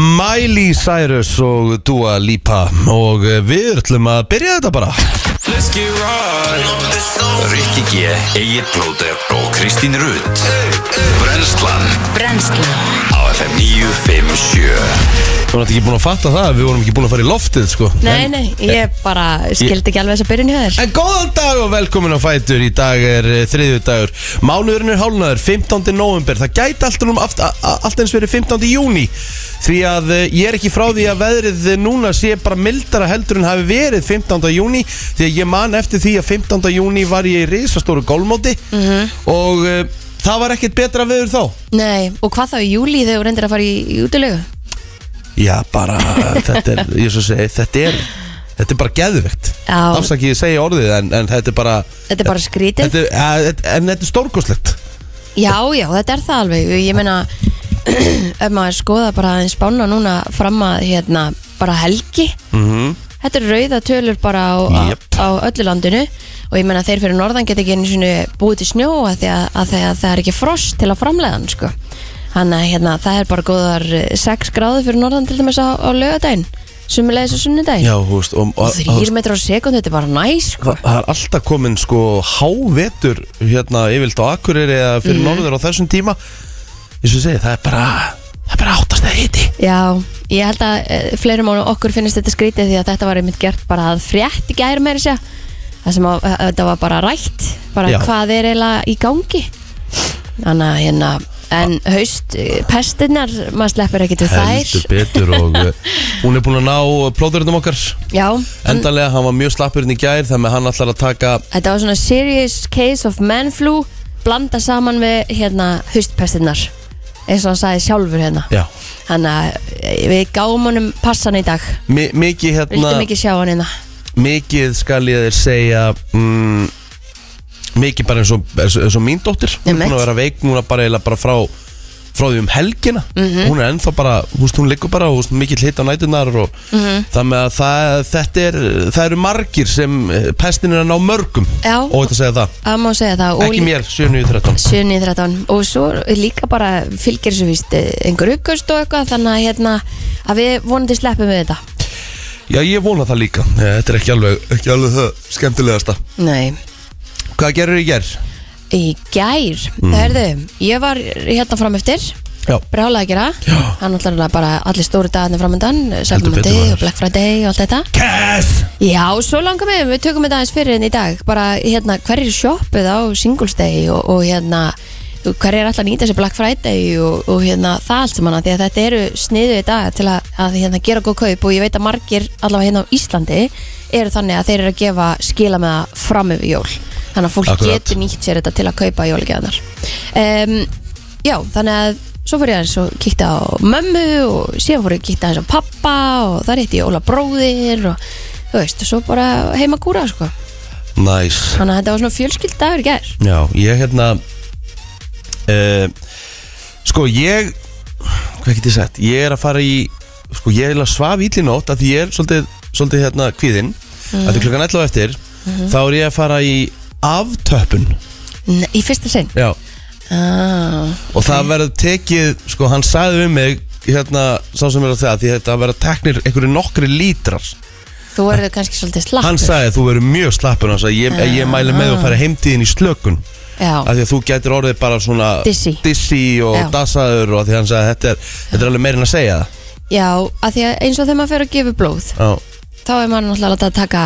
Miley Cyrus og Dua Lipa og eh, við ætlum að byrja þetta bara Let's get right Rikki G, Egil Blóter og Kristín Rutt Brenslan Brennslan á FM 957 Við vorum ekki búin að fatta það, við vorum ekki búin að fara í loftið sko Nei, nei, ég bara skildi ekki alveg þess að byrjun hjá þér En góðan dag og velkomin á Fætur Í dag er þriðju dagur Mánuðurinn er hálnaður, 15. november Það gæti allt, um aft, a, a, allt eins verið 15. júni Því að eh, ég er ekki frá því að veðrið eh, núna sé bara mildara heldur en hafi verið 15. júni Því að ég man eftir því að 15. júni var ég í risastóru gólmóti Mhm. Og uh, það var ekkert betra veður þá Nei, og hvað þá í júli þegar þú reyndir að fara í, í útilegu? Já, bara, þetta er, ég svo segi, þetta er, þetta er bara geðvegt Já. Afsakið ég segja orðið, en, en þetta er bara Þetta er bara skrítið þetta, er- ja, þetta- En þetta er stórkoslegt Já, já, þetta er það alveg Ég meina, ef maður skoða bara aðeins spána núna fram að hérna, bara helgi Mhm. Þetta er rauða tölur bara á, á- Jöp. á öllu landinu og ég meina þeir fyrir norðan geta ekki einu sinni búið til snjó að því að, að, því að það er ekki frost til að framlega hann sko. Þannig að hérna, það er bara góðar 6 gráður fyrir norðan til dæmis á, á lögadaginn, sumulegis á sunnudaginn. Já, þú veist, og, og, Og þrýr metrar á sekund, þetta er bara næs sko. það, það er alltaf komin sko hávetur hérna yfirlt á Akureyri eða fyrir Mhm. norður á þessum tíma Ég svo segi, það er bara, það er bara áttast að hiti Já, ég held að eh, fleirum á okkur finnist þetta skrítið því að þetta var einmitt gert bara að frétt í gæri meira sér það sem að, að þetta var bara rætt bara Já. hvað er eiginlega í gangi þannig að hérna en haust eh, pestinnar maður sleppur ekkert við þær Heldur betur og uh, hún er búin að ná plóðurinnum okkar Já, Endanlega, hann var mjög slappurinn í gær þannig að hann ætlar að taka þetta var svona serious case of man flu blanda saman við hérna haustpestinnar eins og hann sagði sjálfur hérna Já, þannig að eh, við gáum honum passan í dag mi mikið hérna viltum ekki sjá hann hérna mikið skal ég þér segja mm, mikið bara eins og, eins og- eins og mín dóttir hún er Einmitt. búin að vera veik núna bara, eiginlega bara frá frá því um helgina Mhm. hún er ennþá bara, húst, hún liggur bara húst, mikill hitt á nætunar og mm Mhm. þannig að það, þetta er það eru margir sem eh, pestin er að ná mörgum Já. og þetta segja það Það má segja það og ekki mér, 7.13 7.13 og svo líka bara fylgir þessu víst eh, einhver uppgöst og eitthvað þannig að, hérna, að við vonandi sleppum við þetta já ég vona það líka, Eh, þetta er ekki alveg ekki alveg það skemmtilegasta Nei hvað gerur ég gerð? Í gær, Mm. það er þau Ég var hérna fram eftir Já. Brjála að gera Já. Hann náttúrulega bara allir stóru dagarnir framundan Heldur betur, Sæfumandi maður. og Black Friday og allt þetta Kess! Já, svo langar við, við tökum þetta aðeins fyrir en í dag bara hérna, hverju sjoppuð á Singles Day og, og hérna hverju er alltaf að nýta sér Black Friday og, og hérna það allt sem hana því að þetta eru sniðu í dag til að, að hérna, gera góð kaup og ég veit að margir allavega hérna á Íslandi eru þannig að þeir eru að gefa skila með það fram yfir jól þannig að fólk Akkurat. getur nýtt sér þetta til að kaupa jólgeðanar um, Já, þannig að svo fór ég aðeins og kíkta á mömmu og síðan fór ég að kíkta aðeins á pappa og þar hitti ég Óla bróðir og þú veist, og svo bara heima kúra sko. nice þannig að þetta var svona fjölskyld dagur í gær Já, ég hérna uh, Sko, ég Hvað get ég sagt? Ég er að fara í Sko, ég er að svaf ítli nótt af Því ég er svolítið, svolítið hérna kvíðinn mm. Því klukkan 11 á eftir Þá er ég að fara í aftöppun Nei, í fyrsta sinn Já ah, Og það verður tekið Sko, hann sagði við mig Hérna, sá sem er að það Því þetta verður teknir einhverju nokkri lítrar Þú verður kannski svolítið slappur Hann sagði þú verður mjög slappur Hann sagði ég, ég mæli með að fara heimtíðin í slökun Já, að því að þú gætir orðið bara svona Dizzy. og Já. dasaður og af því að hann sagði að þetta er, þetta er alveg meirinn að segja það já að því að eins og þegar maður fer að gefa blóð Já, þá er maður náttúrulega að láta að taka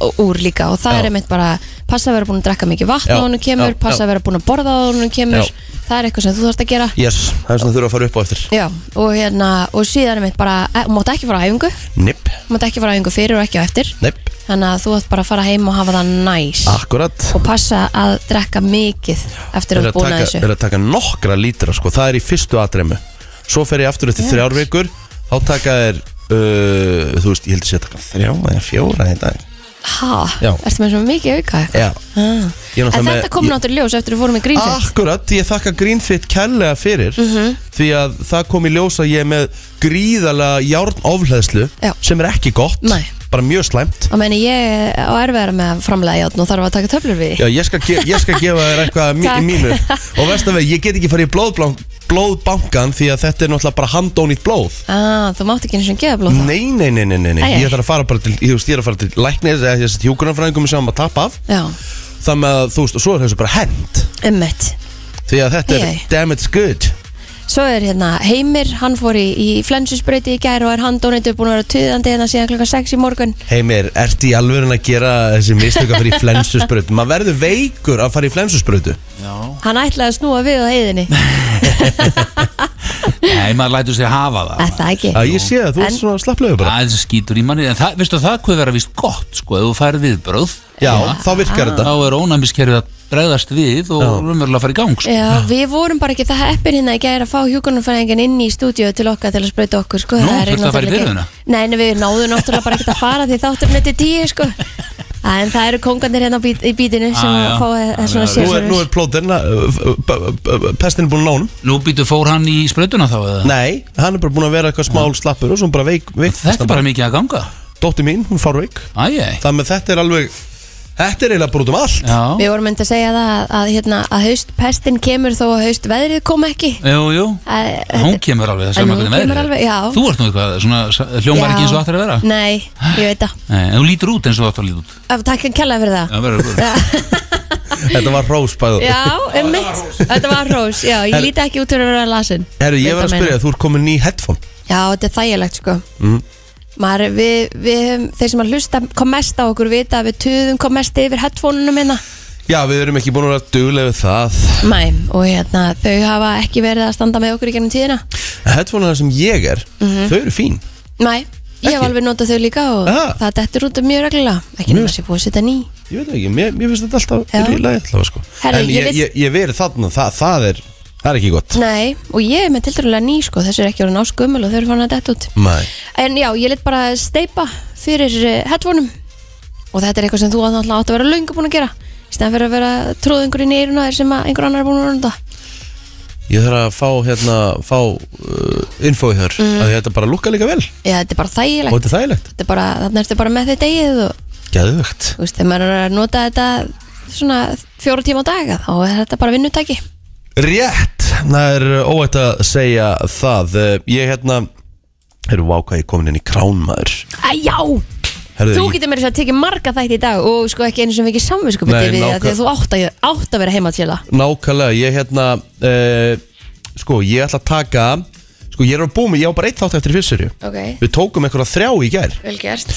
ú- úr líka og það Já. er einmitt bara passa að vera búin að drekka mikið vatn Já, á honum kemur já, já. passa að vera búin að borða á honum kemur Já. það er eitthvað sem þú þarfst að gera yes, það er svona þurfa að fara upp á eftir Já, og hérna, og síðan er mitt bara, e, mátt ekki fara á æfingu, Nipp, mátt ekki fara á æfingu fyrir og ekki á eftir nipp, Þannig að þú ætti bara að fara heim og hafa það næs akkurat Og passa að drekka mikið eftir Er að, að þú búin að taka, þessu er að taka nokkra lítra sko, það er í fyrstu atremu Svo fer ég aftur eftir Yes. þrjár vikur Þá taka þér, uh, þú veist, ég heldur sér að taka þrjá eða fjóra í dag Ha, Já. ertu með svo mikið auka eitthvað? Já, Ah. Ég er En náttúrulega með- Ah. þetta kom ég- náttúrulega í ljós eftir að við fórum í grínfett Akkurat, ég þakka Greenfit kærlega fyrir Mhm. Því að það kom í ljós að ég er með gríðalega járnofleðslu Já. sem er ekki gott Nei. bara mjög slæmt Á meina ég á erfiðara með að framlega játn og þarf að taka töflur við Já, ég skal, ge ég skal gefa þér eitthvað mí Takk. mínu Og veist að við, ég get ekki farið í blóðblank, blóðbankan Því að þetta er náttúrulega bara handónýtt blóð ah, Þú mátt ekki eins og gefa blóð það Nei, nei, nei, nei, nei, nei. Æ, æ. Ég þarf að fara bara til, ég, þú veist, ég er að fara til læknir Eða þessi hjúkurunarfræðingum sem að tappa af Já, Þannig að þú veist, og svo er þessu bara hend ummitt Því að þetta er Æ, æ. damn it's good Svo er hérna Heimir, hann fór í, í flensusbreyti í gær og er handóneitur búin að vera tuðandi hérna síðan klukka 6 í morgun Heimir, ert í alvörun að gera þessi mistök að fara í flensusbrötu Maður verður veikur að fara í flensusbrötu Hann ætlaði að snúa við á heiðinni Nei, maður lætur sér hafa það Er það ekki? Já, ég sé það, þú En- ert svona slapplegur bara Það skýtur í manni En það, veistu, það hvað vera vist gott, sko Ef þú færið viðbröð Já, þá virkar þetta Þá er ónæmiskerfið að bregðast við Og raunverulega fara í gang, sko Já, við vorum bara ekki það heppin hérna í gæri að fá hjúkunumfæðingin inn í stúdíu til okkar til að sprauta okkur sko. Nú, Það er þurfti að fara í náttúrulega byrðuna? ekki- Nei, en við náðum náttúrulega bara ekki að fara því þáttur netti tíu sko. En það eru kongarnir hérna á bít, í bítinu sem Ah, já. fá Já, já. Nú er, þessuna nú sérsörur er uh, plóterna, pestin er búin að ná honum Nú býtu fór hann í sprautuna þá eða Nei, hann er bara búin að vera eitthvað smál slappur og svo bara veik, veik Þetta er bara mikið að ganga Dóttir mín, hún fár veik Æjæ Þannig að þetta er alveg Þetta er eiginlega bara út um allt Já, Við vorum myndið að segja það að, að, hérna, að haustpestin kemur þó að haustveðrið kom ekki jú, jú Að- Hún kemur alveg, það En sem hún að kemur alveg, já. Þú ert nú eitthvað, svona s- hljómar ekki eins og Já. áttir að vera Nei, ég veit það Nei, en þú lítur út eins og áttir að lítur út Af- Takk hann kjallaði fyrir það Já, verður ykkur Þetta var rósbæðu Já, um mitt, þetta var hrós Já, ég Herru- líti ekki út fyrir að vera lasin Herru, ég var að Þetta spyrja, þú ert komin ný headphone Já, þetta er þægilegt sko Maður, við, við, höfum- Þeir sem að hlusta kom mest á okkur vita að við tuðum kom mest yfir headphone-unum hérna Já, við erum ekki búin að vera duglega við það Mæ, og hérna, þau hafa ekki verið að standa með okkur í gennum tíðina Headphone sem ég er, Mhm. þau eru fín Mæ, ég hef Ekki? alveg notað þau líka og Aha. það dettur út um mjög reglulega ekki nema sér búið að setja ný Ég veit ekki, mér, mér finnst þetta alltaf Já. er í lagi alltaf sko. Herru, En ég ég, vil- ég, ég verið þarna, það, það er Það er ekki gott Nei, og ég er með tildurulega ný sko, þessi er ekki orðin áskumul og þau eru fann að detta út Nei En já, ég lit bara steipa fyrir eh, headphone-um og þetta er eitthvað sem þú átt náttúrulega átt að vera löngu búin að gera í stæðan fyrir að vera tróðingurinn í eiruna þér sem að einhver annar er búin að runda Ég þarf að fá, hérna, fá uh, info í þér Mm. að þetta bara lukka líka vel og Já, þetta er bara þægilegt þetta er þægilegt Þetta er bara, þannig ertu bara með þetta eigið og Geðvögt þú veist, þegar maður er að nota þetta svona fjóra tíma á daga þá er þetta bara vinnutæki Rétt, það er uh, óætt að segja það Uh, Ég hérna, herru, vá hvað ég er komin inn í kránmaður Æ, já, Herðu, þú ég- getur mér þess að tekið marga þætti í dag og sko ekki einu sem við ekki samvinskupið Nei, við það nákvæm- því að þú átt að, átt að vera heima til það Nákvæmlega, ég hérna, uh, sko, ég ætla að taka Sko, ég er að búið með, ég á bara eitt þátt eftir fyrstserju Ok, Við tókum einhverja þrjá í gær vel gert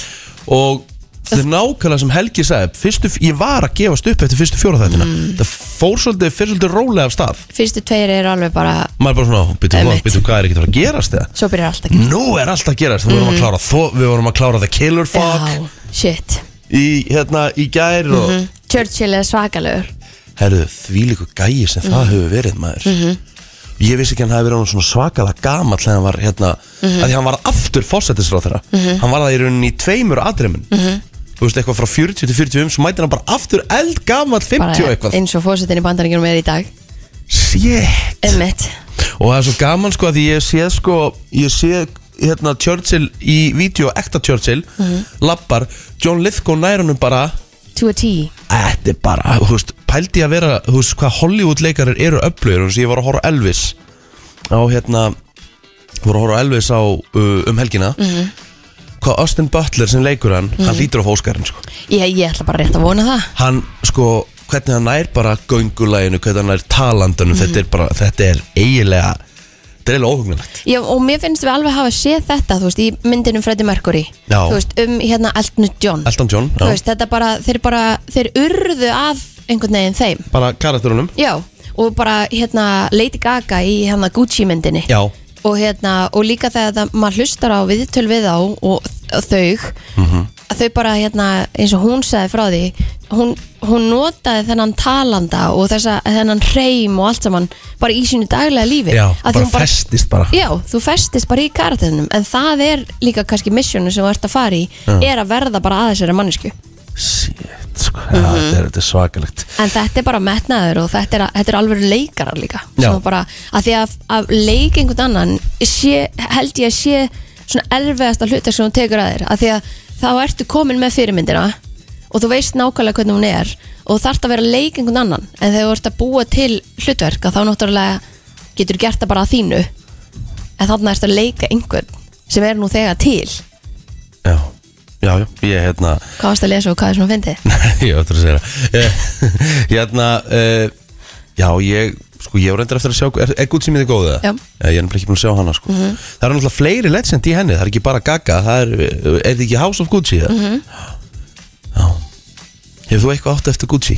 Og það er nákvæmlega sem Helgi sagði fyrstu, Ég var að gefast upp eftir fyrstu fjóra þættina Mm. Það fór svolítið, fyrir svolítið rólega af stað Fyrstu tveir eru alveg bara, Maður bara svona, býtum, Einmitt. býtum, hvað er ekki að fara að gerast það? svo byrjar allt að gera Nú er allt að gerast, við vorum að klára, þó, við vorum að klára The Killer Fuck Mm. Já, Mhm. shit í, hérna, í gær og mm Churchill er svakalögur herðu, því líku gæi sem það hefur verið maður ég vissi ekki að hann hafi verið orðinn svona svakalega gamall þegar hann var hérna, að því hann var aftur fósettisráð þeirra hann var það í rauninni í tveimur aðdremin þú veist eitthvað frá 40 til 45 svo mæti hann bara aftur eldgamall 50 og bara eitthvað eins og fósettin í bandaríkjunum er í dag Shit. Emmett, og það er svo gaman sko að því ég sé sko ég sé hérna Churchill í vídeo, ekta Churchill lappar, John Lithgow nær honum bara to a T Þetta er bara, þú veist, pældi ég að vera Þú veist, hvað Hollywood leikarar eru öflugir Þú veist, ég var að horfa á Elvis Á hérna, voru að horfa á Elvis á uh, um helgina Mhm. Hvað Austin Butler sem leikur hann Hann lítur á fóskarinn, sko Ég, ég ætla bara rétt að vona það Hann, sko, hvernig hann nær bara Göngulæginu, hvernig hann nær Mhm. talandanum Þetta er bara, þetta er eiginlega Þetta er eiginlega óhugnulegt Já, og mér finnst við alveg hafa séð þetta, þú veist, í myndinum Freddie Mercury, Já. þú veist, um hérna Elton John, Elton John, þú já, veist, þetta bara, þeir bara, þeir urðu að einhvern veginn þeim, bara karakterunum já, og bara, hérna, Lady Gaga í hérna Gucci myndinni, Já, og hérna, og líka þegar það, maður hlustar á viðtöl við á og og þau, að þau bara, hérna, eins og hún sagði frá því, hún, hún notaði þennan talanda og þessa, þennan hreim og allt saman, bara í sínu daglega lífi, já, Af bara því hún festist bara Já, þú festist bara í karatinum en það er líka kannski missjónu sem þú ert að fara í er að verða bara aðeins þeirra mannesku Shit, sko, já, þetta, Mhm. er, þetta er svakalegt en þetta er bara metnaður og þetta er, þetta er alveg leikarar líka Já. Sem bara, að því að, að leika einhvern annan sé, held ég að sé svona erfiðasta hlutir sem þú tekur að þér að því að þá ertu komin með fyrirmyndina og þú veist nákvæmlega hvernig hún er og þú þarft að vera að leika einhvern annan en þegar þú ert að búa til hlutverk að þá náttúrulega getur gert það bara að þínu en þannig ertu að leika einhvern sem er nú þegar til Já, já, já, ég hérna hvað varst að lesa og hvað er svona fyndið Ég ætla að segja það Eh, Hérna, uh, já, ég Sko, ég var reyndar eftir að sjá Er, er gútt sem ég þið góðið Já. það? Ég er nefnilega ekki búin að sjá hana, sko Það eru náttúrulega fleiri legend í henni Það er ekki bara Gaga Það er, eh, er þið ekki House of Gucci? Mm -hmm. Já Hefur þú eitthvað átt eftir Gucci?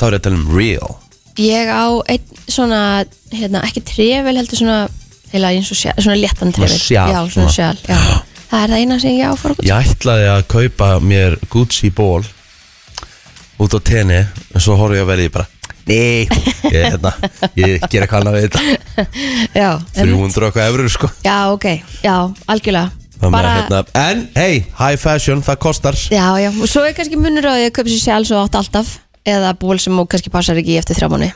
Þá er ég að tala um real ég á einn svona hérna, ekki trefil heldur svona heila eins og sjál, svona léttan Svona trefil sjal, já, svona svona. sjál, já. það er það eina sem ég á fór Ég ætlaði að kaupa mér Gucci ból út á tenni en svo horfði ég að verði bara Nei, ég, hérna, ég ger eitthvað annað við þetta já, 300 og eitthvað eurur sko já, ok, já, algjörlega Þannig að hérna, En, hey, high fashion, það kostar Já, já, og svo er kannski munur á því að kaupa sér sjálf svo átt alltaf eða ból sem hún kannski passar ekki í eftir þrjá mánu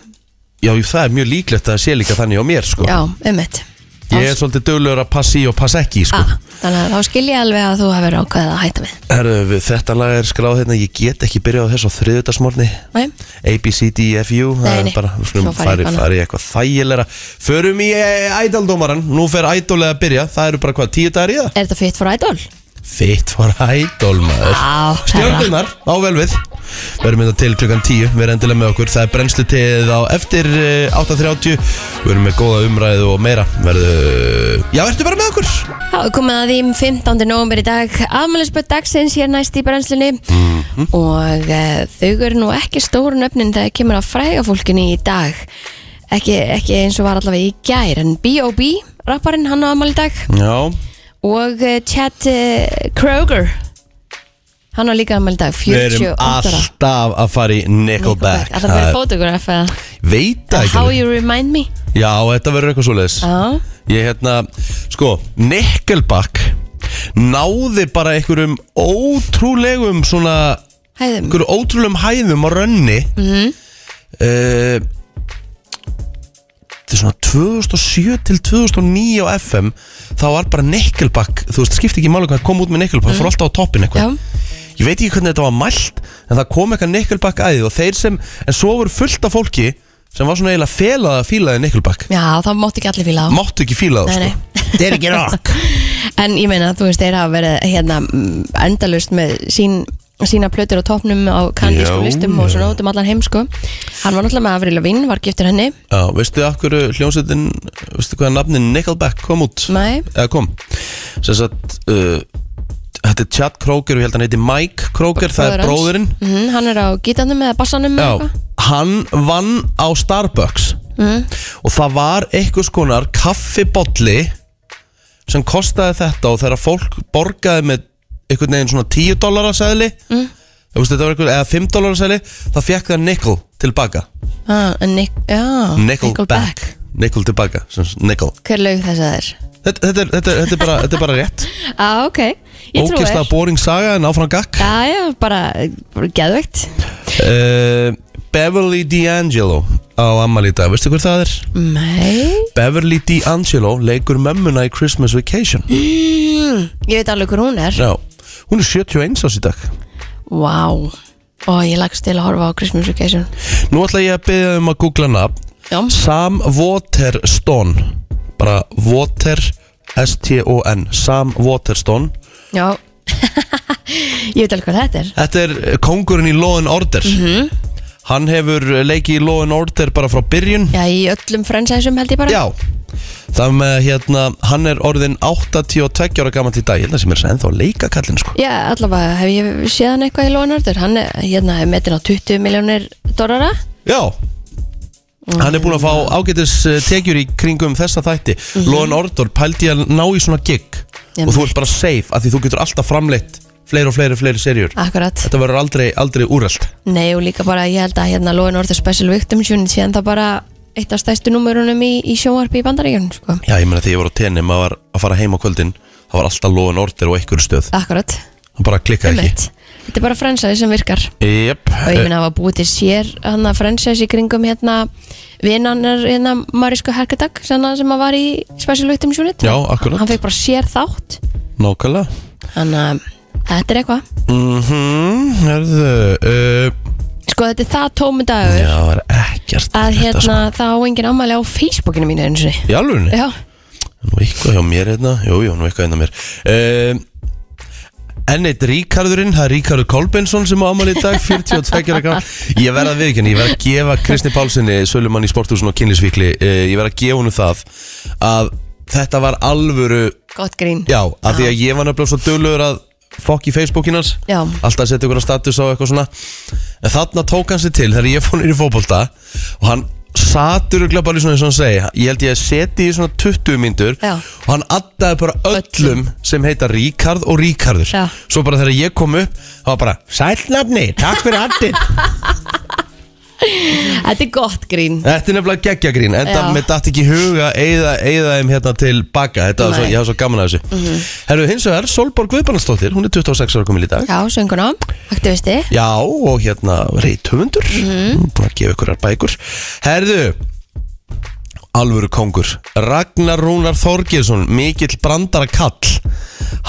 Já, jú, það er mjög líklegt að það sé líka þannig á mér sko Já, um mitt Ég er svolítið döglegur að passa í og passa ekki sko Ah, Þannig að þá skil ég alveg að þú hefur ákveðið að hætta við Herðu, við- þetta lag er skráð hérna Ég get ekki byrjað á þess á þriðutasmorni Nei, ABCDFU Nei, nei. bara, Svo svona, fara fari, í eitthvað annað. fari í eitthvað þægilega Förum í ædaldómaran Nú fer ædólega að byrja Það eru bara hvað, tíu dagar í það? er þetta fit for idol? Fitt for ædól maður Á, herra Stjórnunar á velvið Verðum þetta til klukkan 10, við erum endilega með okkur Það er brennslu til á eftir eh, 8.30 Við erum með góða umræðu og meira Verðu, já, ertu bara með okkur Já, við komum að því um 15. november í dag afmælisböð dagsins hér næst í brennslunni Mhm. og e, þau eru nú ekki stóru nöfnin þegar kemur að fræga fólkinni í dag ekki, ekki eins og var allavega í gær en B.O.B. rapparinn hann á afmæli í dag Já, og eh, Chad eh, Kroger hann var líka ammæli dag við erum 48 ára alltaf að fara í Nickelback, að það verið fótograf eða Veit það How ekki You Ah. Remind Me Já, þetta verður eitthvað svoleiðis Já, Ég hérna, sko, Nickelback náði bara einhverjum ótrúlegum svona, hæðum einhverjum ótrúlegum hæðum á rönni mm Mhm. Þetta er svona 2007 til 2009 á FM þá var bara Nickelback, þú veist, það skipti ekki máli hvað kom út með Nickelback, það fór alltaf á toppin eitthvað Mhm. Já, Ég veit ekki hvernig þetta var mælt En það kom eitthvað Nickelback aðið Og þeir sem, en svo voru fullt af fólki Sem var svona eiginlega felað að fílaði Nickelback já þá máttu ekki allir fíla á Máttu ekki fílað Nei, það nei. sko Þetta er ekki rock En ég meina, þú veist, þeir hafa verið hérna mm, endalaust með sín sína plötur á topnum á Já, kandísku listum og já. svona út um allan heim sko Hann var náttúrulega með Avril Lavigne, var giftur henni Já, veistu af hverju hljómsveitin Veistu hvaða nafnin Nickelback kom út Nei. Eða kom Sess að uh, Þetta er Chad Kroger og ég held að hann heiti Mike Kroger Það er Bróðir bróðurinn hans. Mhm, Hann er á gítanum eða bassanum eða Já, eitthvað Mm. hann vann á Starbucks og það var einhvers konar kaffibolli sem kostaði þetta og þegar fólk borgaði með einhvern veginn svona 10 dólar að segli mm. veist, þetta var einhver, eða 5 dólar að segli þá fekk það nickel tilbaka ah, en Nick, já, nickel, back, nickel tilbaka sem sagt, nickel. Hver lög þess að þér? Þetta, þetta, er, þetta, er, þetta, er bara, þetta er bara rétt Já, Ah, ok, ég trúi ókislega boring saga en áfram gakk Já, já, bara, bara geðveikt uh, Beverly D'Angelo á Amalí dag, veistu hver það er? Nei Beverly D'Angelo leikur mömmuna í Christmas Vacation Ég veit alveg hver hún er Já, hún er 71 ás í dag Vá Og ég lagst til að horfa á Christmas Vacation Nú ætla ég að byggja um að googla nafn Já Sam Waterstone Bara Water S-T-O-N Sam Waterstone Já Ég veit alveg hvað þetta er Þetta er eh, kóngurinn í Law and Order Hann hefur eh, leikið í Law and Order bara frá byrjun Já, í öllum fransæsum held ég bara Já Það með hérna, hann er orðinn 82 ára gamall í dag Ég held að sem er sæðan þá leika kallinn sko Já, allavega hef ég séð hann eitthvað í Lóanörður Hann er hérna hef metin á 20 miljónir dollara Já Hann er búinn að fá ágætis eh, tekjur í kringum þessa þætti mm -hmm. Lóan Ordor pældi að ná í svona gig Ég Og þú ert bara safe af Því þú getur alltaf framleitt fleiri og fleiri og fleiri serjur Ah. Akkurat Þetta verður aldrei, aldrei úrelt Nei, og líka bara ég held að hérna Lóanörður Special Victims Unit síðan það bara eitt af stæstu númurunum í, í sjónvarpi í Bandaríkjörn sko. Já, ég meina þegar ég var á tenni Maður var að fara heim á kvöldin Það var alltaf Lóan Ordor og einhverju stöð Akkurat, Hann bara klikkaði ekki Eh, ummitt Þetta er bara fransæði sem virkar Jep og ég meina að hafa búið til sér hann að fransæs í kringum hérna vinnanar hérna Marísku Herkadag sem hann sem hann var í Special Victims Unit Já, akkurat. hann fekk bara sér þátt Nákvæmlega hann að Þetta er eitthvað Mhm, herðu uh, Sko þetta er það tómi dagur Já, það er ekkert að þetta, hérna sko. það á engin ámæli á Facebookinu mínu einu sinni Í alvörunni? Já, Nú eitthvað hjá mér hérna Jú, jú, nú eitthvað hérna mér um, Enn eitt Ríkarðurinn, það er Ríkarður Kolbensson sem á afmæli í dag, 42 ára gamall. Ég verð að viðkynna, ég verð að gefa Kristi Pálssoni, sölumann í sporthúsun og kynlisvíkli uh, Ég verð að gefa honu það að þetta var alvöru gott grín Já, að því að ég var nefnilega svo dölur að fokk í Facebookin hans Já. Alltaf að setja ykkur að status á eitthvað svona En þarna tók hann sér til þegar ég fór niður í fótbolta Og hann satur og bara í svona eins og hann segi Ég held ég að seti í svona 20 myndur Já. Og hann addaði bara öllum sem heita Ríkard og Ríkardur Já. Svo bara þegar ég kom upp Það var bara Sælnafni, takk fyrir addin Þetta er gott grín Þetta er nefnilega geggjagrín Enda Já. með datt ekki í huga Eða, eða þeim hérna til baka Þetta var svo, Nei. Mhm. ég hafa svo gaman að þessu Herru, hins vegar, Solborg Guðbarnarsdóttir Hún er 26 ára komin í dag Já, sönguna, aktivisti Já, og hérna reythöfundur Mhm. mm. Búin að gefa ykkur þar bækur Herðu Alvöru kongur Ragnar Rúnar Þorgjesson Mikill brandara kall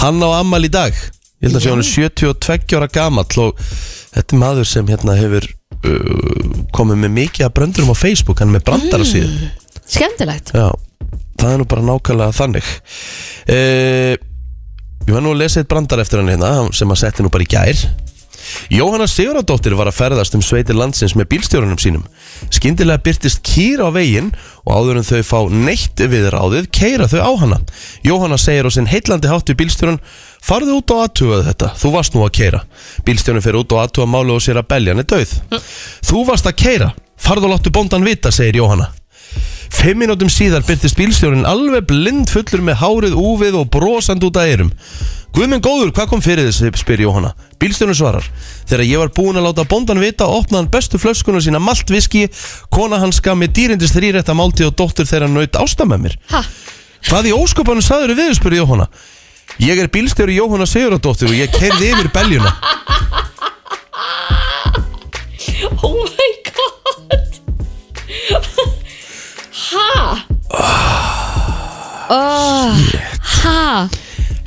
Hann á ammal í dag Ég held að sé hann er 72 ára gamall Og þetta er maður sem hérna hefur uh, Komið með mikið að bröndurum á Facebook Hann er með Mhm. brandara síðu Skemmtilegt Já, það er nú bara nákvæmlega þannig uh, Ég var nú að lesa eitt brandar eftir hann hérna sem að setti nú bara í gær Jóhanna Sigurðardóttir var að ferðast um sveitir landsins með bílstjórunum sínum Skyndilega byrtist kýr á veginn og áður en þau fá neitt við ráðið keira þau á hana Jóhanna segir á sinn heitlandi hátt við bílstjórun Farðu út og aðtugaðu þetta, þú varst nú að keira Bílstjórun fer út og aðtuga málu og sér að beljan er dauð Þú varst að keira, farðu og láttu bóndan vita, segir Jóhanna Fimm minútum síðar byrtist bílstjórin alveg blind fullur með hárið úfið og brosand út að eyrum. Guðminn góður, hvað kom fyrir þessi, spyr Jóhanna. Bílstjórin svarar. Þegar ég var búin að láta bóndan vita, opnaði hann bestu flöskuna sína maltviski, kona hans gaf mér dýrindist þrýrætta máltíð og dóttur þeirra naut ásta með mér. Ha, Hvað í óskopanum sagður við, spyr Jóhanna. Ég er bílstjóri Jóhanna Sigurðardóttir og ég kerði yfir beljuna. oh my god Ha oh, Ha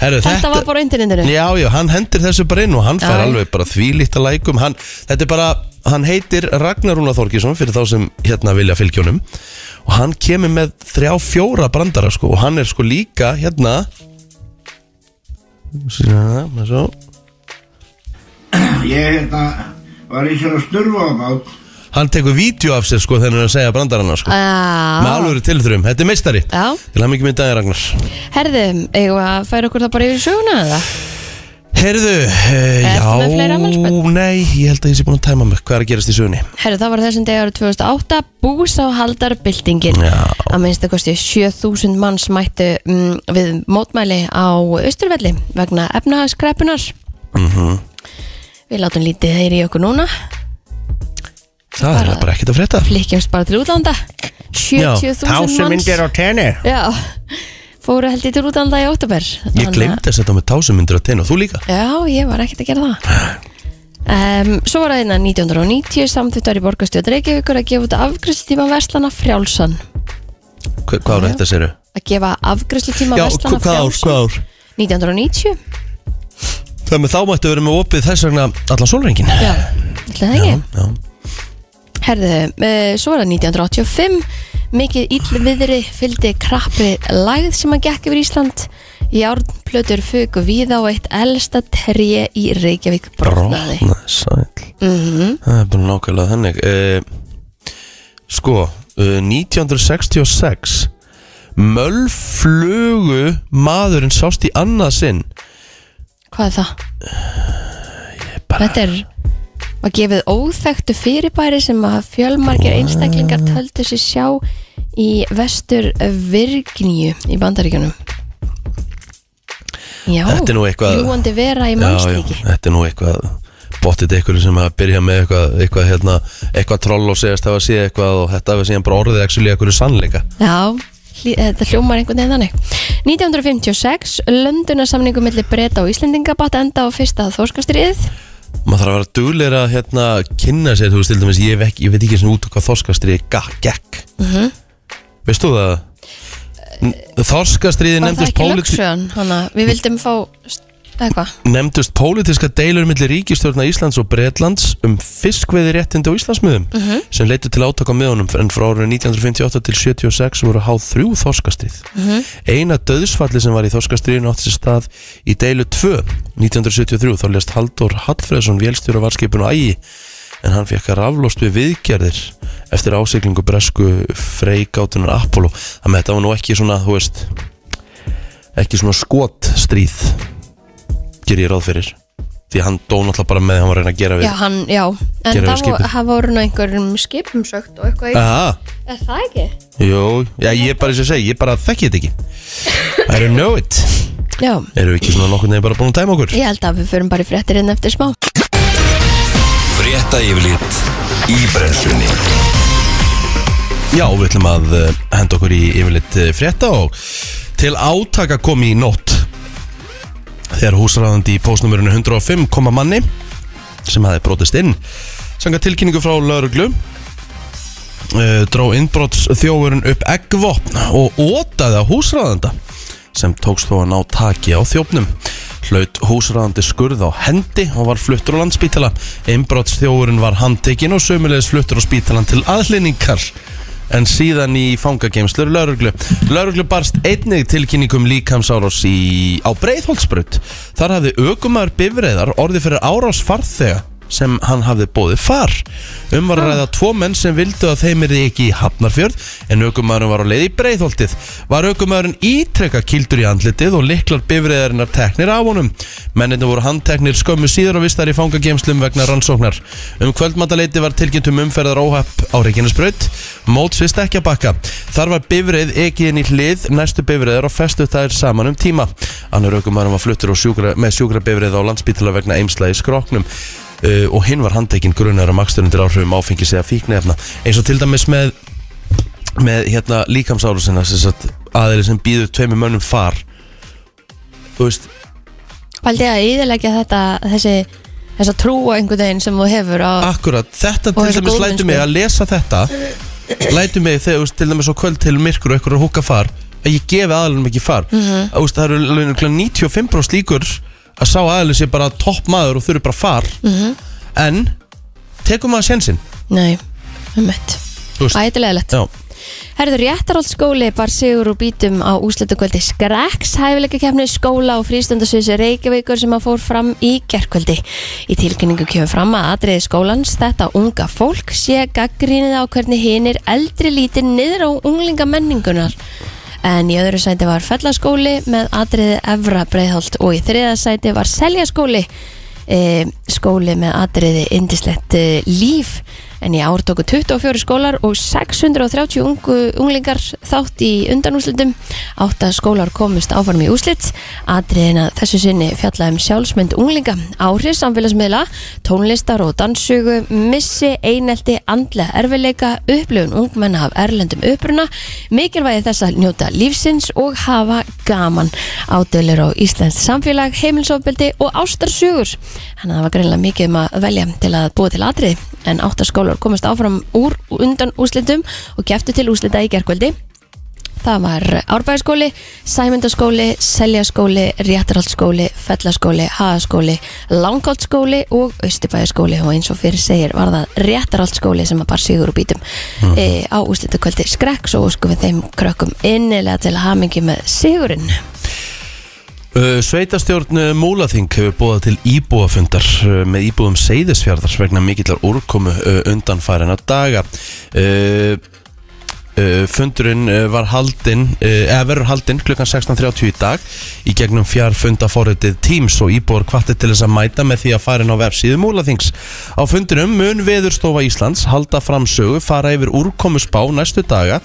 Herru, Þetta var bara á internetinu Já, já, hann hendir þessu bara inn og hann fær Já. alveg bara þvílíkt að lækum hann, Þetta er bara, hann heitir Ragnar Rúna Þorkísson fyrir þá sem hérna vilja fylgjónum og hann kemur með þrjá fjóra brandara sko og hann er sko líka hérna Sýna, maður svo. Ég hérna var í sér að snurfa á það hann tekur vídeo af sér sko þegar hann er að segja brandarana sko með Já, alvöru tilþrjum, þetta er meistari Já. til hann mikið myndaði Ragnar herðu, eigum við að færa okkur það bara yfir í söguna eða? Herðu, uh, já, Ertu með fleiri afmælisbörn? nei, ég held að ég sé búin að tæma mig hvað er að gerast í sögunni Herru, það var á þessum degar 2008 búsáhaldarbyltingin Já. að minnstu kosti 7000 manns mættu mm, við mótmæli á Östurvelli vegna efnahagskreppunar Mhm. Við látum lítið þeir í okkur núna Það er bara ekkert að frétta flykkjumst bara til útlanda 70.000 manns á tenni Já, fóru held ég til útlanda í óttubér Ég glemdi að setja á mig tásumindur að tenni og þú líka Já, ég var ekkert að gera það um, Svo var það innan 1990 samþýttar í borgarstjóð Reykjavíkur að gefa út afgriðslutíma verslana frjálsan Hva, Hvað ára þetta séru? að gefa afgriðslutíma verslana frjálsan ár? 1990 Það með þá mættu vera með opið þess vegna allan sólrengin Já, ætli það ekki já. Herðu, uh, svo var það 1985 mikið illviðri fylgdi krappri lægð sem að gekk yfir Ísland Járnplötur fugu víða og eitt elsta tré í Reykjavík brotnaði Mhm. Brotnaði sæl Það er bara nákvæmlega þannig uh, Sko, uh, 1966 Mölflugu maðurinn sást í annað sinn Hvað er það? Eh, Þetta er var gefið óþekktu fyrirbæri sem að fjölmargir einstaklingar töldu sér sjá í vestur Virginíu í bandaríkjunum Já, Þetta er nú eitthvað- ljúgandi vera í Já, já, mannstíki þetta er nú eitthvað bóttið ykkur sem að byrja með eitthvað eitthvað, hérna, eitthvað troll og segast hafa séð eitthvað og þetta hafa síðan bara orðið actually eitthvað sannleika Já, hlý- eh, þetta hljómar einhvern veginn þannig 1956, löndunarsamningu milli breyta og Íslendinga batt enda á fyrsta þorskastriðið maður þarf að vera duglegur að hérna, kynna sér, þú veist, til dæmis, ég, vek, ég veit ekki einu sinni út á hvað þorskastriði gekk mm Mhm. veist þú það? N- Þorskastriði Eh, Var það nefndist ekki politi- lögsögan? Þannig að við vildum fá st- eitthvað nefndust pólitíska deilur millir ríkistjórna Íslands og Bretlands um fiskveiði á Íslandsmiðum sem leitu til átaka miðunum en frá árið 1958 til 76 voru háð þrjú þorskastið. Eina döðsfalli sem var í þorskastriðinu átti sér stað í deilu 2 1973 þá lest Haldur Hallfreðsson vélstjóra varskipinu ægi en hann fekk að raflóst við viðgerðir eftir ásiglingu bresku freigátunar Apollo. Þannig að þetta var nú ekki svona, þú veist, ekki svona skotstríð ger ég ráð fyrir því að hann dó náttúrulega bara með því að hann var að reyna að gera við Já, hann, já En Gerðu það skipið. vo- það voru nú einhverjum skipum sögt og eitthvað í- Aha, Er það ekki? jú, já, ég er bara eins og segi, ég bara þekki þetta ekki I don't know it Já, Eru við ekki svona nokkur nefn bara búin að dæma okkur? ég held að við förum bara í fréttir inn eftir smá Frétta yfirlit í brennslunni Já, við ætlum að eh, henda okkur í yfirleitt eh, frétta og til átaka kom í nótt þegar húsræðandi í postnumurinu 105 kom að manni sem hafi brotist inn sanga tilkynningu frá lauruglu uh, dró innbrottsþjófurinn upp eggvopn og ótaði á húsræðanda sem tókst þó að ná taki á þjófnum hlaut húsræðandi skurð á hendi og var fluttur á landspítala innbrottsþjófurinn var handtekinn og sömulegis fluttur á spítalan til aðlinningar en síðan í fangageimslur lauruglu. Lauruglu barst einnig tilkynningum líkamsárás í, á breiðholtsbrut. Þar hafði ökumar bifreiðar orði fyrir árás farþega sem hann hafði bóðið far. Um var að ræða tvo menn sem vildu að þeim erði ekki í Hafnarfjörð en ökumarinn var á leið í breiðholtið. Var ökumarinn ítrekka kildur í andlitið og liklar bifreiðarinnar teknir af honum. Menninni voru handteknir skömmu síður og vistar í fangageimslum vegna rannsóknar. Um kvöldmataleiti var tilkynnt um umferðar óhapp á Reykjanesbraut, móts við Stekkjabakka. Þar var bifreið ekið inn í hlið næstu bifreiðar og festu þær saman um tíma. Annar aukumarum var fluttur á sjúkra, með sjúkra bifreið á landsbítala vegna eimsla í skróknum. Uh, og hinn var handtekinn grunar um aksturinn til áhrifum áfengis eða fíknefna eins og til dæmis með með hérna líkamsárusina aðeins sem býður tveimur mönnum far þú veist Paldi að íðilegja þetta, þessi þessa trú á einhvern veginn sem þú hefur á, Akkurat, þetta Og sko. til þessa dæmis lætu góðmennsku. mig að lesa þetta Lætu mig þegar þú veist, til dæmis á kvöld til myrkur og eitthvað að húka far að ég gefi aðalum ekki far mm -hmm. Mhm. að, þú veist, Það eru alveg örugglega 95% líkur að sá aðalum sé bara topp maður og þurfi bara far Mhm. -hmm. En tekum maður sjensin Nei, um mitt Þú veist. Ætilegalegt Já, Herðu réttarhaldsskóli bar sigur úr bítum á úslutakvöldi Skreks hæfileikakefni skóla og frístundasvísi Reykjavíkur sem að fór fram í gerkvöldi. Í tilkynningu kemur fram að atriði skólans þetta unga fólk sé gaggrínið á hvernig hinir eldri lítir niður á unglingamenningunar. En í öðru sæti var fellaskóli með atriði Evra Breiðholt og í þriða sæti var seljaskóli e, skóli með atriði indislegt e, líf en í ár tóku 24 skólar og 630 ungu, unglingar þátt í undanúslitum átta skólar komust áfram í úslit atriðina þessu sinni fjalla um sjálfsmynd unglinga áhrif samfélagsmiðla, tónlistar og dansugu missi, einelti, andlega erfileika, upplifun ungmenna af erlendum uppruna, mikilvægi þess að njóta lífsins og hafa gaman ádölur á Íslands samfélag, heimilsofbeldi og ástarsugur. Þannig að það var greinlega mikið um að velja til að búa til atriði en áttaskólar komast áfram úr undan úslitum og geftu til úslita í gerkvöldi. Það var Árbæðaskóli, Sæmyndaskóli, Seljaskóli, Réttarhaldsskóli, Fellaskóli, Hagaskóli, Langholtsskóli og Östibæðaskóli og eins og fyrir segir var það Réttarhaldsskóli sem að bara sigur og bítum e, á úslitakvöldi skrekks og sko við þeim krökkum innilega til hamingi með sigurinn. Uh, Sveitastjórn uh, Múlaþing hefur búið til íbúafundar uh, með íbúðum seyðisfjörðar vegna mikillar úrkomu uh, undanfærinna daga uh, uh, Fundurinn uh, var haldinn, uh, eða verður haldinn klukkan 16.30 í dag í gegnum fjarfundaforritið Teams og íbúar kvartir til þess að mæta með því að fara inn á vefsíðu Múlaþings Á fundinum mun Veðurstofa Íslands halda fram sögu, fara yfir úrkomu spá næstu daga,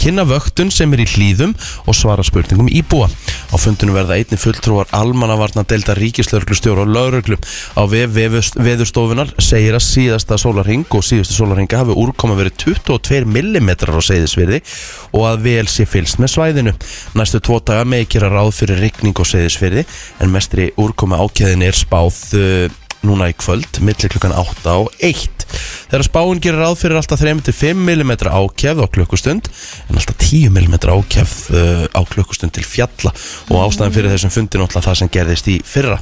kynna vöktun sem er í hlýðum og svara spurningum íbúa. Á fundinu verða einni fulltrúar almannavarna delta ríkislauglustjóra og lauruglu. Á vef vefust- veðurstofunar segir að síðasta sólarhing og síðustu sólarhinga hafi úrkoma verið 22 mm á seyðisverði og að vel sé fylst með svæðinu. Næstu tvo daga megi gera ráð fyrir rigning og seyðisverði en eh, mestri úrkoma ákjæðin er spáð uh, núna í kvöld, millir klukkan 8 og 1 Þegar spáin gerir ráð fyrir alltaf 3-5 mm ákjæfð á klukkustund en alltaf 10 mm ákjæfð uh, á klukkustund til fjalla og ástæðan fyrir þessum fundi náttúrulega það sem gerðist í fyrra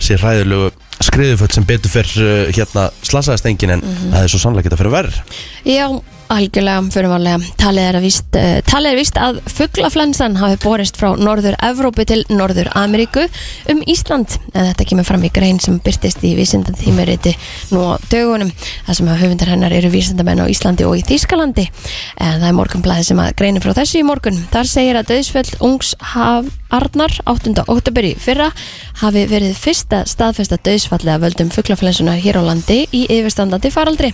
sér ræðilegu skriðuföld sem betur fyrir uh, hérna slasaðist engin en það er svo sannlega geta fyrir verð Já, algjörlega, fyrirvarlega. Talið er að víst, uh, talið er víst að fuglaflensan hafi borist frá Norður-Evrópu til Norður-Ameríku um Ísland. En þetta kemur fram í grein sem byrtist í vísindan tímariti nú á dögunum. Það sem að höfundar hennar eru vísindamenn á Íslandi og í Þýskalandi. En það er morgunblæði sem að greina frá þessu í morgun. Þar segir að döðsfjöld ungs haf Arnar 8. oktober í fyrra hafi verið fyrsta staðfesta döðsfallið af völdum fuglaflensunar hér á landi í yfirstandandi faraldri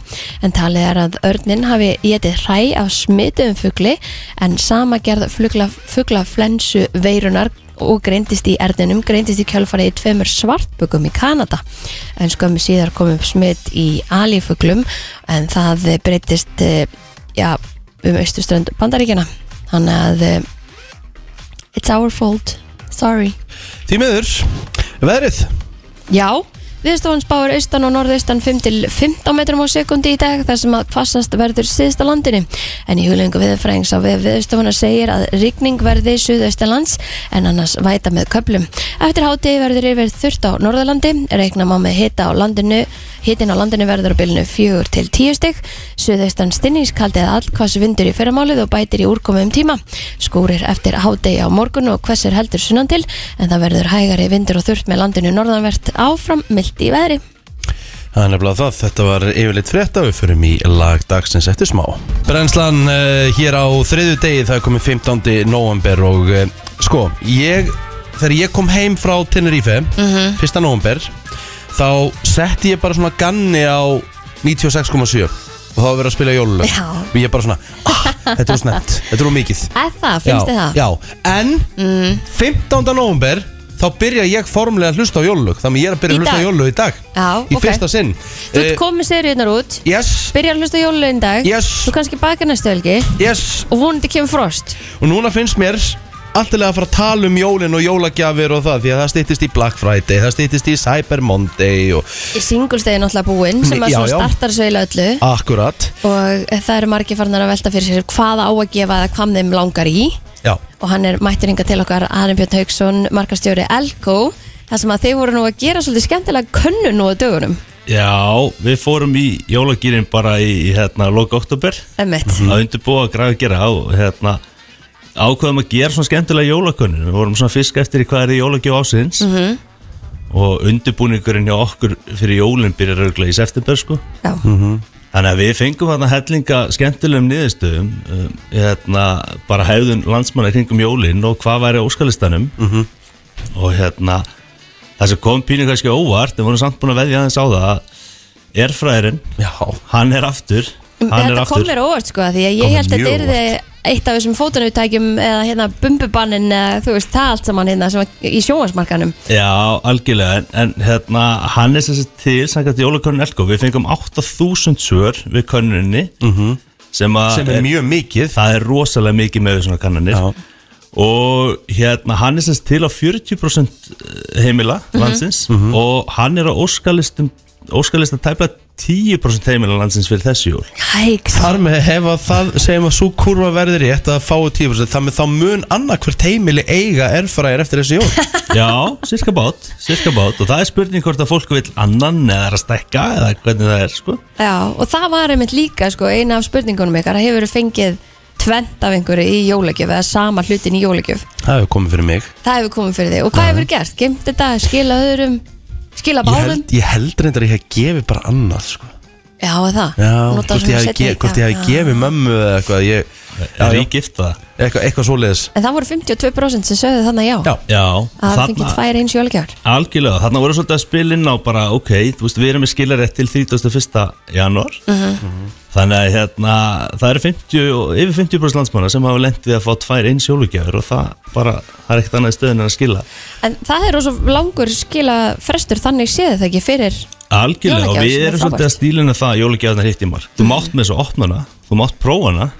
en talið er að örnin hafi getið hræ af smituðum fugli en sama gerð flugla, fuglaflensu veirunar og greindist í erðinum, greindist í kjálfarið í tveimur svartbökum í Kanada en skömmu síðar kom upp smit í alífuglum en það breytist eh, já, um austurströnd bandaríkina þannig að eh, It's our fault, sorry Því miður, veðrið Já, viðstofan spáir austan og norðaustan 5 til 15 metrum á sekundi í dag þar sem að passast verður síðst á landinu en í huglengu viðfræðings á við viðstofana segir að rigning verði suðaustalands en annars væta með köplum Eftir hátíði verður yfir þurft á norðalandi reikna má með hita á landinu hitin á landinu verður á bylnu 4 til 10 stig suðaustan stinningskaldi eða allkvass vindur í fyrramálið og bætir í úrkomu um tíma skúrir eftir hádegi á morgun og hversir heldur sunnan til en það verður hægari vindur og þurft með landinu norðanvert áfram mildt í veðri Það er nefnilega það, þetta var yfirleitt frétta, við förum í lag dagsins eftir smá. Brennslan uh, hér á þriðu degi, það er komið 15. november og uh, sko, ég, þegar ég kom heim frá Tenerife, 1. november, þá setti ég bara svona ganni á 96,7 og þá var verið að spila jólulög. Já. Og ég bara svona, ah, þetta er snett, þetta er of mikið. Eða, finnst þið það? Mm. Já, en 15. november þá byrja ég formlega að hlusta á jólulög þannig að ég er að byrja Í að hlusta á dag? jólulög í dag Já, í ok. fyrsta sinn Þú ert Eh, komið seriðunar út yes, Byrjar að hlusta á jólulegin dag Yes. Þú kannski bakar næstu helgi yes Og vonandi kemur frost og núna finnst mér alltilega að fara að tala um jólin og jólagjafir og það því að það stýttist í Black Friday það stýttist í Cyber Monday og Í singulstegi náttúrulega búinn Sem að Já, svona já. Ah. startar svo eila öllu akkurat Og eh, það eru margir farnar að velta fyrir sér Hvað á að gefa eða hvað þeim langar í já, Og hann er mættur hinga til okkar Arne Björn Hauksson, markastjóri Elko Það sem að þeir voru nú að gera svolítið skemmtilega könnu nú á dögunum Já, við fórum í jólagýrin bara í, í hérna, loka oktober Emmett Mhm. að undirbúa að græða að gera á hérna, ákveðum að gera svona skemmtilega jólakönnun við vorum svona fisk eftir í hvað er í jólagjöf ásins -hmm. og undirbúningurinn hjá okkur fyrir jólinn byrjar örgulega í september sko Já, Mhm. Þannig að við fengum hérna hellinga skemmtilegum niðurstöðum um, hérna, bara hefðun landsmanna kringum jólinn og hvað væri á óskalistanum Mhm. -hmm. og hérna það sem kom pínu kannski óvart en vorum samt búin að veðja aðeins á það að erfræðirinn, já, hann er aftur hann er Mm, Þetta kom aftur mér á óvart sko Því Kom að ég mér held að þetta mjög er eitt af þessum fótunautækjum Eða hérna bumbubannin eða þú veist það allt saman hérna sem var í sjónvarsmarkanum Já, algjörlega, en, en hérna, hann er sem sagt til samkvæmt jólakönnin Elko, við fengum 8000 svör við könnuninni -hmm. sem, að- Mhm. sem er mjög mikið það er rosalega mikið með svona kannanir Já. og hérna, hann er sem sagt til á 40% heimila Mhm. landsins og hann er á óskalistum óskalista tæpla 10% heimila landsins fyrir þessi jól Hæks Þar með hefa það, segjum að svo kurva verður rétt að fáu 10% þar með þá mun annarkvert heimili eiga erfæraðir eftir þessi jól Já, sirka bát, sirka bát og það er spurning hvort að fólk vil annan eða er að stekka eða hvernig það er sko Já, og það var einmitt líka sko, eina af spurningunum ykkar að hefur fengið tvent af einhverju í jólagjöf eða sama hlutin í jólagjöf Það hefur komið fyrir mig það hefur komið fyrir þig og hvað hefur gert? Gemt þetta, skila öðrum skila Ég báðum? held, ég held reyndar að ég hef gefið bara annað sko. Já, er það Já, Notar hvort svona ég hafi seinni ge- í hvort ég dag, hafi já. gefið mömmu eða eitthvað ég, já, Er já, ég gift það? eitthvað, eitthvað svoleiðis En það voru 52% sem sögðu þannig já, Já. Já, að það fengið tvær eins jólagjafar algjörlega, þarna voru svolítið að spila inn á bara, ok, þú veist, við erum með skilarétt til 31. januar Mhm. þannig að hérna, það eru 50, og- yfir 50% landsmanna sem hafa lent við að fá tvær eins jólugjafir og það bara, það er ekkert annað í stöðun en að skila En það er rosa langur skila frestur þannig séð það ekki fyrir Algjörlega, og Jólagjafir við sem er erum frábært. svolítið að stílina það að jólagjafirnar hitt í mark Þú mátt með þessu Mhm. opnana, þú mátt prófana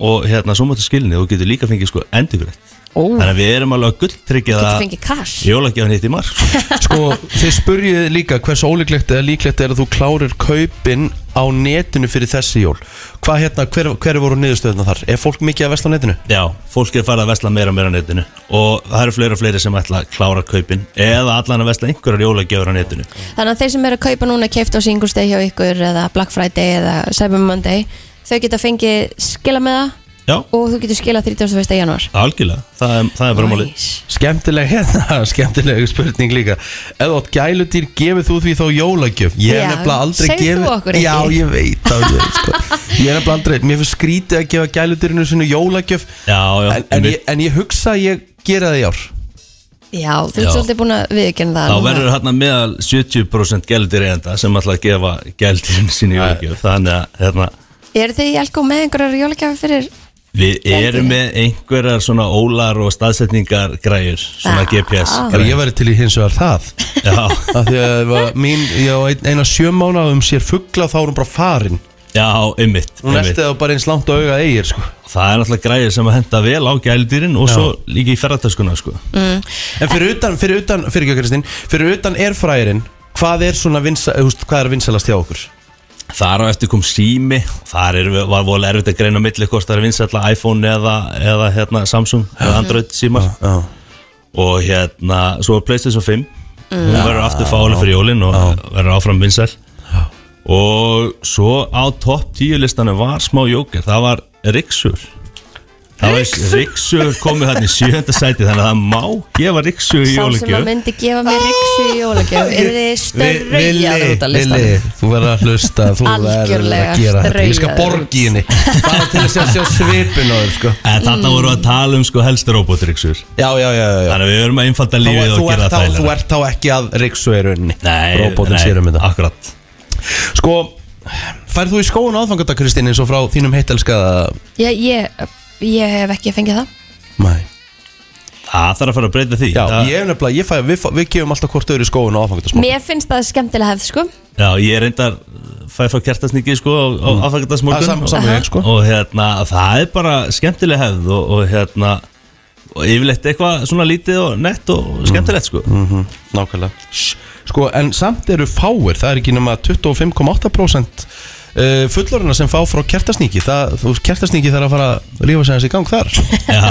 og hérna, svo máttu skilni og þú getur líka fengið sko endurgrætt Ó, Þannig að við erum alveg að gulltryggja Mhm. getur það fengið cash Jólagjáðan hitt í marg Sko, þið spurjuð líka hversu ólíklegt eða líklegt er að þú klárir kaupin á netinu fyrir þessi jól Hvað hérna, hver, hver voru niðurstöðuna þar? Er fólk mikið að vesla á netinu? Já, fólk er farið að vesla meira og meira á netinu og það eru fleiri og fleiri sem ætla að klára kaupin eða allan að vesla einhverjar jólagjafur á netinu Þannig að þeir sem eru að kaupa núna keift á Singulsteg hjá ykkur eða Black Friday eða Cyber Monday þau geta fengið skila með það Já, og þú getur skila 31. janúar algjörlega, það er, það er bara málið Nice. Skemmtileg hérna, skemmtileg spurning líka Ef þú átt gæludýr, gefur þú því þá jólagjöf? Ég Já, er nefnilega aldrei segð gefið- þú okkur ekki. Já, ég veit það ég, sko. ég er nefnilega aldrei, mér finnst skrítið að gefa gæludýrinu sinni jólagjöf Já, já, en, en, ég, en ég hugsa að ég gera það í ár Já, þú ert Já. svolítið búin að viðkynna það þá núna. verður hérna meðal 70% gældir eigenda sem ætla að gefa gældirinn sinni jólagjafur þannig að hérna, Eru þið í Elko með einhverjar jólagjafi fyrir við erum með einhverjar svona ólar og staðsetningar græjur, svona Ah. GPS Þegar ég græjur væri til í hins vegar það Já, Af Því að var mín, ég á ein, eina sjö mánu um sér fuggla þá er hún bara farin já, ymmit, Hún ymmit erti það bara eins langt á auga eigir sko. Það er náttúrulega græðir sem að henda vel á gældýrin og svo líka í ferðartöskuna sko. En fyrir utan, fyrir utan, fyrir ekki Kristín Fyrir utan er fræðirinn Hvað er svona vinsa, eh, þú veist, hvað er vinsalast hjá okkur? Þar á eftir kom sími Þar er, var vola erfitt að greina á milli hvort það er vinsætla iPhone eða, eða hérna, Samsung eða Android símar Já. og hérna, svo var Playstation 5 hún verður aftur fáli fyrir jólin og verður áfram vinsæl og svo á topp 10 listanum var smá jóker, það var Rixur Það var Rixur komið hann í sjönda sæti þannig að það má gefa Rixur í sá sem að jólagjöf Ah! myndi gefa mér riksu í jólagjafi? Eru þið störraujaður út af listanum? þú verður að hlusta Þú verður Algjörlega að gera þetta Ég skal straujaður. borgi henni Bara til að sjá, sjá svipin á þér sko. En þarna vorum við að tala um sko helst robótryggsur Já, já, já, já, já. Þannig að við verum að einfalda Þá, lífið þú, og gera ert, það þá, þú þægilega ert þá ekki að riksu er unni Nei, Róbótin nei, sér um þetta Akkurat Sko, færð þú í skóun áðfangardag Kristín eins og frá þínum heitelskaða Já, ég, ég hef ekki fengið það Mæ Það þarf að fara að breyta því Já, það, ég er nefnilega, ég fæ, við, fá- við gefum alltaf hvort öðru skóin á aðfangandarsmorgun Mér finnst það skemmtilega hefð, sko já, ég er reyndar fæ frá kertasnikið sko á, á Mm. Það aðfækjardasmorgun er sam, saman ég, sko Og hérna, það er bara skemmtileg hefð og, og hérna og yfirleitt eitthvað svona lítið og nett Mm. og skemmtilegt sko Nákvæmlega Sh, Sko, en samt eru fáir, það er ekki nema 25,8% Uh, fullorina sem fá frá kertasníki það, þú, kertasníki þarf að fara að lífa sig hans í gang þar Já,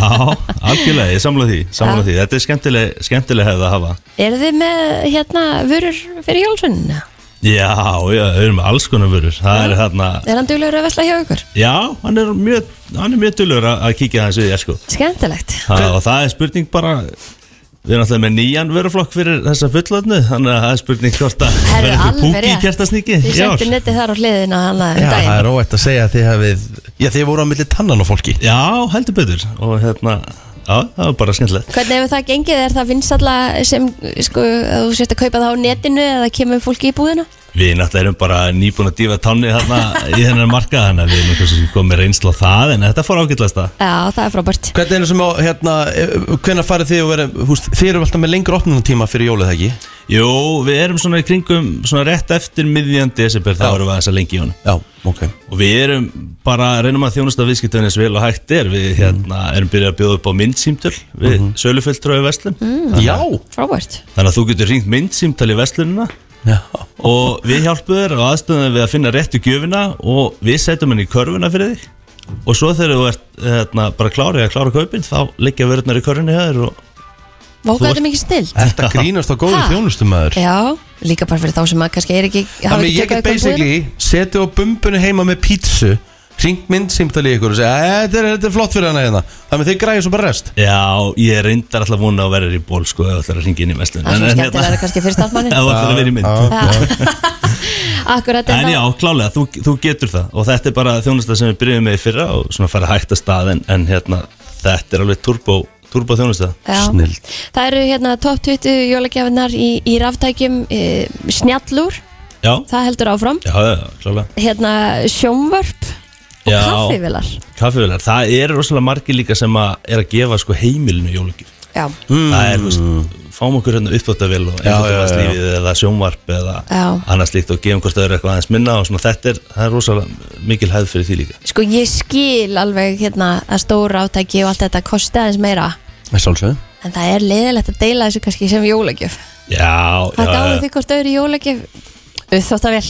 algjörlega, ég samla því, samla Já. því. Þetta er skemmtileg, skemmtileg hefð að hafa Eru þið með, hérna, vörur fyrir jólsunna? Já, já, við erum með alls konar vörur Það er hérna, Er hann duglegur að vesla hjá ykkur? Já, hann er mjög, hann er mjög dullur að að kíkja þessu í þér sko Skemmtilegt Það- Og það er spurning bara Við erum alltaf með nýjan vöruflokk fyrir þessa fullöfnu Þannig að það er spurning hvort að Herru, verður einhver alveg púki í rétt. kertasníki Ég í ár? setti netti þar á hliðina hana um Já, það daginn er óætt að segja að þið hafið Já, þið voru á milli tannan á fólki Já, heldur betur Og hérna, já, það var bara skemmtilegt Hvernig hefur það gengið? Er það vinsalla sem, sko, að þú sért að kaupa það á netinu eða kemur fólki í búðina? Við náttúrulega erum bara nýbúin að dífa tánni hérna í þennan marka Þannig að við erum eitthvað sem komið reynsla á það En þetta fór ágætlega stað Já, það er frábært Hvernig er það sem á, hérna, hvernig farið þið að vera húst, Þið eru alltaf með lengur opnunatíma fyrir jólið, ekki? Jú, við erum svona í kringum, svona rétt eftir miðjan desember Já. Það vorum við aðeins að lengi í honum Já, ok og við erum bara reynum að þjónusta viðskiptunni eins vel og hægt er við hérna, erum byrjað að bjóða upp á myndsýmtöl við mm. sölufulltröðu verslun Já, Frábært þannig að þú getur hringt myndsýmtöl í verslunina já. og við hjálpum þér og aðstöðum þér við að finna réttu gjöfina og við setjum henni í körfuna fyrir þig og svo þegar þú ert hérna, bara klárið að klára kaupin þá liggja vörðnar í körfunni hjá þér og Vá, ert- hvað þetta er mikið snill Þetta grínast á góðu Ha? þjónustumæður Já, líka bara fyrir þá sem að kannski er ekki hafa Þannig ekki ég tekið get eitthvað í búðina. basically setið á bumbunni heima með pítsu Hringt mynd símtali ykkur og segja "Æ, Þetta er, þetta er flott fyrir hana hérna Þannig þið græði svo bara rest já, ég reyndar alltaf vona að vera í ból sko ef þú ætlar að ringa inn í verslun hérna, Það er svona skemmtilega kannski fyrir starfmannin það var að vera í mynd Akkurat En já, klálega, þú, þú getur það og þetta er bara þjónusta sem við byrjum með í fyrra og svona fara hægt að stað en, en hérna, þetta er alveg turbo, turbo þjónusta Já. Snilld. Það eru hérna top 20 jólagjafinar í, í raftækjum e, Snjallur, Já, það heldur áfram já, já, klálega Hérna sjónvörp og Já. kaffivilar Kaffivelar, það eru rosalega margir líka sem að er að gefa sko heimilinu jólugjöf Já, Það er, þú veist, fáum okkur hérna uppþáttavél og Mm. já, já. einfaldavarslífið eða sjónvarp eða Já. annað slíkt og gefum hvort það eru eitthvað aðeins minna og svona þetta er, það er rosalega mikil hæð fyrir því líka sko ég skil alveg hérna að stóra áttæki og allt þetta kosti aðeins meira Með sjálfsögðu En það er leiðilegt að deila þessu kannski sem jólagjöf Já, Það gáðu já, því hvort öðru í jólagjöf Uþóttavél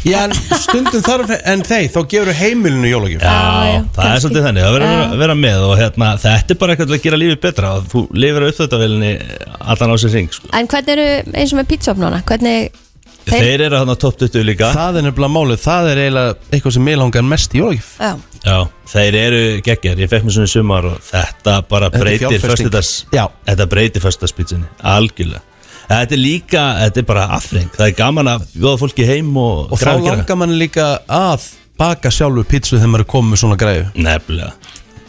Já, en stundum þarf en þeir, þá gefur heimilinu jólagjöf já, Já, það já, er kannski. svolítið þannig að vera, Já. vera, vera með og hérna, þetta er bara eitthvað til að gera lífið betra og þú lifir auðvitað uppþöttavélinni allan á sér ring sko. En hvernig eru eins og með pítsofnuna? Hvernig þeir, eru þarna top 20 líka Það er nefnilega málið, það er eiginlega eitthvað sem mig langar mest í jólagjöf Já, já, þeir eru geggjær, ég fekk mér svona í sumar og þetta bara er breytir fjárfesting. föstudags, Já. þetta breytir föstudagspítsinni, algjörlega þetta er líka, þetta er bara afreng það er gaman að bjóða fólki heim og, Og þá grafa gera. langar mann líka að baka sjálfur pítsu þegar maður er komið með svona græðu nefnilega,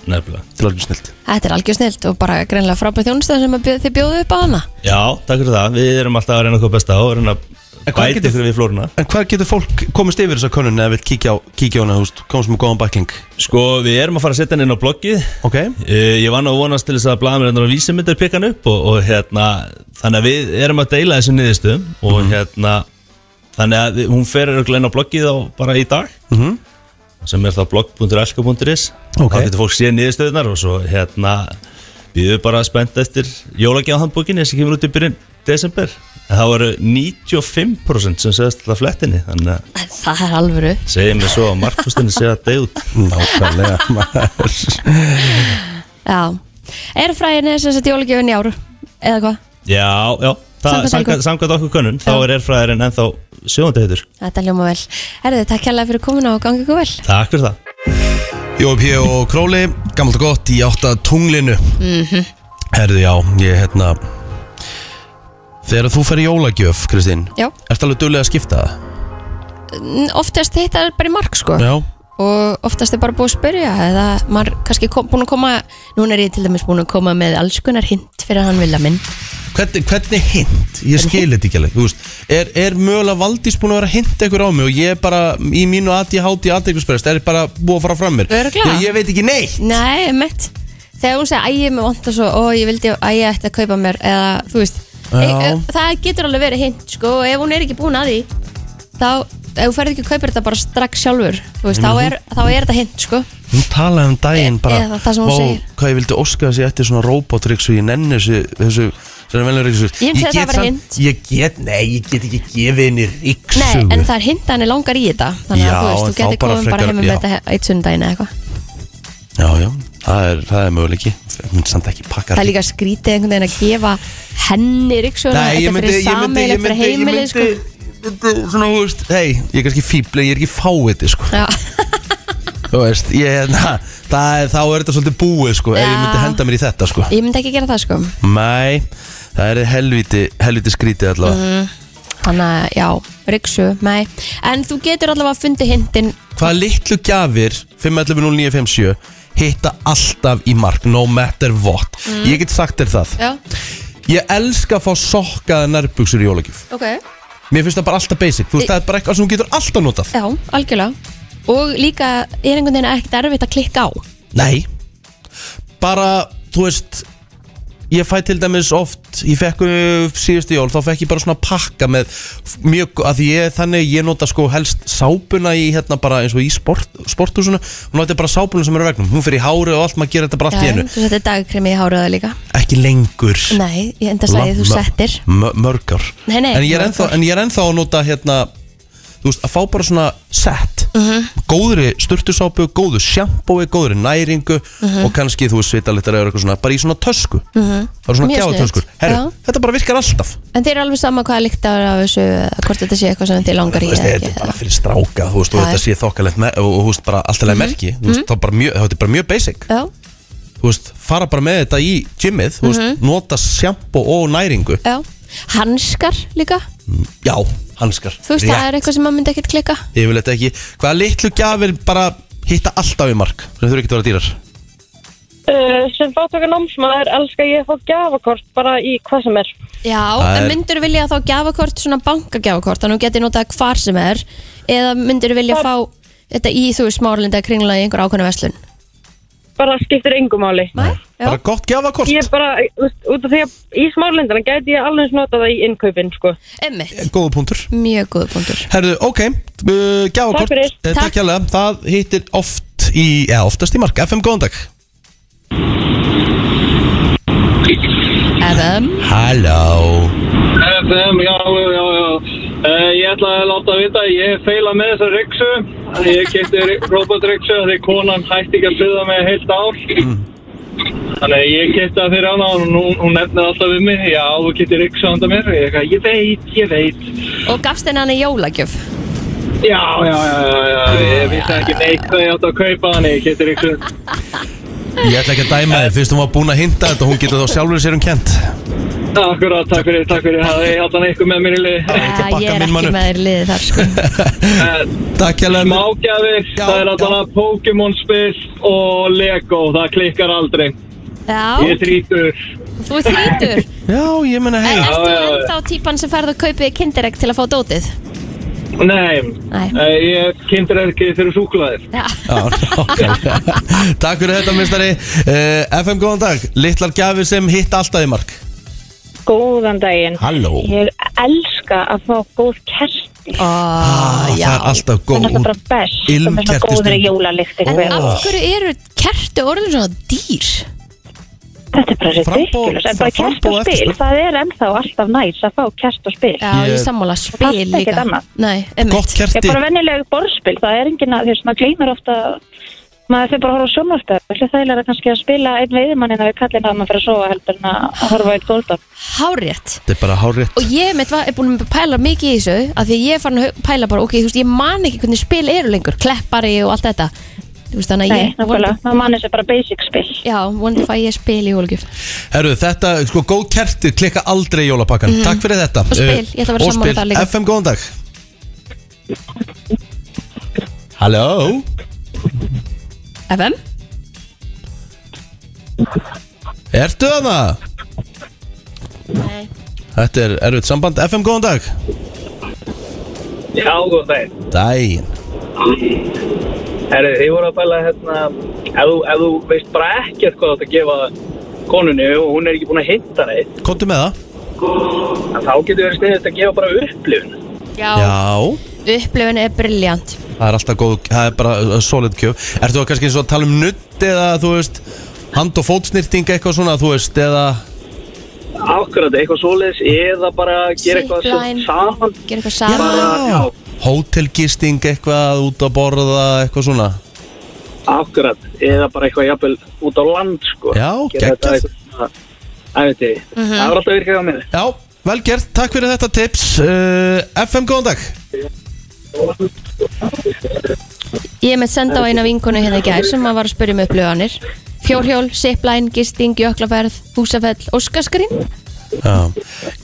nefnilega Til alveg snilt þetta er algjör snilt og bara greinlega frábæð þjónustan sem að bjó- þið bjóðu upp á hana já, takk fyrir það, við erum alltaf að reyna okkur besta og reyna að En hvað bæta getur- ykkur við flóruna En hvað getur fólk komist yfir þessa könnun eða vil kíkja á, kíkja á hana, þú veist, komast með góðan bakling sko, við erum að fara að setja hann inn á bloggið Ok? Uh, ég var nú að vonast til þess að blaðamennir og vísimyndir pekka hann upp og, og hérna þannig að við erum að deila þessu niðurstöðum og hérna þannig að við, hún fer er inn á bloggið á, bara í dag Mhm. sem er þá blogg.elka.is Ok. þá getur fólk séð niðurstöðunar og svo hérna við erum bara spennt eftir jólagjáðhandbókinni sem kemur út í byrjun desember en það voru 95% sem segðast alltaf flettinni þannig að En það er alvöru segir mér svo að markfustinni segja að deyð út Nákvæmlega maður. Já Er fræðinni þess að jólagjöfin í áru? Eða hvað? Já, já Samkvæmt það- Helgu. Samkvæmt samkvæmt okkur könnun, þá Já. er erfræðarinn ennþá sjóðandi heitur Þetta ljóma vel Herðu, takk hérlega fyrir komuna og gangi ykkur vel Takk fyrir það Jói P. og Króli, gammalt og gott í átta tunglinu Herðu, já, ég hérna Þegar þú fer í jólagjöf, Kristín Já, Ertu alveg duglega að skipta það? N- oftast þetta er bara í mark sko Ah. Já og oftast er bara búið að spyrja eða maður kannski kom, búin að koma núna er ég til dæmis búin að koma með alls konar hint fyrir hann vilja minn Hvernig, hvernig hint? Ég skil þetta ekki alveg þú veist, er, er mögulega Valdís búin að vera að hinta ykkur á mig og ég er bara í mínu ADHD aðdeglisperst er bara búið að fara fram mér Örugglega. Já, Ég veit ekki neitt Nei, emmett Þegar hún segi, æ, ég er með vant og svo Ó, ég vildi að ég ætti að kaupa mér Eða, þú veist Já. e, e, Það getur alveg verið hint, sko Og ef hún er ekki búin að því Þá, ef hún ferði ekki að kaupa þetta bara strax sjálfur Þú veist, þá, er, þá er þetta hint, sko Hún talaði um daginn bara E- eða það sem hún "Vá, segir." Hvað ég vildi óska þessi eftir svona robotrygg svo ég nenni þessu, þessu Svona velur ríksu Ég myndi að það væri hint. Ég get, nei, ég get ekki gefið henni ríksu Nei, en það er hint að hann er langar í þetta Þannig Já, að þú en veist, þú þá getur bara komið bara frekar- heim með já. þetta eitt sundaginn eða eitthvað Já, já, það er, það er möguleiki Ég myndi samt ekki pakka Það er líka skrítið einhvern veginn að gefa henni ryggsjóna Nei, ég Þetta er myndi, fyrir ég myndi, ég sameiginlegt myndi, fyrir ég myndi, heimili, ég sko myndi Svona, þú veist, hei, ég er kannski fíbli, ég er ekki fáið sko. Já, Þú veist, ég, na, það, er- þá er þetta svolítið búið sko, ef ég Já. myndi henda mér í þetta sko. ég myndi ekki gera það, sko Nei, það er helviti, helviti skrítið allavega Þannig að, já, ryksu, nei En þú getur allavega fundið hindin Hvaða litlu gjafir 511-0957 hitta alltaf í mark, no matter what Ég get sagt þér það Já, Ég elska að fá sokkaða nærbuksur í jólagjöf ok Mér finnst það bara alltaf basic, þú veist, það er bara eitthvað sem þú getur alltaf notað Já, algjörlega Og líka er einhvern veginn ekkert erfitt að klikka á Nei Bara, þú veist Ég fæ til dæmis oft Ég fekk uh, síðustu jól, þá fekk ég bara svona pakka með mjög, að því ég þannig ég nota sko helst sápuna í hérna bara eins og í sport, sporthúsuna hún nota bara sápuna sem er á vegnum, hún fyrir í hári og allt, maður gerir þetta bara allt í einu þú settir dagkrimi í háruða líka ekki lengur Nei, ég enda slæði þú Lam- settir mö- mörg ár Nei, nei, en, ég er mörg ennþá, ár. en ég er ennþá að nota hérna þú veist, að fá bara svona set Mhm. góðri sturtusápu, góðu sjampói góðri næringu Mhm. og kannski þú veist svitalittar eða eitthvað svona, bara í svona tösku það er svona Mjög gjáðtöskur sniðugt, Herru, já. þetta bara virkar alltaf En þið eru alveg sama hvað líkta af þessu eða Hvort þetta sé eitthvað sem þið langar í Þú veist, eða þetta ekki er bara fyrir stráka þú veist, og Já, Mhm. þetta sé þokkalegt me- og, og þú veist, bara alltaf merki mm veist, þá bara mjög, þetta er bara mjög basic Já, þú veist, fara bara með þetta í gymmið þú Mhm. veist, nota sjampó og næringu já Hanskar líka, já, hanskar þú veist það er eitthvað sem maður myndi ekkert klikka Yfirleitt ekki Hvaða litlu gjafir bara hitta alltaf í mark Sem þurfi ekki að vera dýrar Uh, sem fátöku námsmaður elska ég að fá gjafakort bara í hvað sem er. Já, Það en er- myndur vilja þá gjafakort, svona bankagjafakort þannig að þú getur notað hvar sem er eða myndur vilja fá þetta í þú smárlinda kringla í einhver ákveðna verslun Bara skiptir engum máli. Nei, já, Bara gott gjafakort Ég bara, þú veist, út af því að í smárlindana gæti ég alveg eins notað það í innkaupin, sko. emmitt, Góða punktur mjög góð punktur Herðu, ok uh, Gjafakort Takk fyrir. Eh, Takk. Takk hérlega Það hittir oft í, eða oftast í mark FM, góðan dag FM Halló FM, já, já, já, já. Uh, ég ætla að láta að vita, ég feila með þessa ryksu. Ég geti robotryksu því konan hætti ekki að byggja mig heilt ár. Þannig að ég geti að fyrir hana og hún, hún nefnir alltaf við mig. Já, þú geti ryksu handa mér. Ég, eitthvað, ég veit, ég veit. Og gafst henni hann í jólagjöf Já, já, já, já, já. Ég vissi ekki neitt hvað ég átt að kaupa þannig, ég geti ryksu. Ég ætla ekki að dæma þig Fyrst hún var búin að hinta þetta Hún getur þá sjálfur sér um kent Akkurát, takk fyrir, takk fyrir. Það er alltaf eitthvað með mér í lið. ekki að Ah, Ég bakka er minn mann ekki upp. með þér í liði þar sko Eh, Takk hérlega Mágjafir, Já, það er já. alltaf Pokémon spil og Lego, það klikkar aldrei. Ég Já, er þrítur. þú ert þrítur Já, ég menna hei En ertu já, já. ennþá típan sem ferð og kaupið kindirek til að fá dótið? Nei, Nei. eh, ég kindur ekki fyrir súklaðir. Já, Já, nákvæmlega. Takk fyrir þetta, mistari uh, FM, góðan dag Littlar gjafir sem hitt alltaf í mark Góðan daginn. Halló Ég elska að fá góð kerti. Ó, Ah, Ah, já Það er alltaf góð Það er bara best. Það er ilmkerti svona góður stund. jólalyktir. En Oh. af hverju eru kertu orðin svona dýr? Þetta er bara Framboð- ridiculous. En bara framboð kert og og spil, eftirspurn. það er ennþá alltaf næs að fá kert og spil. Já, ég Ég- er sammála Það spil er ekkert líka annað. Nei, emmitt Gott Ég kerti er bara vennileg borðspil, það er engin að, þú veist, maður gleymir ofta maður fyrir bara að horfa á sjónvarpið, það er alltaf þægilega kannski að spila einn veiðimannina við kallinn að maður fyrir að sofa heldur en að horfa á eitt góðdám. Hárétt Þetta er bara hárrétt Og ég mitt var, er búin að pæla mikið í þessu af því ég er farin að hu- pæla bara, ok, þú veist, ég man ekki hvernig spil eru lengur, kleppari og allt þetta Þú veist, þannig að Nei, ég nákvæmlega, maður mannir sér bara basic spil. Já, vonandi fæ ég spil í jólugjöf Herru, þetta, sko, góð kerti klikka aldrei í jólapakkan Takk fyrir þetta Mhm. Eh, Og spil, ég ætla að vera Og sammála spil. þar líka. FM, góðan dag Halló FM? Ertu þarna? Nei Þetta er erfitt samband FM, góðan dag Já, góð þeir. Dæin Herri, ég voru að bæla hérna, ef þú, ef þú veist bara ekkert hvað þú átt að gefa konunni og hún er ekki búin að hitta neitt, Kontu með það? en þá getur verið sniðist að gefa bara upplifun. Já, Já upplifun er briljant Það er alltaf góð, það er bara uh, solid kjöf Ertu það kannski eins og að tala um nutt eða þú veist Hand- og fótsnýrting eitthvað svona þú veist Eða Akkurat, eitthvað svoleiðis eða bara gera eitthvað sem Zipline. saman. Gera eitthvað saman Bara, já, hótelgisting eitthvað út að borða eitthvað svona akkurat, eða bara eitthvað jafnvel út á land, sko. Já, Gera þetta geggjað. eitthvað svona, Það veit ég, það er alltaf virkað á mér. Já, vel gert, takk fyrir þetta tips uh, FM, góðan dag Ég mitt senda á eina vinkonu hérna í gær sem að var að spyrja um upplifanir Fjórhjól, zipline, gisting, jöklaferð, húsafell, óskaskrín Já.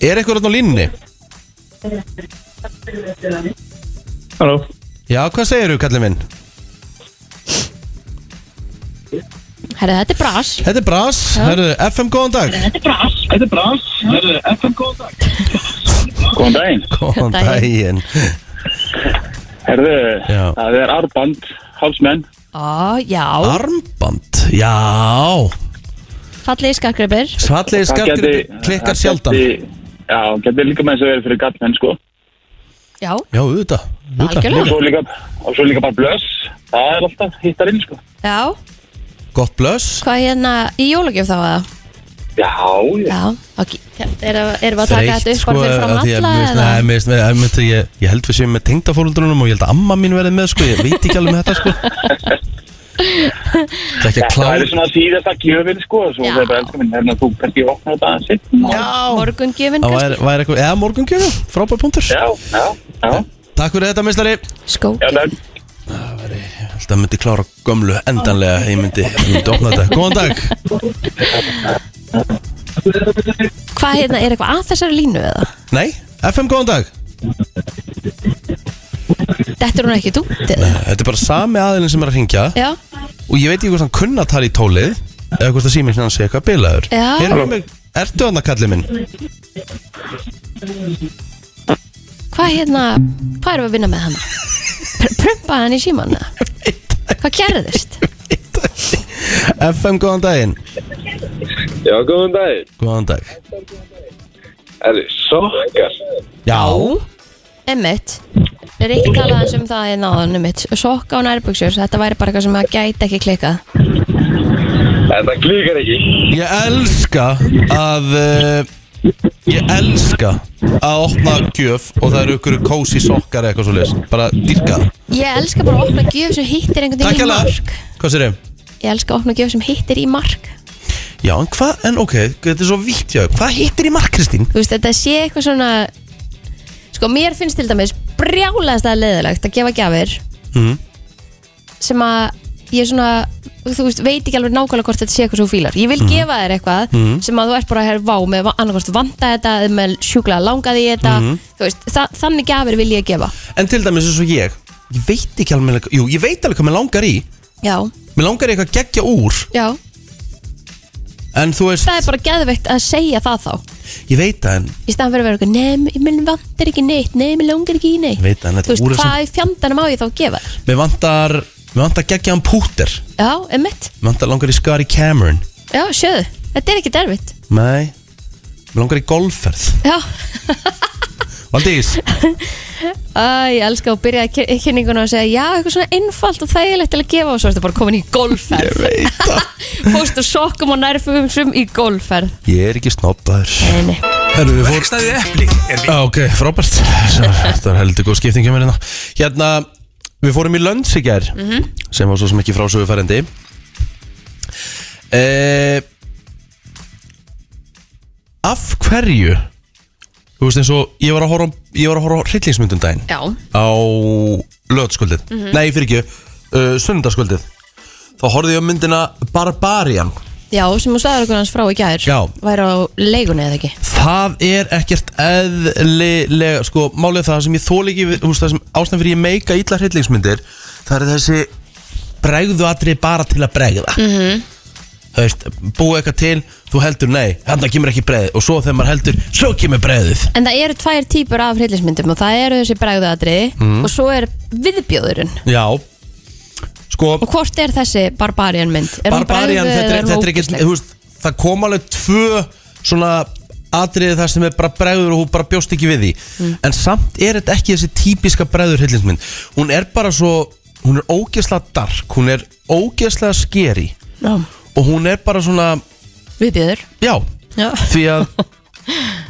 Er eitthvað rann á línni? Halló. Já, hvað segirðu, kallið minn? Herra, þetta er bras Þetta er Bras, herru, FM, góðan dag Þetta er brans, þetta er FM góðan dag. Góðan daginn. Góðan Daginn. daginn Herðu, Já. það er arband, hálsmenn. Á, já, Armband, já fallegi skakkröpir Svallegi Það skartir gæti- það klikkar gæti- sjaldan Já, getur líka með þess að vera fyrir gallmenn, sko. Já, Já, auðvitað auðvitað, Algjörlega. Og líka. svo líka, og svo líka bara blöss. Það er alltaf hittarinn, sko. já, Gott blöss hvað hérna í jólagjöf þá eða? Já, ég. Já, ok, erum er við að taka þetta upp bara fyrir fram sko, af því að alla mér finnst- eða? Nei, mér finnst- ég- mér finnst- ég, ég held við séum með tengdafóruldrunum og ég held að amma mín verði með sko, ég veit ekki alveg með þetta sko Það er ekki að Það er klára svona síðasta gjöfin, sko. Svo Já. það er bara elskar minn, herna, þú kannski opna þetta að sitt. Morgungjöfin Það kannski? væri, væri eitthvað, eða morgungjöfum, frábær punktur Já, já, já. Takk fyrir þetta, mistari Skó Já, það er Þetta myndi klára gömlu endanlega, ég myndi, ég myndi opna þetta Góðan dag Hvað hérna, er eitthvað að þessari línu eða? Nei, FM góðan dag Þetta er hún ekki dútt eða? Þetta er bara sami aðilinn sem er að ringja Já, og ég veit ekki hvort hann kunna að tala í tólið eða hvort að síminn hann sé eitthvað bilaður Já. Heyrðu mig- Ertu hann að kallið minn? hvað hérna, hvað erum við að vinna með hann? Pr prumpa hann í síman eða? Hvað gerðist? FM góðan daginn Já, góðan dag. Góðan dag Herri, sokkar. Já Emmitt Er ekki talað eins um það hérna á hann Emmitt Sokka og nærbuksur, þetta væri bara eitthvað sem að gæti ekki klikkað Þetta klíkar ekki Ég elska að uh, Ég elska að opna gjöf og það eru ykkur kósi sokkar eða eitthvað svo Bara dyrka það Ég elska bara að opna gjöf sem hittir einhvern Takk veginn í hérlega. mark Hvað sér ég? Ég elska að opna gjöf sem hittir í mark Já, en hvað, en ok, þetta er svo vítt hjá þér. Hvað hittir í mark, Kristín? Þú veist, þetta sé eitthvað svona Sko, mér finnst til dæmis brjálæðast að leiðilegt að gefa gjafir Mm. sem að ég svona þú veist, veit ekki alveg nákvæmlega hvort þetta sé eitthvað svo fílar ég vil Mhm. gefa þér eitthvað Mhm. sem að þú ert bara að herra vá með annarkvort vanda þetta eða með sjúklega langaði í þetta Mhm. þú veist, þa þannig gjafir vil ég gefa En til dæmis eins og ég Ég veit ekki alveg, jú, ég veit alveg hvað mér langar í já, Mér langar í eitthvað geggja úr já, En þú veist, það er bara geðveikt að segja það þá ég veit það en í staðan fyrir að vera eitthvað, nei, minn vantar ekki neitt nei, minn langar ekki í neitt Ég veit það, en þetta þú veist, úr er hvað í fjandanum á ég þá að gefa þér Mér vantar, mér vantar geggjaðan púter já, emmitt, Mér vantar langar í Skari Cameron já, sjöðu þetta er ekki derfitt, Nei, mér langar í golfferð já Valdís, Æ, ég elska að byrja kyn- kynninguna og segja já, eitthvað svona einfalt og þægilegt til að gefa og svo ertu bara komin í golfferð Ég veit það Fóstu sokkum og nærfumsum í golfferð ég er ekki snobbaður Nei, nei Herru, við fór Verkstæði Epling er Já, ok, frábært Svo- Þetta er heldur góð skipting hjá mér hérna Hérna, við fórum í Lönns í gær Mhm. Sem var svo sem ekki frásöguferendi eh, Af hverju Þú veist eins og Ég var að horfa, á- ég var að horfa á hryllingsmyndum daginn Já. Á löðskuldið Mhm. Nei, fyrir ekki, uh, sundarskvöldið Þá horfði ég á myndina Barbarian Já, sem þú sagði okkur hans frá í gær Já. Væri á leigunni eða ekki Það er ekkert eðlilega Sko, málið er það sem ég þóli ekki við- þú veist, Það sem ástæðan fyrir ég meika illa hryllingsmyndir Það er þessi Bregðu atri bara til að bregða -hmm. Þú veist, búið eitthvað til Þú heldur nei, þannig kemur ekki bregð Og svo þegar maður heldur, svo kemur bregðið En það eru tvær típur af hryllismyndum og það eru þessi bregðuatriði Mhm. og svo er viðbjóðurinn Já Sko, Og hvort er þessi barbarian mynd? Er hún Barbarian, bragðuð þetta eða er, hún þetta er ekki ógeðsleg? þú veist, Það kom alveg tvö svona atriði þar sem er bara bregður og hún bara bjóst ekki við því Mm. En samt er þetta ekki þessi típiska bregður hillinsmynd Hún er bara svo, hún er ógeðslega dark Hún er ógeðslega skeri Já. Og hún er bara svona Viðbjóður Já, Já. því að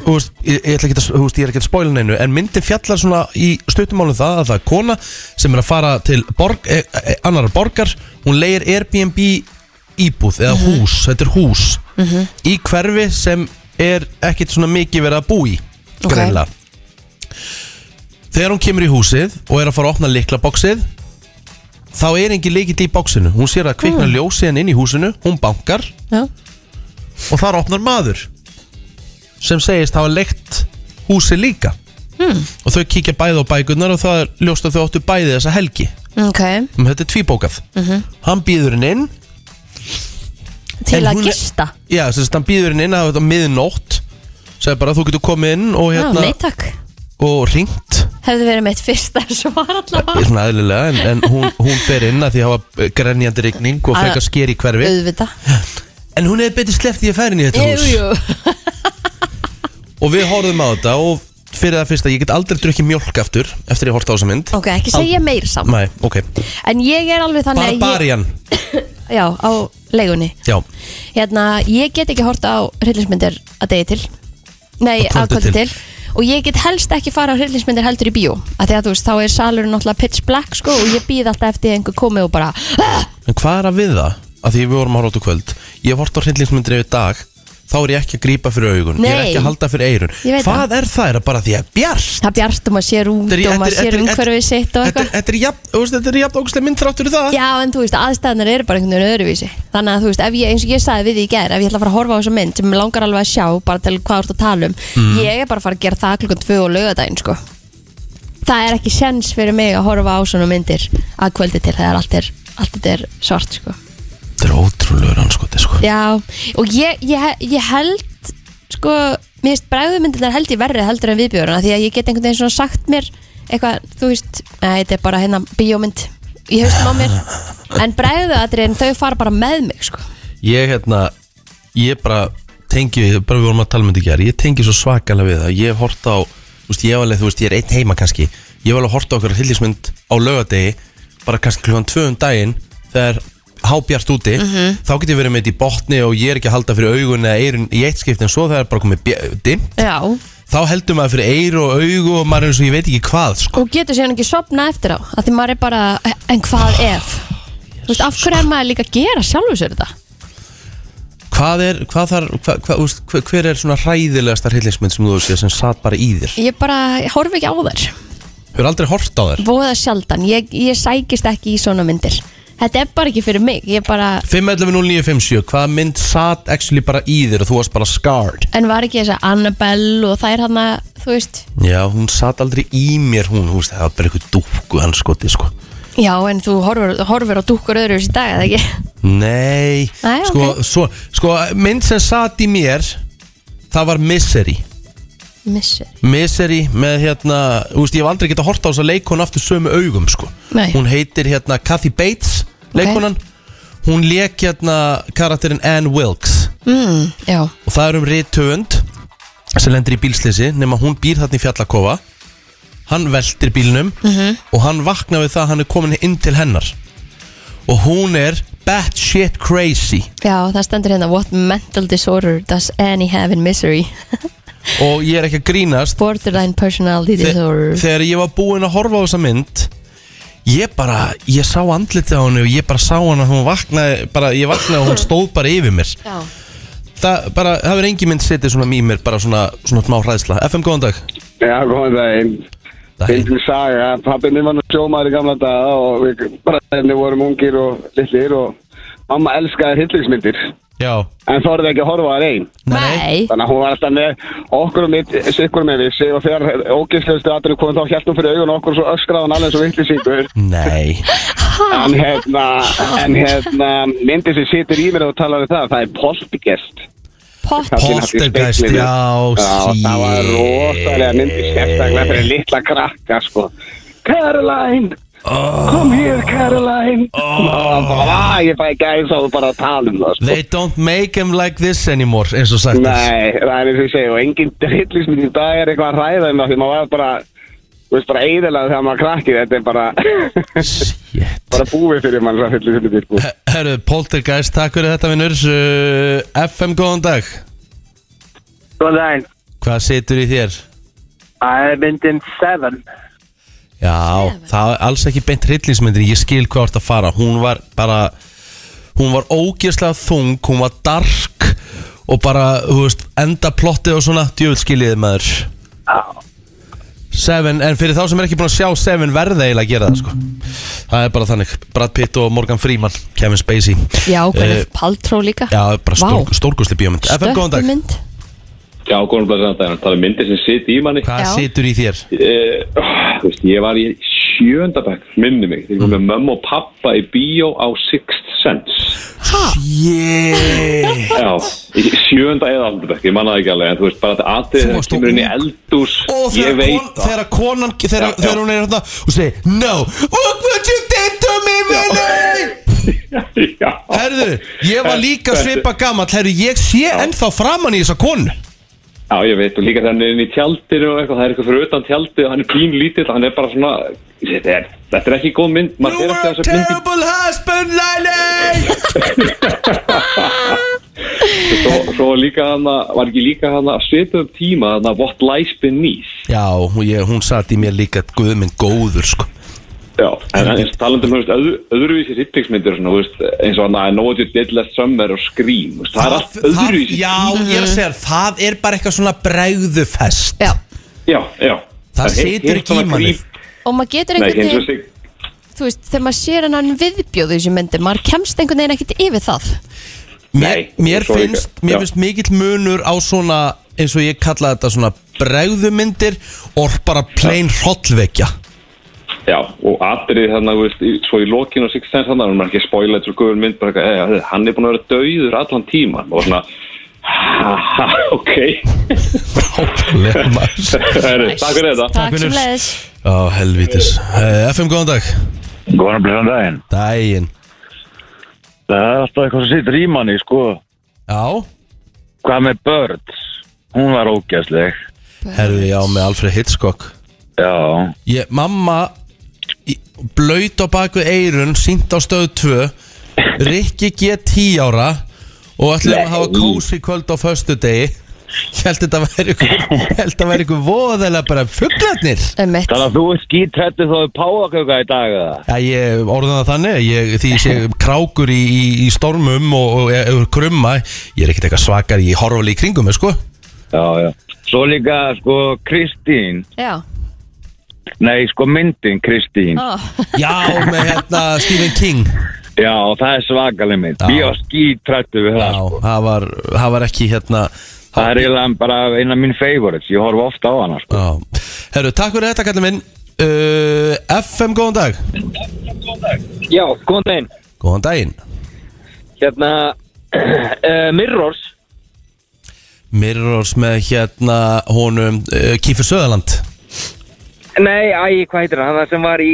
Þú veist, ég, ég ætla ekki að, þú veist, ég er ekki að spóla neinu En myndin fjallar svona í stuttumálum það að það er kona sem er að fara til borg, e, e, annara borgar Hún leir Airbnb íbúð eða hús, þetta er hús Mhm. Í hverfi sem er ekkit svona mikið verið að bú í Ok. Greinlega Þegar hún kemur í húsið og er að fara að opna liklaboksið Þá er engin leikill í bóksinu Hún sér að kvikna Mm. ljósið en inn í húsinu Hún bankar Já. Og þar opnar maður Sem segist hafa leikt húsið líka Hmm. Og þau kíkja bæði á bækurnar Og það er ljóst að þau áttu bæði þessa helgi Ok um Þetta er tvíbókað Mhm. Hann býður henn inn Til En að hún- gista Já, þess að hann býður henn inn að þetta miðnótt Segir bara þú getur komið inn og Já, hérna nei takk Og ringt Hefði verið mitt fyrsta svar allavega svona eðlilega en, en hún, hún fer inn að því að hafa eh, grenjandi rigning og frekar sker í hverfi Auðvita en hún hefði betur sleppt því að færa inn í þetta hús Jú, jú og við horfðum á þetta og fyrir það fyrsta, ég get aldrei drukkið mjölk aftur eftir ég horfði á þessa mynd Ok, ekki segja meir saman Nei, ok En ég er alveg þannig að ég- Barbarian, Já, á leigunni já Hérna, ég get ekki horta á hryllingsmyndir að degi til Nei, Að kvöldi að kvöldi til. til Og ég get helst ekki fara á hryllingsmyndir heldur í bíó að Því að þú veist, þá er salurinn náttúrulega pitch black sko Og ég býð alltaf eftir að einhver komi og bara en hvað er að við það? að því við vorum að horfa á kvöld ég horfði á hryllingsmyndir yfir dag þá er ég ekki að grípa fyrir augun ég er Nei. ekki að halda fyrir eyrun Ég veit hvað er það? Er það bara því að bjart? Það um bjart og maður sér út Þetta er- og þetta maður er- sér þetta er- umhverfið sitt og eitthvað Þetta er jafn, þú veist, þetta er jafn ógustlega mynd þráttur það Já, en þú veist, aðstæðanar eru bara einhvern veginn öðruvísi Þannig að þú veist, ef ég, eins og ég sagði við því í gerð Ef ég ætla að fara að horfa á þessa mynd sem mig langar alveg að sjá Bara til hvað þú ert að tala um Mhm. Ég er bara að fara að gera það klukkan tvö og laugardaginn sko. Það er ekki sens fyrir mig að horfa á svona myndir Að kvöldi til þegar allt er, allt þetta er svart sko. þetta er ótrúlega rannskoti sko. Já, og ég, ég, ég held Sko, mér finnst bræðumyndirnar held ég verri heldur en viðbjöruna Því að ég get einhvern veginn svona sagt mér Eitthvað, þú veist, að þetta er bara hérna bíómynd Í haustum á mér En bræðuatriðin, þau fara bara með mig sko. ég hérna ég bara tengi við, bara við vorum að tala um þetta í gær ég tengi svo svakalega við það ég hef hort á, þú veist, ég hef alveg, þú veist, ég er einn heima kannski ég hef alveg hort á okkur hillismynd á laugadegi bara kannski klukkan tvö um daginn þegar hábjart úti Mhm. þá get ég verið með þetta í botni og ég er ekki að halda fyrir augun eða eirun í eitt skipt en svo það er bara komið dimt Já, þá heldur maður fyrir eiru og augu og maður er eins og ég veit ekki hvað sko. og getur síðan ekki sopna eftir á að því maður er bara, en hvað ef Þú veist, af hverju er maður líka að gera sjálfur sér þetta? hvað er, hvað þar, hvað, hvað, úst, hver, hver er svona hræðilegasta hryllingsmynd sem þú hefur séð sem satt bara í þér Ég bara horfi ekki á þær hefur aldrei hort á þær Voða sjaldan, ég, ég sækist ekki í svona myndir Þetta er bara ekki fyrir mig Ég bara, 5.11.09.57, hvaða mynd satt actually bara í þér og þú varst bara scarred en var ekki þess að Annabelle og þær hann að, þú veist Já, hún satt aldrei í mér hún, hún veist, það var bara eitthvað dúku hann skoti, sko Já, en þú horfur, horfur á dúkkur öðru í dag, eða ekki? Nei, Nei, sko, svo, sko, mynd sem satt í mér það var Misery Missir Misery með hérna, þú veist, ég hef aldrei getað horta á þess að leikon aftur sömu augum, sko Nei. Hún heitir hérna Kathy Bates, leikonan Hún leik hérna karakterinn Ann Wilkes mm, Já, og það er um rithöfund sem lendir í bílsleysi nema hún býr þarna í fjallakofa hann veltir bílnum og hann vaknar við það að hann er komin inn til hennar og hún er batshit crazy já, það stendur hérna What mental disorder does any have in misery? og ég er ekki að grínast Borderline personality disorder þegar ég var búinn að horfa á þessa mynd ég bara, ég sá andlitið á henni og ég bara sá hann að hún vaknaði bara, ég vaknaði og hún stóð bara yfir mér Já það bara, það verður engin mynd setið svona í mér, bara svona, svona smá hræðsla FM, góðan dag Já, góðan daginn. Fyndin saga, pappi minn var nú sjómaður í gamla daga og við bræðinni vorum ungir og litlir og mamma elskaði hillingsmyndir. Já. En þorði ekki að horfa á þær einn. Nei. Þannig að hún var alltaf með okkur og mitt, sikkur með við sig og þegar ógeðslegustu aðrinu kom þá hjælt hún fyrir augun og okkur og svo öskraði hann alveg eins og vittlýsingur. Nei. En hérna, en hérna, myndið sem situr í mér og talar um það, það er poltergeist. Poltergeist, já, Það var rosalega myndi sérstaklega fyrir litla krakka sko Caroline Oh. Kom hér Caroline oh. Ég fæ gæðis á bara að tala um það sko. They don't make him like this anymore eins og sagt er. Nei, það er eins og ég segi og engin drillisminn í dag er eitthvað að ræða um það því maður var bara Þú veist bara eiginlega þegar maður krakki þetta er bara bara búið fyrir mann það fyllir fyllir sko. Herru, Poltergeist, takk fyrir þetta vinnur uh, FM, góðan dag Góðan daginn Hvað situr í þér? Það er myndin Seven Já, það er alls ekki beint hryllingsmyndir Ég skil hvað þú ert að fara Hún var bara Hún var ógeðslega þung, hún var dark Og bara, þú veist, enda plottið og svona Djöfull skiljiði maður Seven, en fyrir þá sem er ekki búin að sjá Seven verða eiginlega að gera það, sko Það er bara þannig, Brad Pitt og Morgan Freeman Kevin Spacey Já, hvernig Eh, paltró líka Já, bara stór, stórkustli bíómynd FM, góðan dag Stökkmynd. Já, góðan blæðan daginn, það er myndir sem sitt í manni Hvað situr í þér? Þú Eh, veist, ég var í sjöndabæk, minni mig Þegar ég kom með mömmu og pappa í bíó á Sixth Sense Yeah Já, í sjönda eða aldabæk, ég manna það ekki alveg En þú veist, bara þetta atrið þegar kemur inn í eldús Og Ég þegar, kon, veit það þegar konan þegar, þegar hún er hérna og segir No, look what you did to me vinnur Herðu, ég var líka Þetta- svipa gamall Herðu, ég sé ennþá framann í þessa konu Já, ég veit, og líka þegar hann er inn í tjaldinu og eitthvað, það er eitthvað fyrir utan tjaldið og hann er pín lítill, hann er bara svona, þetta er, þetta er ekki góð mynd, maður er ekki að þessu myndi, Terrible husband, Lily svo, svo líka hann að, var ekki líka hann að setja upp tíma, hann að what lies beneath, Já, og ég, hún satt í mér líka Guðminn góður, sko Já, en eins og talandi um, þú veist, öðru, öðruvísi hryllingsmyndir og svona, þú veist, eins og hann að know what you did last summer og scream, þú veist, það er allt öðruvísi. Já, ég er að segja, þér, það er bara eitthvað svona bregðufest Já, Já, já. Það er- situr er ekki í svona manni. creep- Og maður getur Nei, eins einhvern og sig, þú veist, þegar maður sér hennan viðbjóð í þessu myndum, maður kemst einhvern veginn ekkert yfir það. Mér, mér, svo líka, finnst, mér já. finnst mikill munur á svona eins og ég kalla þetta svona bregðumyndir og bara plain hrollvekja já, og atrið þannig, þú veist, í- svo í lokinu og sixth sense þannig, hann er ekki að spoila þetta svo guður mynd, bara eitthvað, "Hey, hann er búin að vera dauður allan tíman og svona, ha, ha, ok. Nákvæmlega maður. Takk fyrir þetta. Takk sem leiðis. Á helvítis uh, FM, góðan dag Góðan blöðan daginn Daginn Það er alltaf eitthvað sem situr í manni, sko Já Hvað með Birds? Hún var ógæsleg Herði já með Alfred Hitchcock Já ég, Mamma í- blaut á baku eirun sínt á stöð 2 Rikki G 10 ára og ætlum að hafa Nei. kósi kvöld á föstu degi Held þetta væri ykkur Held þetta væri ykkur voðalega bara fuglarnir Þannig að þú er skítrættu þá er páaköka í dag Já, ég orðan það þannig ég, Því ég sé krákur í, í, í stormum og, og, og krumma Ég er ekkert eitthvað svakar í horfali í kringum, sko Já, já. Svo líka, sko, Kristín, Já, nei, sko, myndin Kristín. Ó. Já, með hérna Stephen King Já, og það er svakaleg mynd. Já. Ég var skítrættu við það, sko. Það var, það var ekki hérna... Það er eiginlega bara eina mín favorites. Ég horf ofta á hana, sko. Já. Herru, takk fyrir þetta kallið minn uh, FM, góðan dag Já, góðan daginn Góðan daginn Hérna, uh, Mirrors Mirrors með hérna honum uh, Kífur Söðaland Nei, æ, hvað heitir hann, það sem var í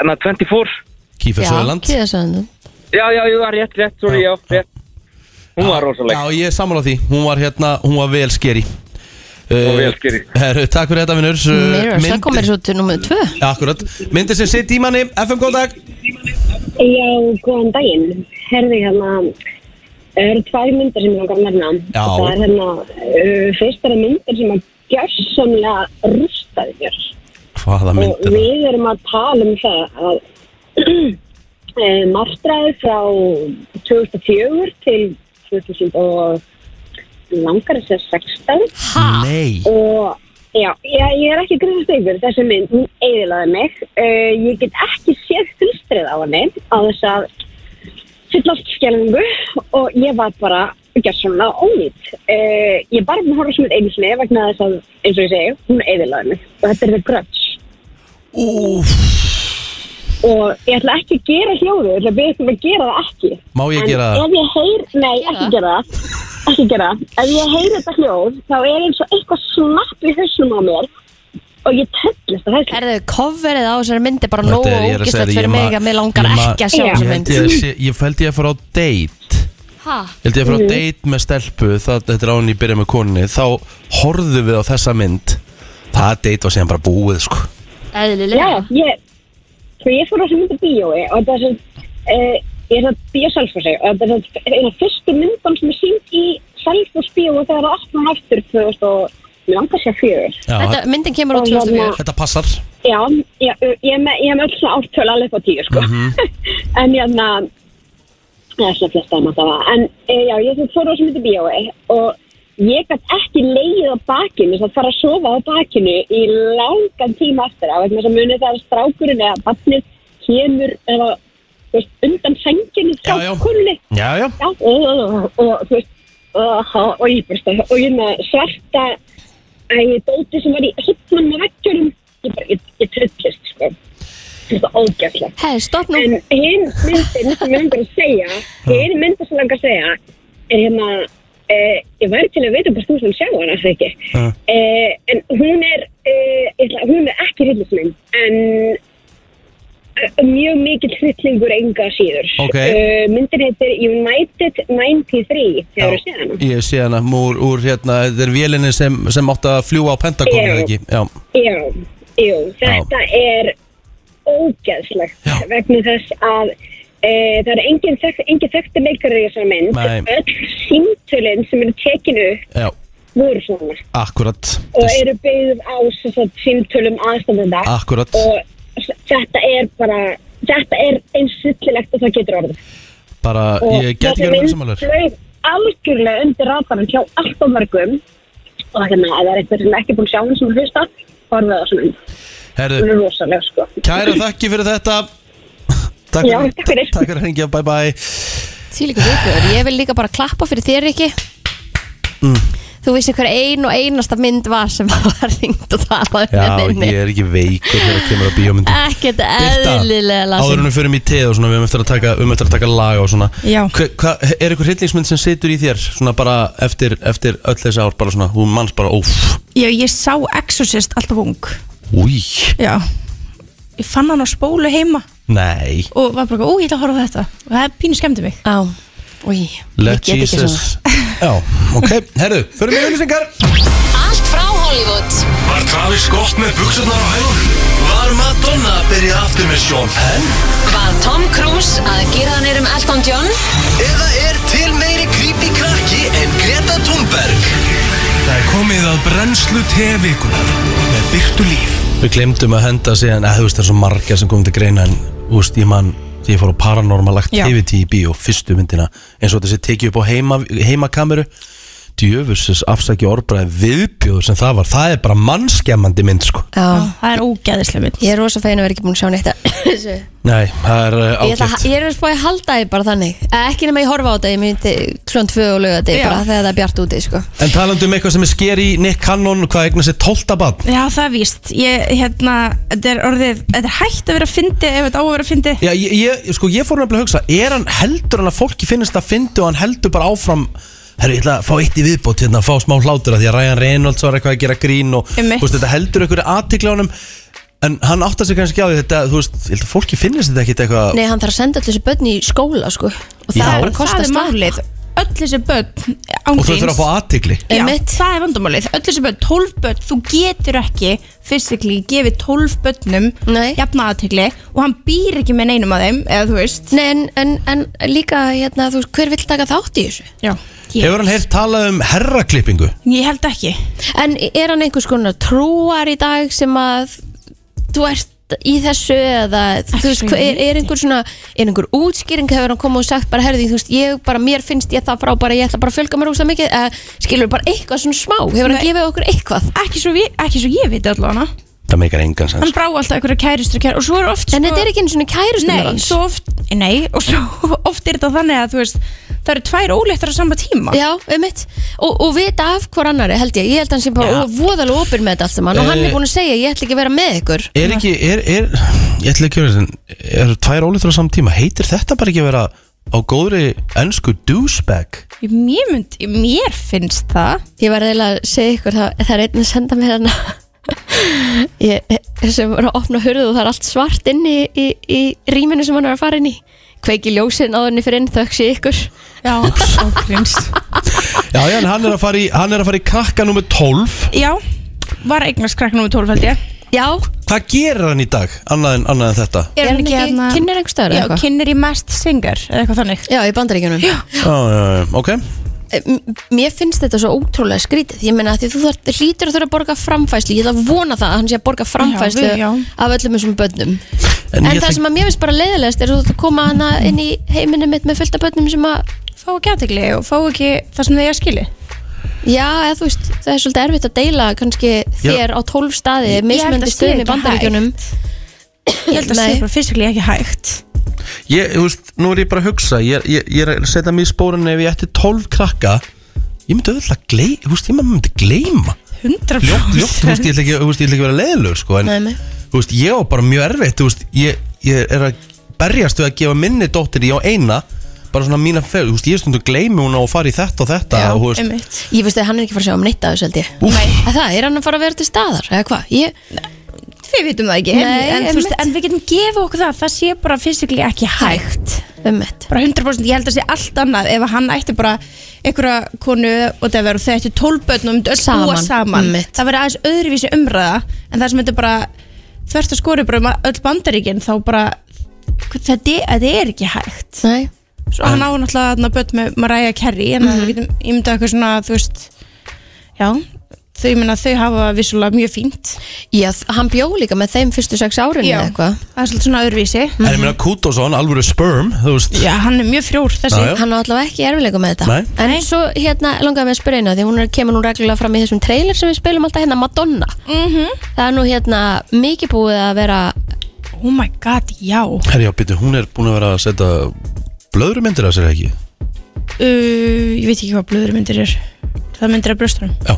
hana, 24 Kífur Söðaland Kíðasöðanland Já, já, ég var rétt, rétt, sorry, já, rétt Hún var rosaleg Já, ég er sammála því, hún var hérna, hún var vel skeri Eh, Hún var vel skeri. Herru, takk fyrir þetta vinnur Mirrors, það komir svo til nummið tvö Akkurat, myndir sem sitt í manni FM, góðan dag Já, góðan daginn. Herði hérna, það eru tvær myndir sem ég langar að nefna. Já. Það er hérna, uh, fyrst eru myndir sem að gjörsamlega rústaði mér. Hvaða Og myndir við erum að tala um það að eh, martraði frá 2004 til 2000 og langar þess að 16. Ha? Nei Og já, já, ég er ekki grunast yfir þessi mynd, hún eiðilaði mig. Uh, ég get ekki séð hulstrið á henni á þess að fyllast skellingu og ég var bara gerðsumlega ónýtt. Uh, ég bara búin að horfa sem þetta einu sinni vegna þess að, eins og ég segi, hún eiðilaði mig. Og þetta er The Grudge. Úf. Og ég ætla ekki að gera hljóðu, ég ætla að byrja um að gera það ekki. Má ég En gera það? Ef ég heyr, nei, ekki gera það. Ekki gera það. Ef ég heyr þetta hljóð, þá er eins og eitthvað slapp í hausnum á mér og ég töllist að hæsla. Er þau coverið á þessari myndi bara Þetta nógu er- ég er að segja ógislegt þér, ég fyrir ma- mig að mig langar ég ma- ekki að sjá Ég þessa held mynd ég að sé- ég held ég að fara á date Ha? Ég held ég að Mhm. fara á date með stelpu það, Þetta er án ég byrja með koninni Þá horfðu við á þessa mynd Það date var síðan bara búið sko. Eðlilega. Já, ég, svo ég fór á þessu myndu bíói og þetta er sem, uh, ég er það bíó Selfossi og þetta er sem eina fyrstu myndan sem er sínt í Selfoss bíói þegar það aftur hann aftur 2000 og mig langar sér fjögur. Já, Þetta- myndin kemur út Þetta passar Já, já, ég er með, ég er með öll svona ártöl alveg upp á tíu, sko. En hérna, ég ætla að flesta um að það var. En e, já, ég sem fór á sem myndi bíói og ég gæti ekki leiðið á bakinu, þess að fara að sofa á bakinu í langan tíma eftir á. Vegna þess að munið það er strákurinn eða barnið kemur eða, þú veist, undan senginu strákurinn. Já, já. Já, og, og, og þú veist, og, og, og ég bara, og ég með svarta, að ég dóti sem var í hittmann með veggjörum, ég bara, ég, ég tröllist, sko. Þetta er ógæslega. Hei, stopp nú. En hinn myndin sem ég langar að segja, hinn myndin sem ég langar að segja, er hérna, eh, ég væri til að vita hvort þú sem sjá hana, það ekki. Eh, en hún er, eh, ég ætla, hún er ekki hryllismynd, en eh, mjög mikill hryllingur enga síður. Ok. Eh, myndin heitir United 93, þegar þú séð hana. Ég sé hana úr, úr hérna Þetta er vélinni sem, sem átt að fljúa á Pentagon Já. eða ekki Já, Já, jú, þetta er ógeðslegt vegna þess að e, það er engin, þekkt, engin þekkti leikar í þessar mynd Nei. öll símtölinn sem eru tekinu já, voru svona akkurat og eru byggðum á sem sagt, símtölum aðstandenda Akkúrat. og s- þetta er bara þetta er eins sýllilegt og það getur orðið Bara, og ég get ekki verið með samanlur flög algjörlega undir ratarinn hjá allt og mörgum og hérna, ef það er eitthvað sem er ekki búin að sjá hann sem að hlusta, horfið á þessum mynd hún Herru, er rosalega sko kæra þakki fyrir þetta Takk Já, fyrir, takk fyrir að hringja, bye bye Tílíku vikur, ég vil líka bara klappa fyrir þér ekki Mm. Þú vissi hver ein og einasta mynd var sem var ringt og talað um Já, ég er ekki veikur þegar kemur að bíómyndum Ekkert Birta, eðlilega Áður en lasin við förum í teð og svona, við höfum eftir að taka, við höfum eftir að taka laga og svona Já. hva, hva, Er eitthvað hryllingsmynd sem situr í þér svona bara eftir, eftir öll þessi ár bara svona, hún manns bara óf Já, ég sá Exorcist alltaf ung Új, Já Ég fann hann á spólu heima nei og var bara, ó, ég ætla að horfa á þetta og það pínu skemmti mig Já, új, Let Jesus Já, ok, herðu, förum í auðlýsingar Allt frá Hollywood Var Travis gott með buksunar á hælunum? Var Madonna að byrja aftur Eurovision En Var Tom Cruise að gera hann erum Elton John? Eða er til meiri creepy krakki en Greta Thunberg? Það er komið að brennslu tevikunar með byrtu líf Við glemdum að henda síðan, að þú veist það er svo margar sem komum til greina en þú veist ég mann því ég fór á Paranormal Já. Activity í bíó fyrstu myndina eins og þessi tekið upp á heima, heimakameru djöfusins afsæki orðbræði viðbjóður sem það var, það er bara mannskemmandi mynd sko. Já, það er ógæðislega mynd Ég er rosa fegin að vera ekki búin að sjá neitt af þessu. Nei, það er uh, Ég, ætla, ágætt ég er að spáði halda því bara þannig Eh, Ekki nema ég horfa á þetta, ég myndi klón tvö og löga Já. bara þegar það er bjart úti sko. En talandi um eitthvað sem er sker í Nick Cannon hvað eignar sér 12. bann Já, það er víst Ég, hérna, þetta er orðið Þetta er hægt að vera að fyndi ef þetta á að vera að fyndi Já, ég, ég, sko, ég fór nefnilega að hugsa er hann heldur hann að fólki finnist að fyndi og hann heldur bara áfram Herru, ég ætla að fá eitt í viðbót hérna, fá smá hlátur að því að Ryan Reynolds var eitthvað að gera grín og þú Einmitt. veist, þetta heldur einhverju aðtikla honum en hann áttar sig kannski ekki á því þetta, þú veist, ég held að fólki finnist þetta ekkit eitthvað Nei, hann þarf að senda allir þessu börn í skóla sko. Og það Já. er bara að kosta Það er málið Öll þessi börn og þú þurfa að fá ángríns aðtikli Já, það er vandamálið, öll þessi börn, 12 börn þú getur ekki fysikli gefið 12 börnum jafna aðtegli og hann býr ekki með neinum að þeim eða þú veist Nei, en, en, en líka hérna, þú veist, hver vill taka þátt í þessu? Já, Hefur hann heyrt talað um herraklippingu? Ég held ekki En er hann einhvers konar trúar í dag sem að þú ert í þessu eða þú veist, hva- er, er einhver svona er einhver útskýring hefur hann komið og sagt bara herði, þú veist, ég bara, mér finnst ég það frá bara, ég ætla bara að fjölga mér úslega mikið eða skilur bara eitthvað svona smá, hefur hann Nei. gefið okkur eitthvað? Ekki svo, vi- ekki svo ég veit allavega Það meikar engan hann sens brá alltaf einhverja kærustur kær og svo er oft En þetta er ekki einu svona kærustur Sko- nei, hans. svo oft, nei, og svo oft er þetta þannig að þú veist það eru tvær óléttar á sama tíma Já, um mitt og, og vita af hver annari held ég, ég held að hann sem bara Já. ja. voðalega opinn með þetta allt saman og hann Eh. er búin að segja, ég ætla ekki að vera með ykkur Er ekki, er, er, ég ætla ekki að vera þessin er tvær ólítur á saman tíma, heitir þetta bara ekki að vera á góðri ennsku douchebag? mér, mynd, mér finnst það Ég var eiginlega að segja ykkur það, það er einn að senda mér hana ég, sem var að opna hurðu og það er allt svart inni í, í, í rýminu sem hann er að fara inn í kveiki ljósin á henni fyrir inn þökk sé ykkur Já, ágrínst Já, já, en hann er að fara í, hann er að fara í krakka nummer 12 Já, var eignast krakk nr. 12 held ég Já Hvað gerir hann í dag, annað en, annað en þetta? Er hann ekki hérna- kynir einhver stöður Já, kynir í mest singer eða eitthvað þannig Já, í bandaríkjunum Já Já, já, já, ok M- Mér finnst þetta svo ótrúlega skrítið Ég meina að því þú þart, hlýtur að þurfa að borga framfæslu Ég ætla að vona það að hann sé að borga framfæslu Já, við- já. af öllum þessum börnum En En, ég það tenk- sem að mér finnst bara leiðilegast er að þú ert að koma hana inn í heiminu mitt með fullta börnum sem að Fá ekki aðtegli og fá ekki það sem þið er skili Já, eða þú veist, það er svolítið erfitt að deila kannski þér á tólf Ég- staði ég held að mismöndi sé stöðum í ekki bandaríkjunum Ég held að það sé bara fysikli ekki hægt Ég, þú veist, nú er ég bara að hugsa Ég, ég, ég er að setja mig í spórinu ef ég ætti 12 krakka Ég myndi auðvitað gleyma, þú veist, ég myndi gleyma 100% Ljótt, ljótt, þú veist, ég ætla ekki, þú veist, ég ætla ekki að vera leiðilegur, sko En, Nei, nei. þú veist, ég var bara mjög erfitt, þú veist Ég, ég er að berjast við að gefa minni dóttir í á eina Bara svona mína fel, þú veist, ég stundum gleymi hún á að fara í þetta og þetta og, þú veist, Ég veist að hann er ekki að fara að sjá um neitt af þessu held ég Að Það, er hann að fara að vera til staðar, eða hvað? Ég... Við vitum það ekki Nei, en, en, þú veist, einmitt. en við getum gefa okkur það Það sé bara fysikli ekki hægt Ummitt Bara 100% ég held að sé allt annað Ef að hann ætti bara einhverja konu Og það verður þau ættu tólbötn Og myndi öll búa Saman, saman einmitt. Það verður aðeins öðruvísi umræða En það sem þetta er bara Þvert að skori bara um öll bandaríkin Þá bara Þetta er, þetta er ekki hægt Nei Svo hann á náttúrulega þarna börn með Mariah Carey En mm -hmm. getum, ég myndi eitthvað svona Þú veist Já Þau, ég meina, þau hafa vissulega mjög fínt Já, hann bjó líka með þeim fyrstu sex árinu Já, eða eitthvað. það er svolítið svona öðruvísi En ég meina Kutosson, alvöru sperm, þú veist Mhm. Já, hann er mjög frjór þessi. Já, já. Hann á allavega ekki erfileikum með þetta Nei. En svo hérna langaði mig að spyrja einu Því hún er, kemur nú reglulega fram í þessum trailer sem við spilum alltaf hérna Madonna -hmm. Það er nú hérna mikið búið að vera Oh my god, já Herri, já, býttu, hún er búin að vera að setja blöðrumyndir að sér ekki uh, Ég veit ekki hvað blöður myndir er Það myndir af brjóstunum Já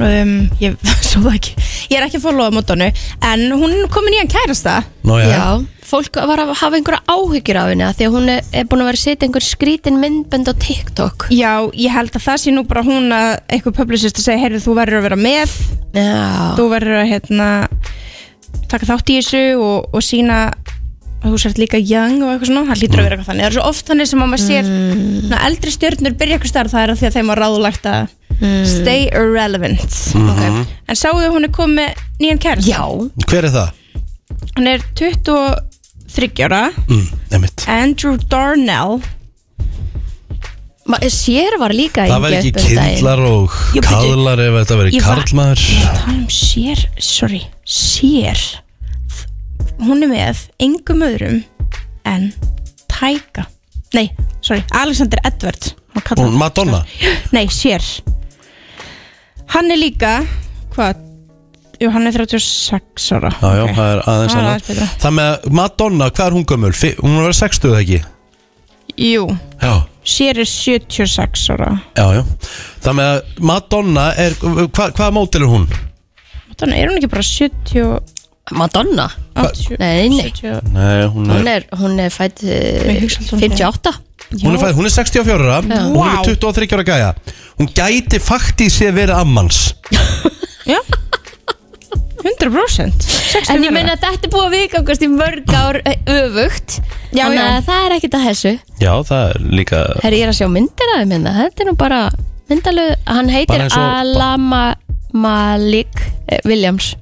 um, Ég svo það ekki Ég er ekki að fólu á mótonu En hún er komin í hann kærasta Nó, já. fólk var að hafa einhverja áhyggjur af henni af Því að hún er, er búin að vera að setja einhver skrítin myndbönd á TikTok Já, ég held að það sé nú bara hún að einhver publicist að segja, heyrðu, þú verður að vera með Já. Þú verður að hérna taka þátt í þessu og, og sína að þú sért líka young og eitthvað svona, það hlýtur að vera eitthvað þannig það er svo oft þannig sem að maður sér mm. eldri stjörnur byrja eitthvað starf, það er að því að þeim var ráðulegt að stay irrelevant Mhm. En sáuðu að hún er komið nýjan kærasta? Já Hver er það? Hann er 23 ára Mm, Andrew Darnell Ma, Sér var líka um Það verður ekki kindlar og Jú, bíddu. kaðlar ef þetta verður Ég var- karlmaður Ég var að tala um sér, sorry, sér Hún er með engum öðrum en Tæka Nei, sorry, Alexander Edward Má kalla Hún hann. Madonna Nei, sér Hann er líka, hvað Jú, hann er 36 ára Já, já, það er aðeins Það er aðeins annað betra. Það með að Madonna, hvað er hún gömul? Fi- Hún var 60 eða ekki? Jú, Já, sér er 76 ára já, já Það með að Madonna er, hva, hvaða mótil er hún? Madonna, er hún ekki bara 70 Madonna? Nei, nei, Nei, hún hún er, hún er fætt eh, um 58 Hún er, fæð, hún er 64 ára Já. og hún er Vá. 23 ára gæja Hún gæti faktið sé verið ammans 100% En ég meina að þetta er búið að viðgangast í mörg ár eh, öfugt Já, Þannig að já. það er ekkert að hessu Já, það er líka Herri, ég er að sjá myndir af þeim hérna Þetta er nú bara myndalög Hann heitir Bara eins og- Alama Malik eh, Williams Já,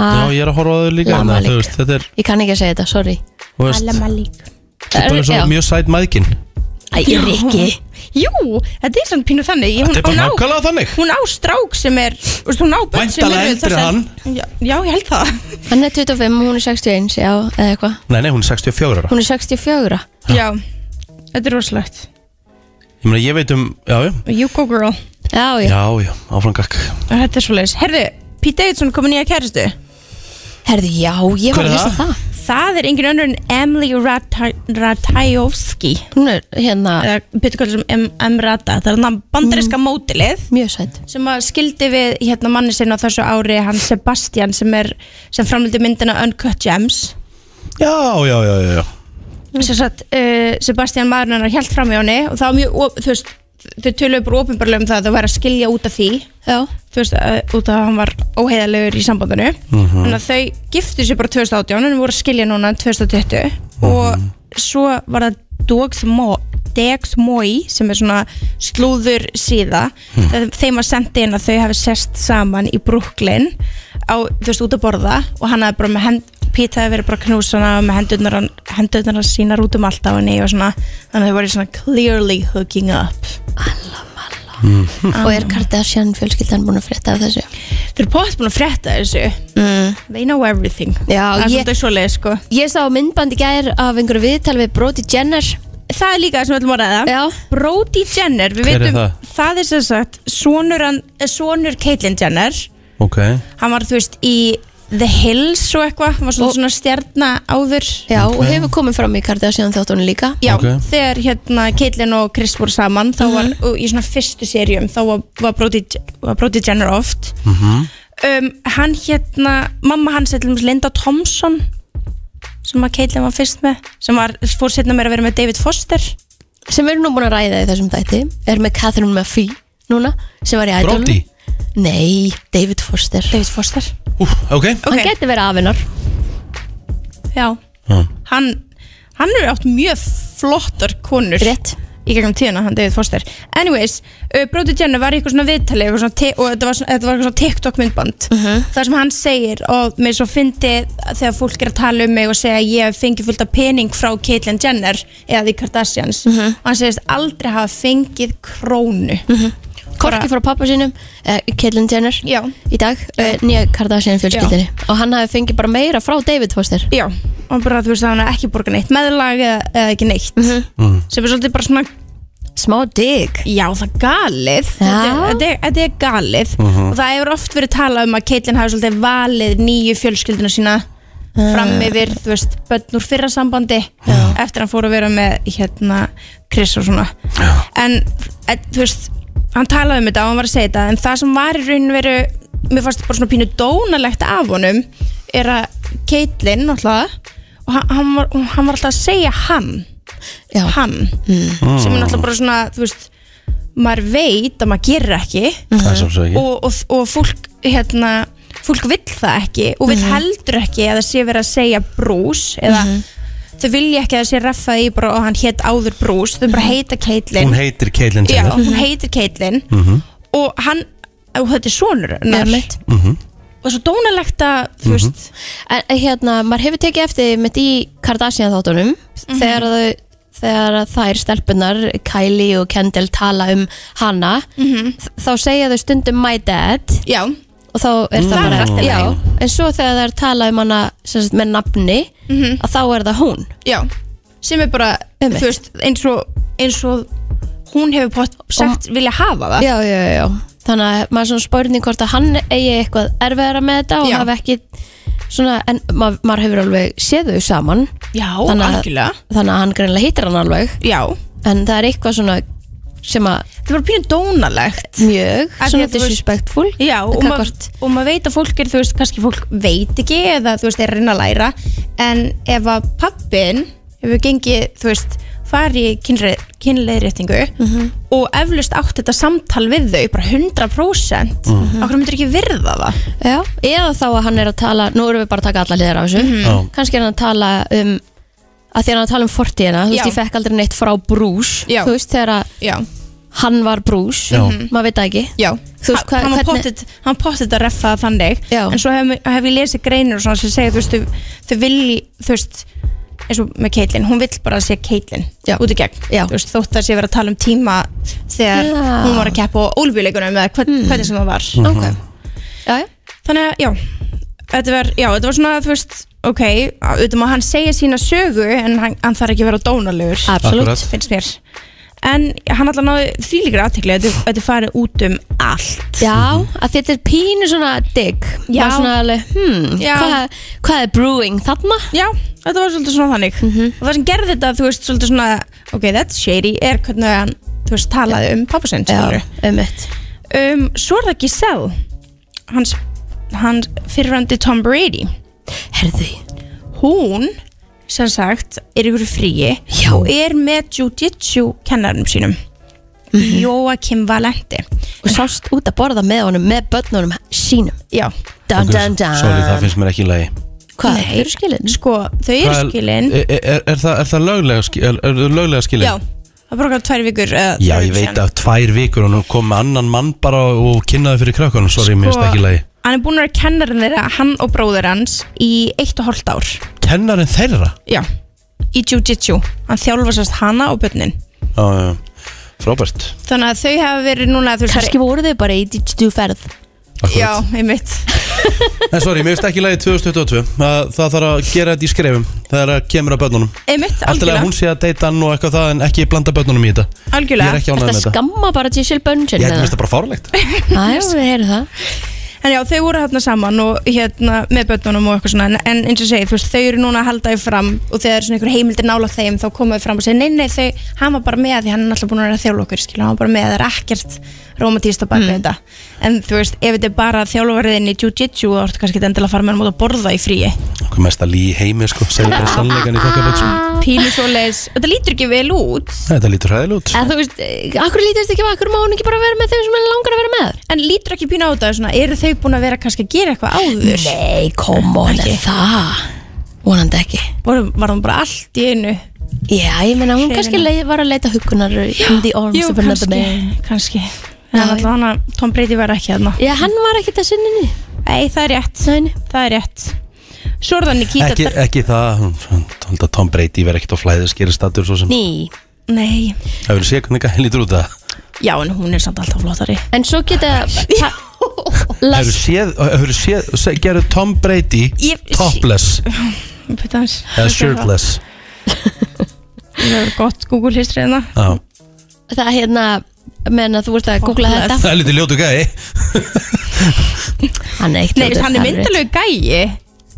Ah. A ég er að horfa á þau líka Lama þannig að þú veist, Þetta er, Ég kann ekki að segja þetta, sorry þú veist, Malik þetta er bara Já. svo mjög sæt mæðkin Æ, Já. Rikki. Jú, þetta er samt pínu þannig Ég- hún- Þetta er bara hún á- nákvæmlega þannig. Hún á strák sem er, þú veist, hún á börn sem Væntanlega eru eldri þessar- hann. já, já, ég held það Hann er 25 og hún er 61 Já, eða eitthvað Nei, nei, hún er 64 ára Hún er 64 Já, þetta er rosalegt Ég meina, ég veit um, já, já You go girl Já, já, Já, já, áfram gakk þetta er svoleiðis Herðu, Pete Davidson komið nýja kæristu Herðu, já, ég Hver var að er lesa það? Það er engin önnur en Emily Ratajowski Hún er hérna Eða, betur hvað sem em, Emrata Það er hann bandaríska mótilið Mjög sætt Sem að skildi við hérna manni sinna á þessu ári Hann Sebastian sem er sem framlýndi myndina Uncut Gems Já, já, já, já, já. sem sagt, uh, Sebastian maðurinn hennar held fram í henni og það var mjög, op- þú veist þau töluðu bara ofinbarlega um það að það væri að skilja út af því Já. þú veist, uh, út af að hann var óheiðalegur í sambandinu Mhm. þannig að þau giftu sér bara 2018 en voru að skilja núna 2020 og svo var það Dogs Mo- Degs Mói sem er svona slúður síða mm. þeim var sendið inn að þau hafi sest saman í Brooklyn á, þú veist, út að borða og hann hafi bara með hend Pete hafi verið bara knúsana með hendurnar, hann- hendurnar hans sínar út um allt á henni og svona, þannig að þau voru svona clearly hooking up Og er Kardashian fjölskyldan búin að frétta af þessu? Mm. Þau eru pott búin að frétta þessu They know everything Já, Það er ég- svolítið svoleið sko Ég sá myndband í gær af einhverju viðtal við Brody Jenner Það er líka það sem við ætlum að ræða Já. Brody Jenner, við Hver er veitum það? er sem sagt sonur, hann, eh, sonur Caitlyn Jenner Ok Hann var þú veist í The Hills og eitthvað Hann var svona, svona stjarna áður Já, og hefur komið fram í Kardashian þáttunni líka Já, Ok. þegar hérna Caitlyn og Chris voru saman þá var, og í svona fyrstu serjum þá var, var, Brody, var Brody Jenner oft um, Hann hérna, mamma hans er til dæmis Linda Thompson sem að Caitlyn var fyrst með sem var, fór setna meira að vera með David Foster Sem við erum nú búin að ræða í þessum dæti Er með Catherine Maffey núna Sem var í ædolum Brody? Nei, David Foster David Foster Ok Hann geti verið afinnar Já, Já. hann hann er átt mjög flottar konur Rétt í gegnum tíðina, hann David Foster Anyways, uh, Brody Jenner var í eitthvað svona viðtali eitthvað svona ti- og þetta var, svona, þetta var eitthvað svona TikTok myndband þar sem hann segir og mér svo fyndi þegar fólk er að tala um mig og segja að ég hef fengið fullt af pening frá Caitlyn Jenner eða því Kardashians og hann segist aldrei hafa fengið krónu Korki frá pappa sínum, uh, Caitlyn Jenner Já. Í dag, uh, nýja Kardashian fjölskyldinni Og hann hafi fengið bara meira frá David Foster Já, og bara þú veist að hann er ekki borgað neitt meðlag eða, eða ekki neitt sem er svolítið bara svona Mhm. smá dig já það er galið þetta er, þetta er, þetta er galið Mhm. og það hefur oft verið talað um að Caitlyn hafi svolítið valið nýju fjölskylduna sína Ah. fram yfir, þú veist, börn úr fyrra sambandi eftir að hann fór að vera með hérna Chris og svona en e, þú veist hann talaði um þetta og hann var að segja þetta en það sem var í raun og veru mér fannst bara svona pínu dónalegt af honum er að Caitlyn náttúrulega og hann, hann, var, hann var alltaf að segja hann Já. hann sem er náttúrulega bara svona, þú veist maður veit að maður gerir ekki Það er sjálfsögðu ekki. og, og, og fólk hérna, fólk vill það ekki og vill heldur ekki að það sé verið að segja brús eða þau vilja ekki að það sé raffað í bara og hann hétt áður brús þau bara heita Caitlyn Hún heitir Caitlyn Já, Mhm. Jenner hún heitir Caitlyn Mhm. og hann, og þetta er sonur hennar. Einmitt. Mhm. Mhm. og svo dónalegt að þú veist en en hérna, maður hefur tekið eftir með því Kardashian þáttunum Mhm. þegar, þau- þegar þær stelpunar Kylie og Kendall tala um hana þ- þá segja þau stundum my dad Mhm. já. Mm. og þá er Það það er bara allt í lagi. já, en svo þegar þær tala um hana sem sagt, með nafni að þá er það hún já, sem er bara Mhm. þú veist, eins og, eins og hún hefur pott sagt vilja hafa það já, já, já, já. þannig að maður svona spórning hvort að hann eigi eitthvað erfiðara með þetta og hafi ekki svona, en ma maður hefur alveg séð þau saman já, að- algjörlega þannig að hann greinlega hittir hann alveg já. en það er eitthvað svona sem að það var pínu dónalegt mjög, Af því að svona þú veist- disrespectful Já, og, ma Gagnvart- og maður veit að fólk er, þú veist, kannski fólk veit ekki eða þú veist, er að reyna að læra en ef að pappin hefur gengið, þú veist, fari kynleiðréttingu mm -hmm. og eflust átt þetta samtal við þau bara 100% mm Mhm. okkur myndir ekki virða það Já, eða þá að hann er að tala nú erum við bara að taka alla hliðar á þessu Mhm. Já. kannski er hann að tala um að því að hann er að tala um fortíðina, þú veist, Já. ég fekk aldrei neitt frá brús, Já. þú veist, þegar að Já. hann var brús, Já. maður veit það ekki Já, þú veist, hvað, hann, var hvernig pottit, hann pottit að reffa það þannig Já. en svo hef, hef ég lesið greinur og svona sem segja þú veist, þau, þau vilji þú veist, eins og með Caitlyn hún vill bara að sé Caitlyn út í gegn þú veist, þótt að sé verið að tala um tíma þegar Já. Mm. Mhm. hún var að keppa á ólbíuleikunum eða hvern, hvernig sem það var Ok. já, já. þannig að, já þetta var, já, þetta var svona, þú veist ok, auðvitað maður hann segja sína sögu en hann, hann þarf ekki að vera dónalegur Absolutt. Akkurat. finnst mér en hann alltaf náði þvílíkra aðtekli þetta þetta er farið út um allt já, að þetta er pínu svona digg, Já. bara svona alveg hmm, Já. hvað, hvað er brewing þarna? Já, þetta var svolítið svona þannig og það sem gerði þetta, þú veist, svolítið svona ok, that's shady, er hvernig hann þú veist, talaði um pappasinn um mitt um, Svo er það Giselle hans, hans fyrirrandi Tom Brady Herði Hún, sem sagt, er ykkur fríi Já. og er með jiu-jitsu kennarinnum sínum Joakim Valenti og sást út að borða með honum með börnunum sínum já, dun dun dun Sorry, það finnst mér ekki í lagi hvað, þau eru skilin? sko, þau eru Hvað- skilin Er, er, er, það, er það löglega, skil, er, er það löglega skilin? Já, það bara okkar tvær vikur eða Já, þrjár ég vikur síðan. veit að tvær vikur og nú kom með annan mann bara og kynnaði fyrir krakkanum Sorry, mér finnst Sko, ekki í lagi Hann er búin að vera kennarinn þeirra, eh, hann og bróður hans í eitt og hálft ár Kennarinn þeirra? Já, í jiu-jitsu Hann þjálfa sérst hana og börnin Já, já, já, frábært Þannig að þau hafa verið núna þú veist, Kannski voru þau bara í jiu-jitsu ferð Já, einmitt En sorry, mér finnst ekki í lagi 2022 Það, það þarf að gera þetta í skrefum Þegar það kemur að börnunum Einmitt, Allt í lagi að algjörlega hún sé að deyta hann og eitthvað það En ekki blanda börnunum í þetta Ég Algjörlega er ekki ánægð með Þetta þetta skamma bara Giselle Ég Bundchen held að mér finnst það bara fárlegt Æ, við heyrum það En já, þau voru hérna saman og hérna með börnunum og eitthvað svona en, en eins og ég segi, þú veist, þau eru núna að halda þau fram og þegar er svona einhver heimildir nálagt þeim þá koma þau fram og segja, nei, nei, þau, hann var bara með því hann er alltaf búin að vera að þjálfa okkur, skilja, hann var bara með það er ekkert romantíst á bak við þetta en þú veist, ef þetta er bara þjálfarðin í jiu-jitsu þá ertu kannski ekki endilega að fara með hann út að borða í fríi Okkur mest að lí heimi, sko Segðu bara sannleikan í þokkaböld, sko pínu svoleiðis, og þetta lítur ekki vel út Nei, Þetta lítur hæðil út En þú veist, eh, akkur lítast ekki, akkur má hún ekki bara vera með þeim sem henni langar að vera með en lítur ekki pínu á þetta, svona, eru þau búin að vera kannski að gera eitthvað áður Nei, kom on, er það Vonandi ekki var, var hún bara allt í einu Já, ég meina, hún Hreyfina. kannski lei, var að leita hugunar in the arms Jú, of another kannski, man kannski. En alltaf hann að Tom Brady var ekki hérna? þarna Já, hann var ekki þessi sinni Nei, það er rétt Nei. Það er rétt Svo er það Nikita ekki, ekki það, hún- hún tóld að Tom Brady verði ekkert á flæði skýra statur svo sem Ný Nei Það verður séð hvernig hann lítur út það Já, en hún er samt alltaf flottari En svo geta Það verður séð, það verður séð, se- gerðu Tom Brady Ég- topless Bíddu aðeins. eða shirtless Það er gott Google history hérna Já. Það hérna, menna þú ert að googla þetta Það er lítið ljótu gæi Hann er eitt Nei, hann er myndalegu gæi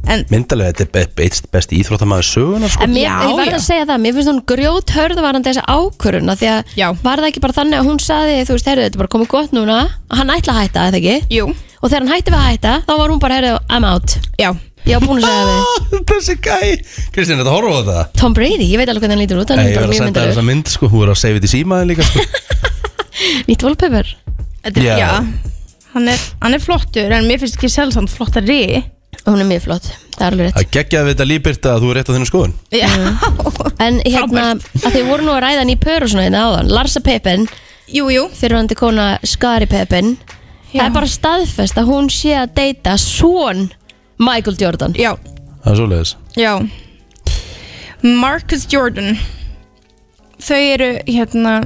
En Myndalega, þetta er be- best, best íþróttamaður söguna sko. En mér, ég var að segja það, mér finnst hún grjót hörð varandi þessa ákvöruna því að já. var það ekki bara þannig að hún saði þú veist, heyrðu, þetta er bara komið gott núna og hann ætla að hætta, eða ekki? Jú. Og þegar hann hætti við að hætta, þá var hún bara, heyrðu, I'm out. Já. Ég var búin að segja við. Ah, Þessi gæi Kristín, þetta horfa á það Tom Brady, ég veit alveg hvernig hann lítur út, hann Nei, er ég bara verður að mjög senda þér myndur. þessa mynd sko, hún verður að segja þetta í símaðin líka sko. Nýtt wallpaper. Þetta er, Já. já hann er, hann er flottur En mér finnst ekki sjálf hann flottari Og hún er mjög flott, það er alveg rétt. Það geggjaði við þetta líbyrta að þú er rétt á þínu skoðun Já. En hérna, að þið voru nú að ræða hann í pör og svona hérna áðan, Larsa Pepin, jú, jú. fyrirvandi kona Skari Pepin, Það er bara staðfest að hún sé að deyta svon Michael Jordan Já, Það er svoleiðis já Marcus Jordan Þau eru hérna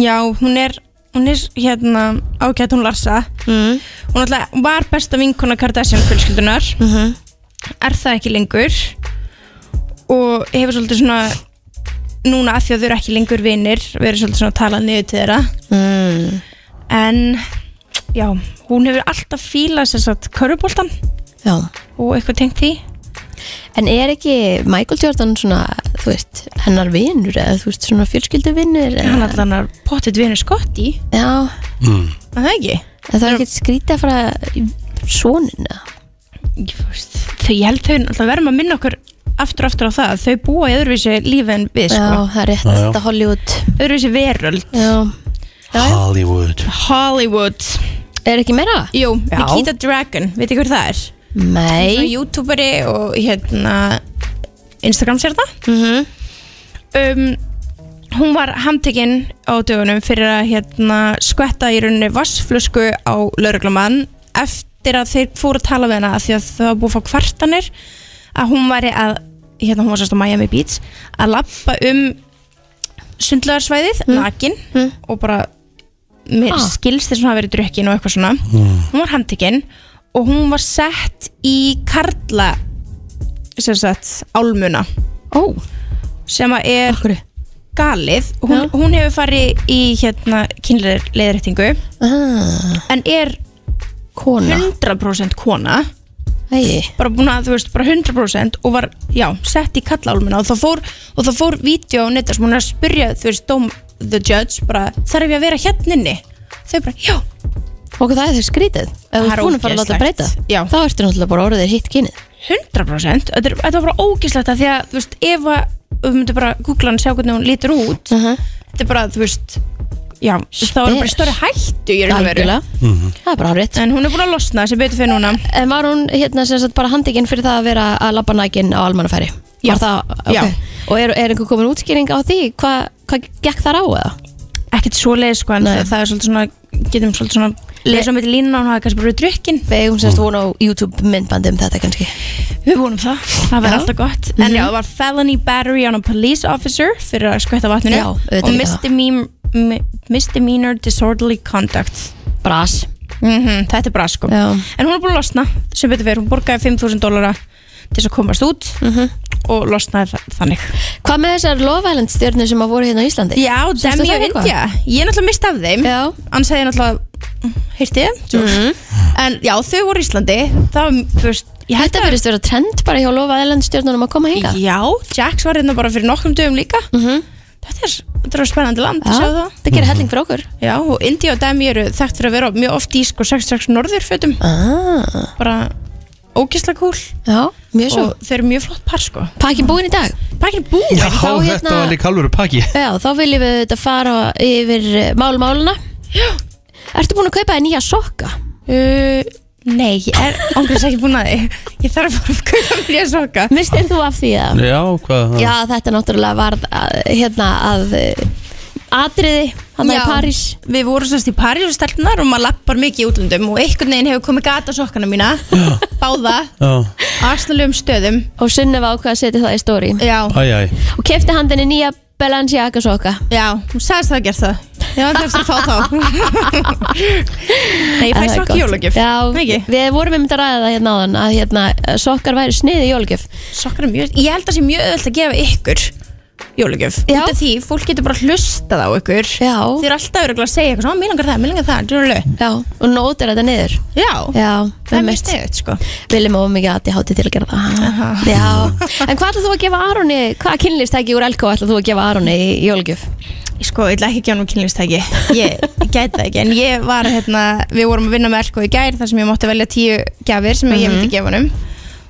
Já, hún er hún er hérna ágætt hún Larsa mm. hún alltaf var besta vinkona Kardashian fjölskyldunar -hmm. er það ekki lengur og hefur svolítið svona núna af því að þau eru ekki lengur vinir verið svolítið svona að tala niður til þeirra mm. en já, hún hefur alltaf fílað sér satt köruboltan Já. og eitthvað tengt því En er ekki Michael Jordan svona, þú veist, hennar vinnur eða þú veist, svona fjölskylduvinnur Hann alltaf hennar pottet vinnur Scotty Já, mm. Er Það ekki? en það er ekkert skrítið að fara svonina Þau, ég held þau alltaf verðum að minna okkur aftur og aftur á það Þau búa í öðruvísi lífi en við sko. Já, það er rétt, Já, já. þetta er Hollywood Öðruvísi veröld Já. Hollywood Hollywood Er ekki meira? Jú, Já. Nikita Dragon, veit ekki hver það er? Nei Svona Youtuberi og hérna Instagram sér það Mhm. um, Hún var handtekinn á dögunum fyrir að hérna, skvetta í rauninni vassflösku á lauruglumann eftir að þeir fóru að tala við hana af því að það var búið að fá kvartanir að hún væri að hérna hún var sérst á Miami Beach að lappa um sundlöðarsvæðið nakin og bara mér Ah. skilst þess að hún hafi verið drukkin og eitthvað svona hún var handtekinn og hún var sett í karla sem sagt álmuna Ó. sem að er Akkur. galið hún, hún hefur farið í hérna kynleirleirreitingu ah. en er kona. 100% kona Æi. bara búin að þú veist bara 100% og var já sett í kallálmuna og það fór og það fór vídeo á netta sem hún er að spyrja þú veist dom the judge bara þarf ég að vera hérna inni þau bara já Og það er þau skrítið Ef þú Það er er búin að fara að láta ógeðslegt. breyta Já. Þá ertu náttúrulega bara orðið hitt kynið 100% þetta, er, þetta var bara ógislegt að því að þú veist ef að við myndum bara googla hann og sjá hvernig hún lítur út þetta er bara þú veist já þá er hún bara í stóri hættu í raun og veru. Algjörlega. Það er bara hárið en hún er búin að losna sem betur fyrir núna En var hún hérna sem sagt bara handikinn fyrir það að vera að labba næginn á almannafæri? Já. Var það, ok. Já. Og er, er einhver komin útskýring á því? Hva- Hvað gekk þar á eða? ekkert svoleiðis sko en það, það er svolítið svona getum svolítið svona lesa um eitt lína og hún hafi kannski bara verið drukkin Við eigum sérst von á YouTube myndbandi um þetta kannski Við vonum það, það verður Já. Mhm. alltaf gott En já, það var felony battery on a police officer fyrir að skvætta vatninu Já, auðvitað og líka misdemean- mi- misdemeanor disorderly conduct Bras Þetta er bras sko En hún er búin að losna, sem betur fyrir, hún borgaði 5.000 dólara til þess að komast út og losnaði þa- þannig Hvað með þessar Love Island stjörnir sem að voru hérna á Íslandi? Já, Sástu Demi það og eitthvað? India Ég er náttúrulega mist af þeim Já. Annars hefði ég náttúrulega Hirti mm En já, þau voru í Íslandi Það var, þú veist Þetta verðist vera trend bara hjá Love Island stjörnunum að koma hinga Já, Jax var hérna bara fyrir nokkrum dögum líka -hmm. Þetta er, þetta er spennandi land Já, sjá það það gerir helling fyrir okkur Já, og India og Demi eru þekkt fyrir að vera mjög oft í sko 66 norðurfötum ah. Bara ógisla kúl Já, mjög svo. Og þau eru mjög flott par sko Pakkin búinn í dag hérna- Pakkin búinn Já, þetta var líka alvöru pakki Já, þá viljum við þetta fara yfir eh, málmáluna Já Ertu búin að kaupa þér nýja sokka? Uh, nei, ég er ángriðs ekki búin að því Ég þarf bara að kaupa mér nýja sokka Mistir þú af því að Já, hvað Já, þetta náttúrulega varð að, hérna að eh, atriði hann í Já, París Við vorum semst í París og stelpunar og maður lappar mikið í útlöndum og einhvern veginn hefur komið gata á sokkana mína báða, Já, á aðsnalegum stöðum og Sunneva ákvað að setja það í stóri Já, æj, æj og kefti hann þenni nýja Balenciaga sokka já, hún sagðist það að gera það Já, það er að fá þá Nei, ég fæ Það er sokk gott. í jólagjöf Já, við vorum einmitt að ræða það hérna áðan að hérna, eh, sokkar væri sniði jólgjöf Sokkar er mjög, ég held að sé mjög öll að gefa ykkur jólagjöf Út af því, fólk getur bara hlustað á ykkur Já Þið eru alltaf örugglega að segja eitthvað svona, mér langar það, mér langar það, djúrlega Já, og nótir þetta niður Já, Já, það er mjög einmitt. sniðut sko Viljum of mikið að þið hátti til að gera það Já, en hvað ætlað þú að gefa Aroni hvaða kynlýstæki úr Elko ætlað þú að gefa Aroni í jólgjöf? Sko, ég ætla ekki að gefa nú kynlistæki Ég ég gæti það ekki En ég var hérna, við vorum að vinna með Elko í gær Þar sem ég mátti velja tíu gjafir sem ég Mhm. myndi gefa honum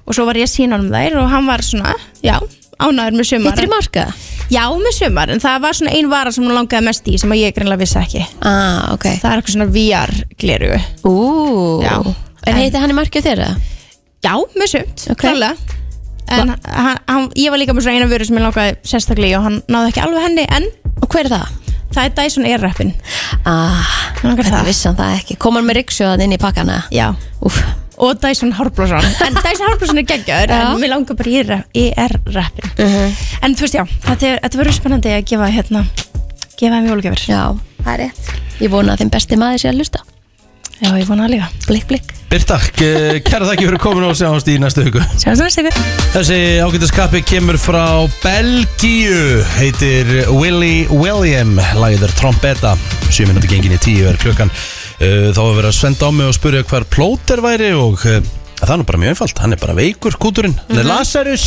Og svo var ég að sína honum þær Og hann var svona, já, ánæður með sumar Hittir í marka? Já, með sumar, en það var svona ein vara sem hann langaði mest í Sem að ég greinlega vissi ekki ah, okay. Það er eitthvað svona VR-gleru Ú, já. En heiti hann í markið þeirra? Já, með sumt, okay. klálega En hann, hann, ég var líka með svona eina vöru sem ég langaði sérstaklega í og hann náði ekki alveg henni en Og hver er það? Það er Dyson Airwrapin Ah, Hvernig vissi hann það ekki? Kom hann með ryggsjóðan inn í pakkana? Já Úf. Og Dyson Harbrósson En Dyson Harbrósson er geggjaður En mér langar bara í ra- í ER-rappin Uh-huh. En þú veist já, þetta, er- þetta verður spennandi að gefa hérna Gefa þeim jólugjöfur Já, það er rétt Ég vona að þeim besti maður sé að lusta Já, ég vona það líka Blik, blik Birta, eh, kæra þakki fyrir komin og sjáumst í næstu hugu Sjáumst næstu hugu Þessi ágættaskappi kemur frá Belgíu Heitir Willy William Læður trombeta 7 minúti gengin í 10 er klukkan Eh, Þá er verið að senda á mig og spurja hvar plóter væri Og eh, það er nú bara mjög einfalt Hann er bara veikur kúturinn Hann er Lazarus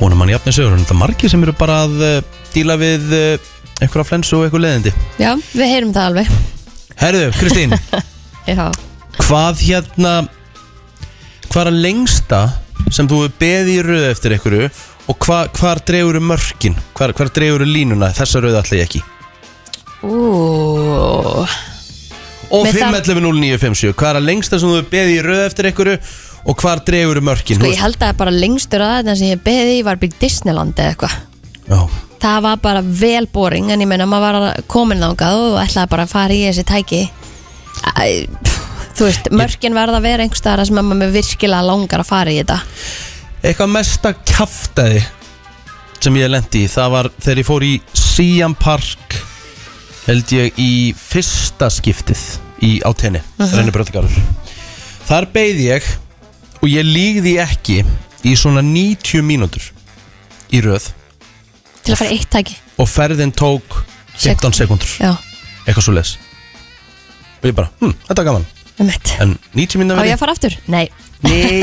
Vonum hann jafnir sögur Það er margir sem eru bara að eh, díla við eh, einhverja flensu og einhver leðindi Já, við heyrum það alveg Herðu, Kristín Já Hvað hérna Hvað er að lengsta sem þú hefur beðið í röð eftir einhverju og hva, hvar dregur um mörkin hvar, hvar dregur um línuna, þessa röð ætla ég ekki Ú og Með það- 511-0957, hvað er að lengsta sem þú hefur beðið í röð eftir einhverju og hvar dregur um mörkin Sko ég held að bara lengstur að þetta sem ég beði í var byggt Disneyland eða eitthvað Það var bara vel boring en ég meina maður var komin þangað og ætlaði bara að fara í þessi tæki Æ, pff, Þú veist, mörkin verða að vera einhvers staðar þar sem að maður virkilega langar að fara í þetta eitthvað mesta kjaftaði sem ég lendi í, það var þegar ég fór í Siam Park held ég í fyrsta skiptið í átenni, uh Mhm. -huh. Bröttigarður þar beið ég og ég lígði ekki í svona 90 mínútur í röð Til að fara í eitt tæki og ferðin tók 15 sekundur Já, eitthvað svo les og ég bara, hm, þetta er gaman um mitt en 90 mínútur Á ég að fara aftur? Nei Nei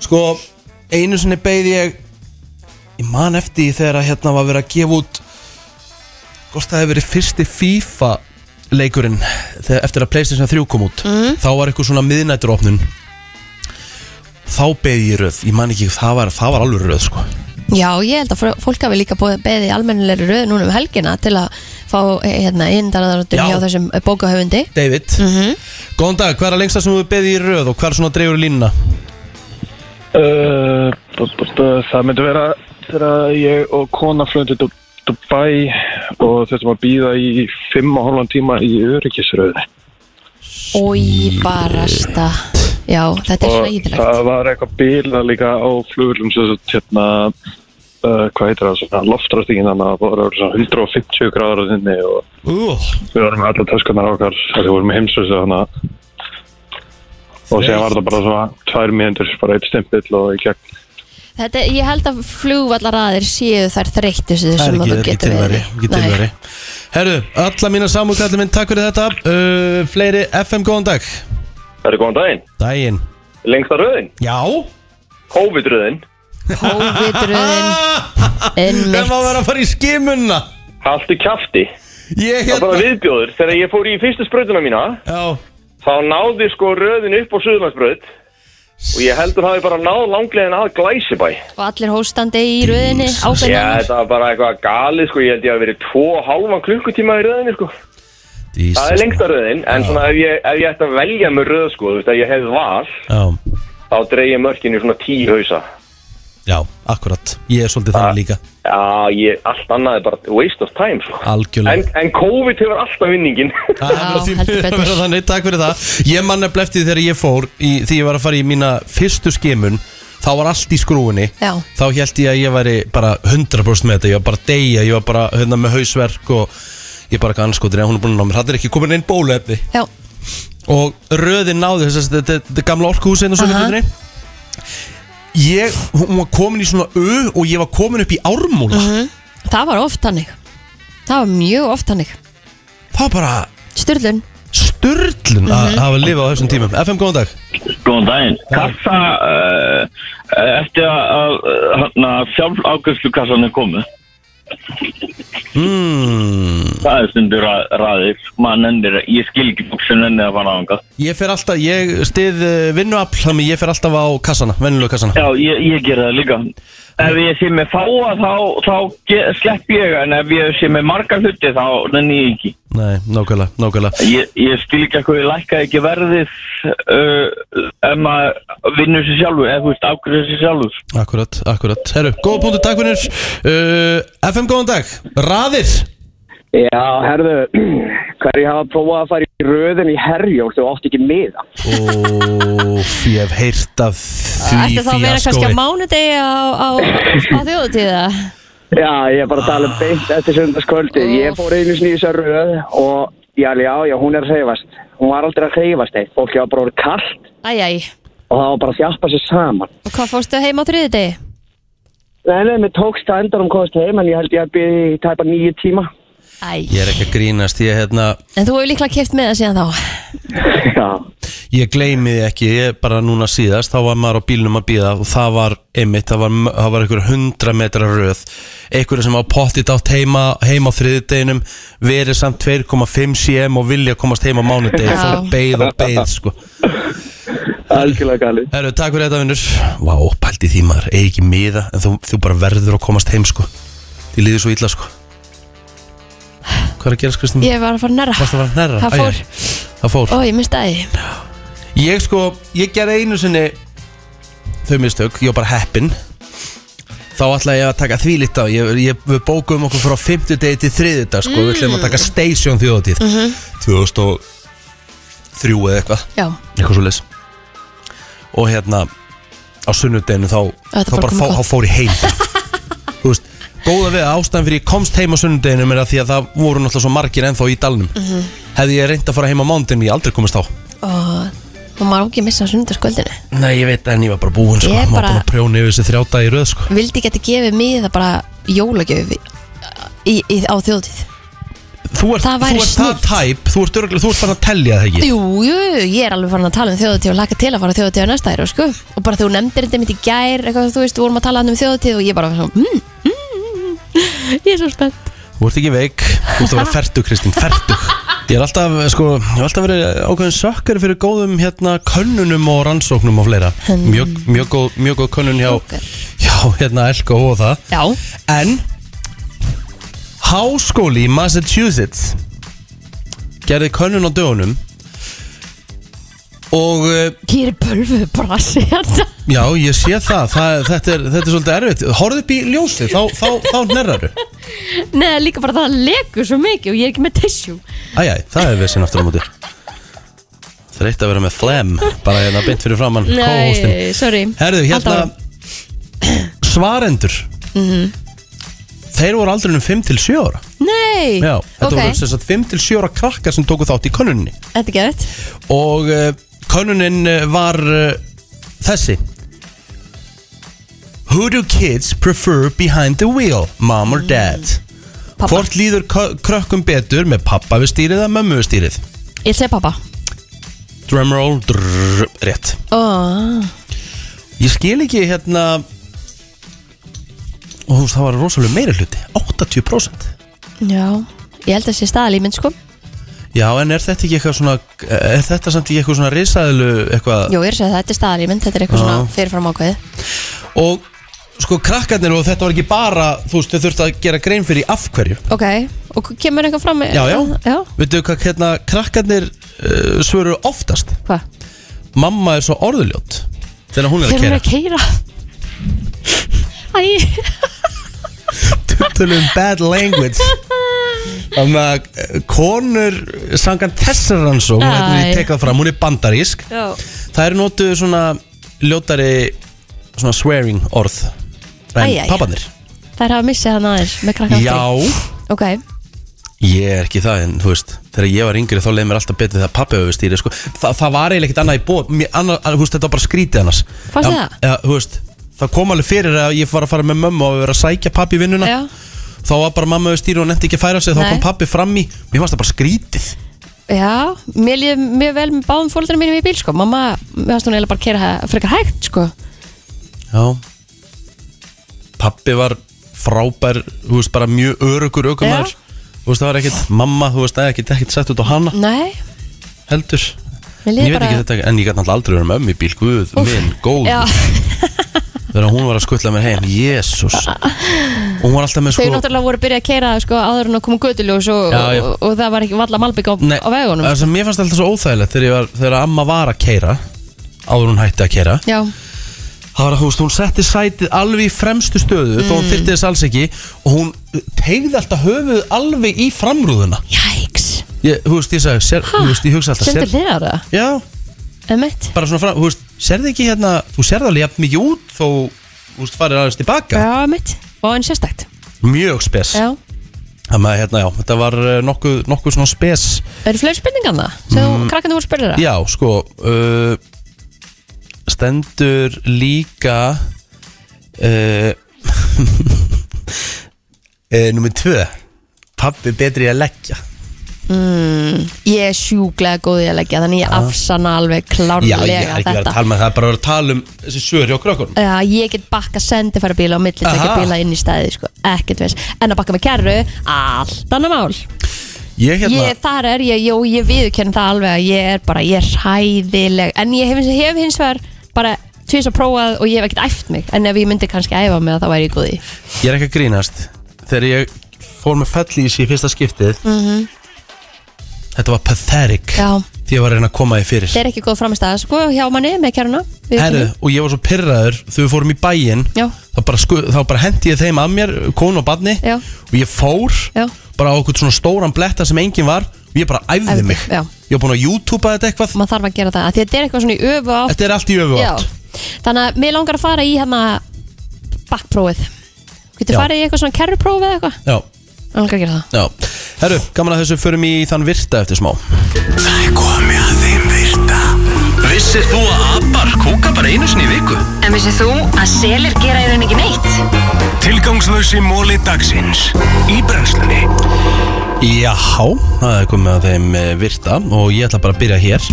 Sko, einu sinni beið ég Ég man eftir því þegar að hérna var verið að gefa út Hvort það hefur verið fyrsti FIFA leikurinn þegar, Eftir að Playstation 3 kom út Þá var eitthvað svona miðnætturopnun Þá beið ég í röð Ég man ekki, það var, það var alveg röð sko Já, ég held að fr- fólk hafi líka beðið í almennilegri röð núna um helgina til að fá eh, hérna, inndarðarotun Já. hjá þessum eh, bókahöfundi David Góðan dag, hvað er að lengsta sem þú beðið í röð Og hvað er svona dreifur línuna? Uh, b- b- b- það myndi vera þegar ég og kona flöndi til Dubai og þurftum að býða í fimm og hálfan tíma í öryggisröði. Í barasta Já, þetta er Og hræðilegt það var eitthvað bíla líka á flugurlum sem sagt hérna, uh, hvað heitir það, svona loftrastingin þannig að það voru svona 150 gráður á þinni og uh. við vorum með alla töskunar okkar þegar við vorum með heimsvösa þannig að og séðan var þetta bara svona tvær mínundur, bara eitt stimpill og í gegn. Þetta, ég held að flugvallaraðir séu þær þreyttustu Það er ekki, sem að þú ekki getur tilveri, ekki Nei. tilveri. Herru, alla mína samúkallin minn, takk fyrir þetta uh, Fleiri FM, góðan dag Það er góðan daginn. Daginn Lengsta röðin? Já. Covid-röðin? Hóvitröðin Ef maður verður Ah, að fara í skimunna Haltu kjafti. Ég hérna... Það var bara viðbjóður. Þegar ég fór í fyrstu sprautuna mína, Já. þá náði sko röðin upp á Suðurlandsbraut og ég heldur hafi bara náð langlegin að Glæsibæ. Og allir hóstandi í röðinni Já, ábyrðan þetta var bara eitthvað galið sko. Ég held ég hafi verið tvo og hálfan klukkutíma í röðinni sko. það er lengsta röðin, en svona ef ég, ef ég ætti að velja með röð sko, þú veist, ef ég hefði val, Já, þá dreig ég mörkin í svona tíu hausa. já, akkurat Ég er svolítið Ah. þannig líka Já, ég, allt annað er bara waste of time sko. Algjörlega En, en COVID hefur alltaf vinningin Það er bara því miður að vera þannig, Takk fyrir það Ég mann eftir eftir því þegar ég fór í, Því ég var að fara í mína fyrstu skimun Þá var allt í skrúinni Já. Þá held ég að ég væri bara 100% með þetta Ég var bara að deyja, ég var bara hérna, með hausverk Og ég bara ganskotir En hún er búin að ná mér, það er ekki komin einn bólefni Já. Og röðin náði þess að þetta- þetta er gamla hérna orkuhúsin og svo Aha. hlutinni Ég, hún var komin í svona ö Og ég var komin upp í ármúla Það var oft hannig Það var mjög oft hannig Það var bara Sturlun Sturlun að hafa lifað á þessum tímum FM, góðan dag Góðan daginn. Kassa, uh, eftir að uh, sjálf ágæslu kassan er komið, mm. það er stundur ra raðir, maður nennir, ég skil ekki fólk sem nennir að fara ángað. Ég fer alltaf, ég stið vinnuafl Þannig ég fer alltaf á kassana, vennilegu kassana Já, ég, ég gera það líka. Ef ég sé með fáa þá, þá ge- slepp ég, en ef ég sé með marga hluti þá nenni ég ekki. Nei, nákvæmlega, nákvæmlega Ég, ég skil ekki að hvað ég lækka ekki verðið uh, ef maður vinnur sér sjálfur, eða þú veist, ágæslu sér sjálfur. Akkurat, akkurat Herru, góða punktu, takk fyrir uh, FM, góðan dag Raðir Já, herðu, hverju hafa prófað að fara í röðin í herjól þú átt ekki miða? Óf, ég hef heyrt af því Ætti þá að vera kannski fíaskói á mánudegi á, á, á þjóðutíða Já, ég er bara að tala um beint eftir sundarskvöldi. Ég fór einu sinni í þessa röð og já, já, já, hún er að hreyfast. Hún var aldrei að hreyfast eitt. Fólki var bara orðið kallt Æjæj, og það var bara að þjappa sér saman. og hvað fórstu heim á þriðudegi? Nei, nei, mér tókst að endanum komast heim en ég held ég að byrja í tæpa nýju tíma. Æj Ég er ekki að grínast, ég hérna En þú hefur líklega keft með það síðan þá Já. Ég gleymi því ekki, ég bara núna síðast þá var maður á bílnum að bíða og það var einmitt, það var, það var einhver 100 metra röð, einhverju sem á pottit átt heima, heima á þriðudeginum verið samt 2,5 cm og vilja komast heima á mánudegi, Já. fór beið og beið sko. Algjörlega gali Herru, takk fyrir þetta vinnur Vá, pældi því maður, eigi ekki miða en þú, þú bara verður að komast heim sko Því líður svo illa sko Hvað er að gera Kristín? Ég var að fara nærra Varstu að fara nærra? Það Æ, fór, Það fór ó ég misti æði Ég sko, ég gerði einu sinni þau mistök, ég var bara heppin þá ætla ég að taka því lit á ég, ég, við bókum okkur frá 50 degi til 30 dag sko, við Mm. ætlum að taka station þjóðatíð Mhm. 2003 eða eitthvað Já. eitthvað svo leis og hérna á sunnudeginu þá, þá bara Þetta bara komið fó, gott. þá fór ég heim þú veist, góða við að ástæðan fyrir ég komst heim á sunnudeginu er að því að það voru náttúrulega svo margir ennþá í dalnum Mhm. hefði ég reynd að fara heim á mándinu ég aldrei komist á Og maður á ekki að missa sundarskvöldinu Nei, ég veit það en ég var bara búinn sko Ég Maður bara- bara... búinn að prjóna yfir þessi þrjá dag í röð sko Vildi geti gefið mig það bara jólagjöf í, í, í, á þjóðtíð Þú ert Það það, væri þú ert það tæp, þú ert, örgulega, þú ert fann að telja það ekki Jú, jú, ég er alveg farin að tala um þjóðatíð og laka til að fara á þjóðatíð á næsta æru, sko og bara þú nefndir þetta mitt í gær eitthvað, þú veist, við vorum að tala þarna um þjóðatíð og ég bara var svona, mm, mm, mm, ég er svo spennt Þú ert ekki veik, þú ert að vera fertug Kristín, fertug Ég er alltaf, sko, ég hef alltaf verið ákveðin sökkar fyrir góðum hérna könnunum og rannsóknum og fleira Mjög, mjög, góð, mjög góð könnun hjá, hjá hérna Elko og það Já En Háskóli í Massachusetts gerði könnun á dögunum og eh, Ég er bölvuð brasi hérna Já, ég sé það, það þetta, er, þetta er svolítið erfitt Horfðu upp í ljósið, þá, þá, þá nærraru Nei, líka bara það lekur svo mikið og ég er ekki með tissjú Æjæ, það er vissin aftur á móti Þreytt að vera með flem Bara hérna beint fyrir framann co-hostinn. Nei, sorry Herðu, hérna Alltaf. Svarendur Mhm. Þeir voru aldrinum 5 til 7 ára Nei, Já, þetta ok, voru sem sagt 5 til 7 ára krakkar sem tóku þátt í könnunni þetta er gett Og uh, könnunin eh, var uh, þessi Who do kids prefer behind the wheel, mom or dad? Mm, Hvort líður kö- krökkum betur með pappa við stýrið eða mömmu við stýrið? Ég segi pappa Drumroll, drrrr, rétt oh. Ég skil ekki hérna Og þú veist það var rosalega meira hluti 80% Já, ég held að sé staðalímynd, sko Já, en er þetta ekki eitthvað svona Er þetta samt ekki eitthvað svona risaðilu eitthvað Jú, ég er að segja þetta er staðalímynd, þetta er eitthvað Já. svona fyrirfram ákveðið Og sko krakkarnir og þetta var ekki bara Þú veist, þau þurftu að gera grein fyrir í af hverju Ok, og kemur eitthvað fram Já, já, já. Veitu hvað hérna krakkarnir uh, svöru oftast Hva? Mamma er svo orðuljót Þegar hún er að Þegar hún kera er að keira Æ, Tölum bad language Þannig að eh, konur sangan þessar rannsók Hún hefði Æ. við tekað fram, hún er bandarísk já Það eru notuð svona ljótari svona swearing orð En Æ, æ. pappanir Þær hafa missið hann aðeins með krakka Já. Ok, Ég er ekki það en þú veist Þegar ég var yngri þá leið mér alltaf betur þegar pappi hefur stýrið sko. Þa, Það var eiginlega ekkert annað í bóð mér, annar, annar, veist, Þetta var bara skrítið annars Fannst þér Ja, það? ja, þú veist, Það kom alveg fyrir að ég var að fara með mömmu og vera að sækja pappi í vinnuna Já. Þá var bara mamma hefur stýrið og nefndi ekki að færa sig Þá Nei. kom pappi fram í Mér fannst það bara skrítið já, mér líður mjög vel með báðum fólkarnir mínum í bíl, sko Mamma, mér varst hún eiginlega bara að keira frekar hægt, sko Já Pappi var frábær Þú veist bara mjög örugur ökumar Þú veist það var ekkert mamma Þú veist það er ekkert ekkert sett út á hana Nei, heldur Mér En Ég líður veit bara- ekki þetta En ég gæti náttúrulega aldrei verið með ömmu í bíl Guð Úff, minn góð já Þegar hún var að skutla mér heim Jésús Hún var alltaf með Þau sko náttúrulega voru að byrja að keira sko, áður en að koma götuljós og, Já, já. og, og það var ekki valla malbygg á, á vegunum það sem mér fannst alltaf svo óþægilegt Þegar, ég var, þegar amma var að keira Áður hún hætti að keira Já, Það var að þú veist, hún setti sætið alveg í fremstu stöðu Þó hún Mm. þyrti þess alls ekki Og hún tegði alltaf höfuð alveg í framrúðuna Jæks ég, Þú veist, ég sagði, sér, þú veist, ég hugsa alltaf Sendur sér- hliðar það? Já Emmett Bara svona fram, þú veist, serði ekki hérna Þú serði alveg jafn mikið út þó, þú veist, farir aðeins tilbaka Já, emmett Og en sérstækt Mjög spes Já Þannig að hérna, já, þetta var eh, nokkuð, nokkuð svona spes Eru fleiri spurningar það? Sem mm. Mm. krakkandi voru spurningar Já, sko uh, Stendur líka uh, uh, Númer tvö Pappi betri í að leggja mm, Ég er sjúklega góð í að leggja Þannig ég Ah. afsanna alveg Já, klárlega ég er ekki verið að þetta tala með það, það er bara að vera að tala um þessi svör hjá krökkunum Já, ég get bakka sendifæra bíla á milli Aha. Tekja bíla inn í stæði, sko, ekkert veist En að bakka með kerru, allt annað mál Ég hérna, ég, Þar er ég, jú, ég viðurkenn það alveg að Ég er bara, ég er hæðileg En ég hef, hef hins vegar bara Tvís að prófað og ég hef ekkert æft mig En ef ég myndi kannski æfa mig þá væri ég góð í ég er ekki að grínast Þegar ég fór með fellísi í fyrsta skiptið Mhm. Þetta var pathetic Já, Því ég var að reyna að koma því fyrir þetta er ekki góð framistæða Sko, hjá manni með kerruna Herru, og ég var svo pyrraður þegar við fórum í bæinn Já. þá bara, sku- þá bara hendi ég þeim að mér konu og badni Já. og ég fór Já. bara á okkur svona stóran bletta sem enginn var og ég bara æfði Æfði, mig já. ég var búin að youtubea þetta eitthvað maður þarf að gera það af því að Þetta er eitthvað svona í öfu átt þetta er allt í öfu átt Já, þannig að mér langar að fara í hérna bakkprófið Getur Já. farið í eitthvað svona kerruprófið eða eitthvað? Já. Mér langar að gera það Já. herru, gaman að þessu förum í þann virta eftir smá Það er komið að þeim virta Vissir þú að abar kúka bara einu sinni í viku? En vissið þú að selir gera í rauninni ekki neitt? Tilgangslösi móli dagsins Í brennslunni Já, það er komið að þeim eh, virta og ég ætla bara að byrja hér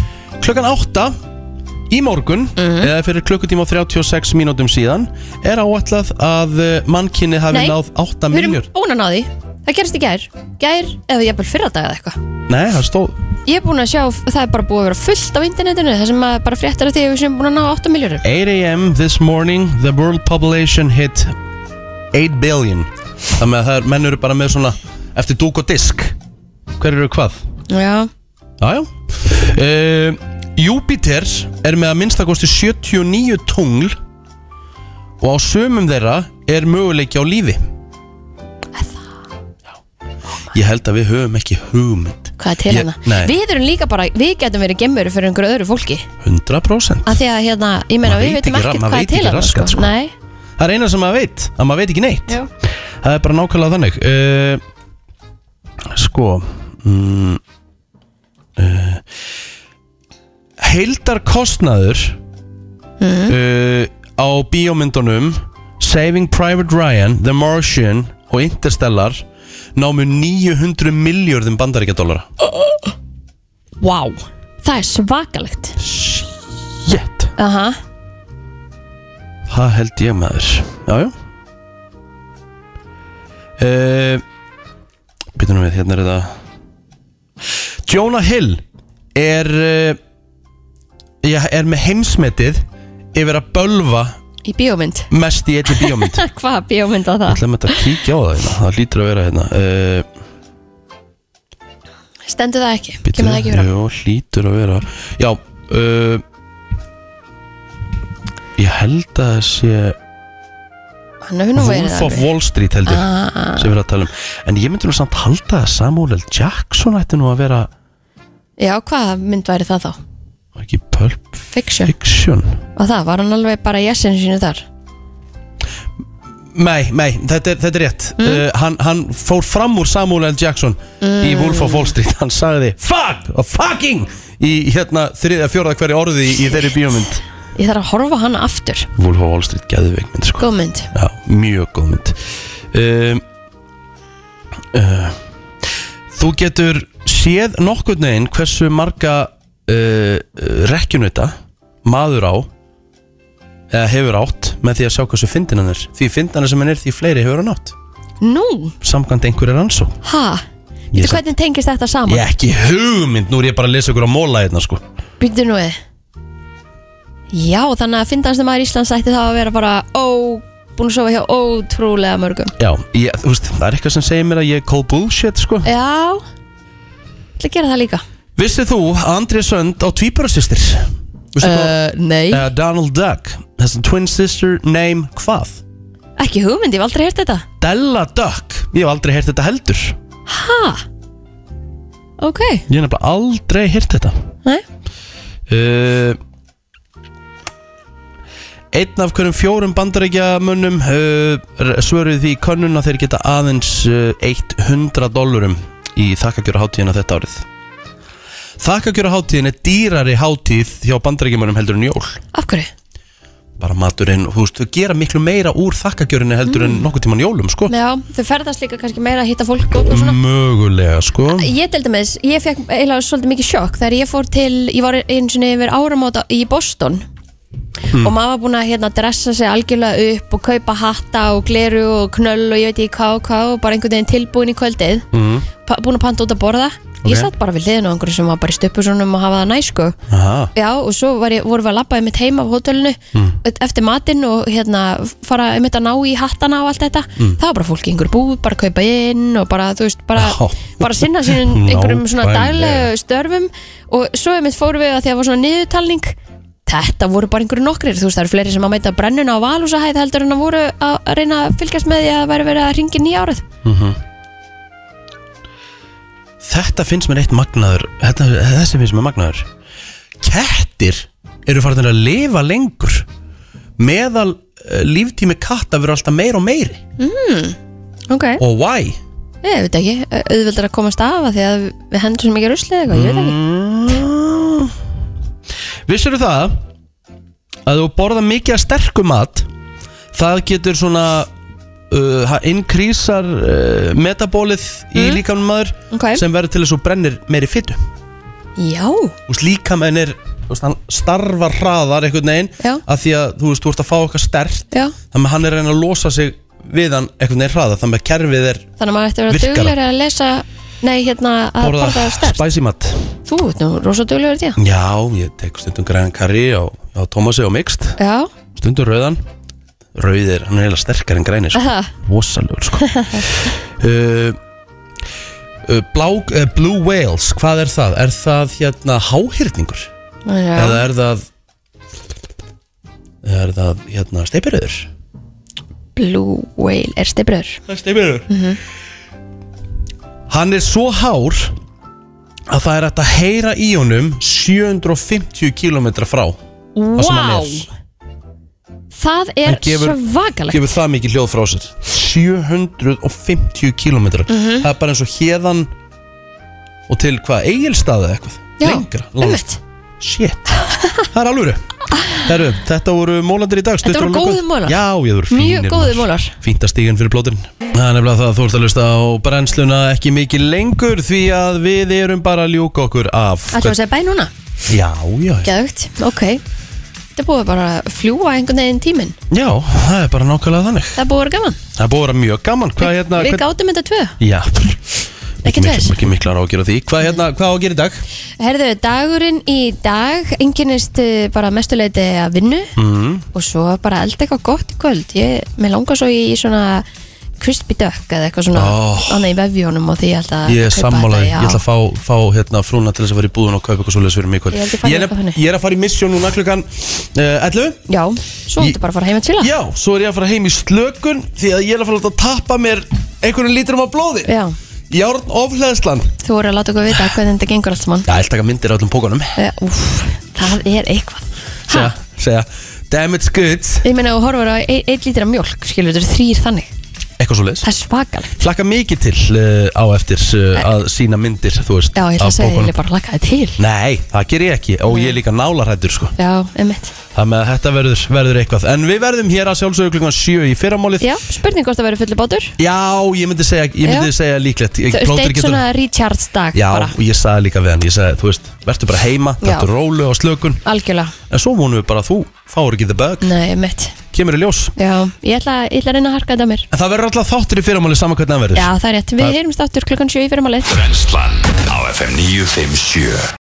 Klukkan 8 í morgun eða fyrir klukkutíma og 36 mínútum síðan er áætlað að eh, mannkynnið hafi Nei. náð 8 Við erum miljur ónan á því Það gerist í gær Gær eða jafnvel fyrradag eða eitthvað Nei, það stóð Ég er búin að sjá, það er bara búið að vera fullt á internetinu Það sem að bara fréttir að því að við séum búin að ná 8 miljónum 8 a.m. this morning the world population hit 8 billion Þannig að það er, menn eru bara með svona eftir dúk og disk Hver eru hvað? Já, Jájá uh, Júpiter er með að minnstakosti 79 tungl og á sömum þeirra er möguleiki á lífi Ég held að við höfum ekki hugmynd hvað er til Ég- hérna? nei. Við erum líka bara, við getum verið gemmur fyrir einhverju öðru fólki 100% Af því að hérna, ég meina Maður veit við veitum ekki ra- ekkert maður hvað veit er til ekki hérna raskat, sko. Nei, Það er eina sem maður veit, að maður veit ekki neitt Já. Það er bara nákvæmlega þannig uh, Sko mm, uh, Heildarkostnaður uh, á bíómyndunum Saving Private Ryan, The Martian og Interstellar námu 900 miljörðum bandaríkjadólara Vá, það er svakalegt Shit Aha, Það held ég maður Jájú uh, Býtum við, hérna er þetta Jonah Hill er uh, ég er með heimsmetið yfir að bölva í bíómynd mest í einni bíómynd Hvað bíómynd var Ég það? ætla með þetta að kíkja á það hérna. Það lítur að vera hérna uh, Stendur það ekki? býtum Kemur það ekki við, fram? Jú, lítur að vera Já uh, Ég held að það sé Hann hefur nú verið Wolf of alveg. Wall Street held ég Ah. sem við erum að tala um en ég myndi nú samt halda að Samuel L. Jackson ætti nú að vera Já, hvað mynd væri það þá? var ekki Pulp Fiction Fiction Og það, var hann alveg bara í essinu sínu þar? Nei, nei, þetta er, þetta er rétt uh, hann, hann fór fram úr Samuel L. Jackson í Mm. Wolf of Wall Street hann sagði fuck og fucking í hérna þriðja, fjórða hverju orði í, í þeirri bíómynd Ég þarf að horfa hann aftur Wolf of Wall Street geðveik mynd sko. Góð mynd Já, mjög góð mynd um, uh, Þú getur séð nokkurn veginn hversu marga uh, rekkjunauta maður á eða hefur átt með því að sjá hversu fyndin hann er því fyndin hann sem hann er því fleiri hefur hann átt Nú, samkvæmt einhverju rannsó ha? Ég Yes. samt- Hvernig tengist þetta Ég saman? er ekki hugmynd, nú er ég bara að lesa ykkur á móla hérna sko Býttu nú við Já, þannig að finnast maður Íslands ætti þá að vera bara ó, búin að sofa hjá ótrúlega mörgum Já, ég, þú veist, það er eitthvað sem segir mér að ég er cold bullshit sko Já Það gera það líka Vissið þú að Andrið Sönd á tvíburasýstir? Uh, nei uh, Donald Duck has a twin sister name hvað? Ekki hugmynd, ég hef aldrei heyrt þetta Della Duck Ég hef aldrei heyrt þetta heldur Ég Ha? Ok, hef nefnilega aldrei heyrt þetta nei uh, Einn af hverjum fjórum bandarækjamönnum uh, svöruði því í könnun að þeir geta aðeins uh, 100 dollurum í þakkakjöra þetta árið Þakkakjöra er dýrari hátíð hjá bandarækjamönnum heldur en jól Af hverju? bara maturinn, þú veist, þau gera miklu meira úr þakkakjörinni heldur en nokkuð tíman jólum, sko Já, þau ferðast líka kannski meira að hitta fólk út og svona Mögulega, sko Ég deldi með þess, ég fekk eiginlega svolítið mikið sjokk þegar ég fór til, ég var einu sinni yfir áramóta í Boston og maður var búin að hérna dressa sig algjörlega upp og kaupa hatta og gleru og knöll og ég veit ekki hvað og hvað og bara einhvern veginn tilbúin í kvöldið mm. pa- búin að panta út að borða ég Ok. satt bara við hliðinu á einhverju sem var bara í stöpusunum og hafa það sko. næsku Aha. já og svo var ég, vorum við að labbaði mitt heim af hótelinu Mm. eftir matinn og hérna fara einmitt að ná í hattana og allt þetta Mm. það var bara fólk í einhverju búð, bara kaupa inn og bara þú veist, bara, Já. bara sinna sínum einhverjum svona Nákvæmlega. daglegu störfum og svo einmitt fórum við að því að það var svona niðurtalning þetta voru bara einhverju nokkrir þú veist það eru fleiri sem að mæta brennuna á valúsahæð heldur en að voru að að reyna að fylgjast með því að það væri verið að ringi nýja árið Þetta finnst mér eitt magnaður þetta, Þessi finnst mér magnaður Kettir eru farin að lifa lengur Meðal uh, líftími katta verður alltaf meir og meiri mm. ok Og why? Ég veit ekki, auðvöldar að komast af að því að við hendum svo mikið ruslið eitthvað, ég veit Mm. ekki Vissirðu það að þú borða mikið að sterkum mat það getur svona uh, það inkrýsar uh, metabolið í líkamanum maður Ok. sem verður til þess að þú brennir meiri fytu Já, Þú veist, líkamenn er þú veist, hann starfar hraðar einhvern veginn Já. að því að þú veist, þú ert að fá okkar stert Já. þannig að hann er að reyna að losa sig við hann einhvern veginn hraðar þannig að kerfið er þannig að maður ætti að vera Virkara. duglegri að lesa Nei, hérna, að borða, borða sterkt spicy mat Þú ert nú rosa duglegur í því Já, ég tek stundum græn karri á, á Thomasi og mixt Já, stundum rauðan rauðir, hann er heila sterkar en grænir sko. Aha. rosalur sko. uh, uh, blá, uh, Blue Whales, hvað er það? Er það hérna háhyrningur? Já. Eða er það er það hérna steipiröður? Blue Whale er stibröður Það er steipiröður Hann er svo hár að það er hægt að heyra í honum 750 km frá Það sem hann Vá, er. það er Hann gefur- svakalegt gefur það mikið hljóð frá sér 750 km Mhm. það er bara eins og hérðan og til hvað, eigilstaði eitthvað Já, lengra, langt shit, það er alvöru Heru, þetta voru mólandir í dag Þetta stuttur voru og laggóð. góðir mólar. já, ég voru Mjög fínir góðir mólar. fínt að stígan fyrir blótin það er nefnilega það að þú ert að lusta á brennsluna ekki mikið lengur því að við erum bara að ljúka okkur af Ætlum við að segja bæ núna, já, já, geðugt, ok Þetta er búið bara að fljúa einhvern veginn tíminn já, það er bara nákvæmlega þannig Það er búið að vera gaman það er búið að vera mjög gaman hvað, hérna, Við hvern- gátum þetta tvö Já Ekki tveir. Mikið miklar á að gera því Hvað hérna, hvað á að gera í dag? Herðu, dagurinn í dag enginnist eh, bara mestuleiti að vinnu Mm. og svo bara elda eitthvað gott í kvöld ég, mér langar svo í svona crispy duck eða eitthvað svona Ó. annað í vefjónum og því ég ætla að Oh. Ég er kaupa sammálaði, þetta, ég ætla að fá, fá hérna, frúna til þess að fara í búðun og kaupa eitthvað svoleiðis fyrir mig í kvöld. Ég held ég fari er eitthvað nef- þannig. ég er að fara í misjón núna klukkan uh, 11 Já, svo ertu bara að fara heim að chilla Já, svo er ég að fara heim í slökun því að ég er að fara að láta tappa mér einhvern lítrum af blóði Já, Járn ofleðslan Já, þú voru að láta okkur vita hvernig þetta gengur allt saman ég ætla að taka myndir af öllum pókanum Eh, Úff, það er eitthvað segja, segja, damn it's good Ég meina, þú horfur á ein, ein lítra mjólk skilur þetta þrýr þannig eitthvað svoleiðis Það er svakalegt Hlakka mikið til uh, á eftir uh, að sína myndir, þú veist Eh. Já, ég af ætla að segja, ég bókunum. vil bara laka þetta til Nei, það ger ég ekki og ég er líka nálarhættur sko Já, emmitt Það með að þetta verður, verður eitthvað En við verðum hér að sjálfsögðu klukkan 7 í fyrramálið Já, spurning hvort það verður fullu bátur Já, ég myndi segja, ég myndi Já. segja líklegt Ég- Þú ert plótur eitt svona recharge dag Já, bara og ég sagði líka við hann Ég sagði, þú veist, verður bara heima Já. Þetta rólu á slökun Algjörlega En svo vonum við bara að þú fáur ekki the bug Nei, mitt Kemur í ljós Já, ég ætla, ég ætla að reyna að harka þetta á mér En það verður alltaf þáttur í fyrramálið saman hvernig það verður Já, það er rétt Við Það- heyrumst áttur klukkan 7 í fyrramálið Brennslan á FM 957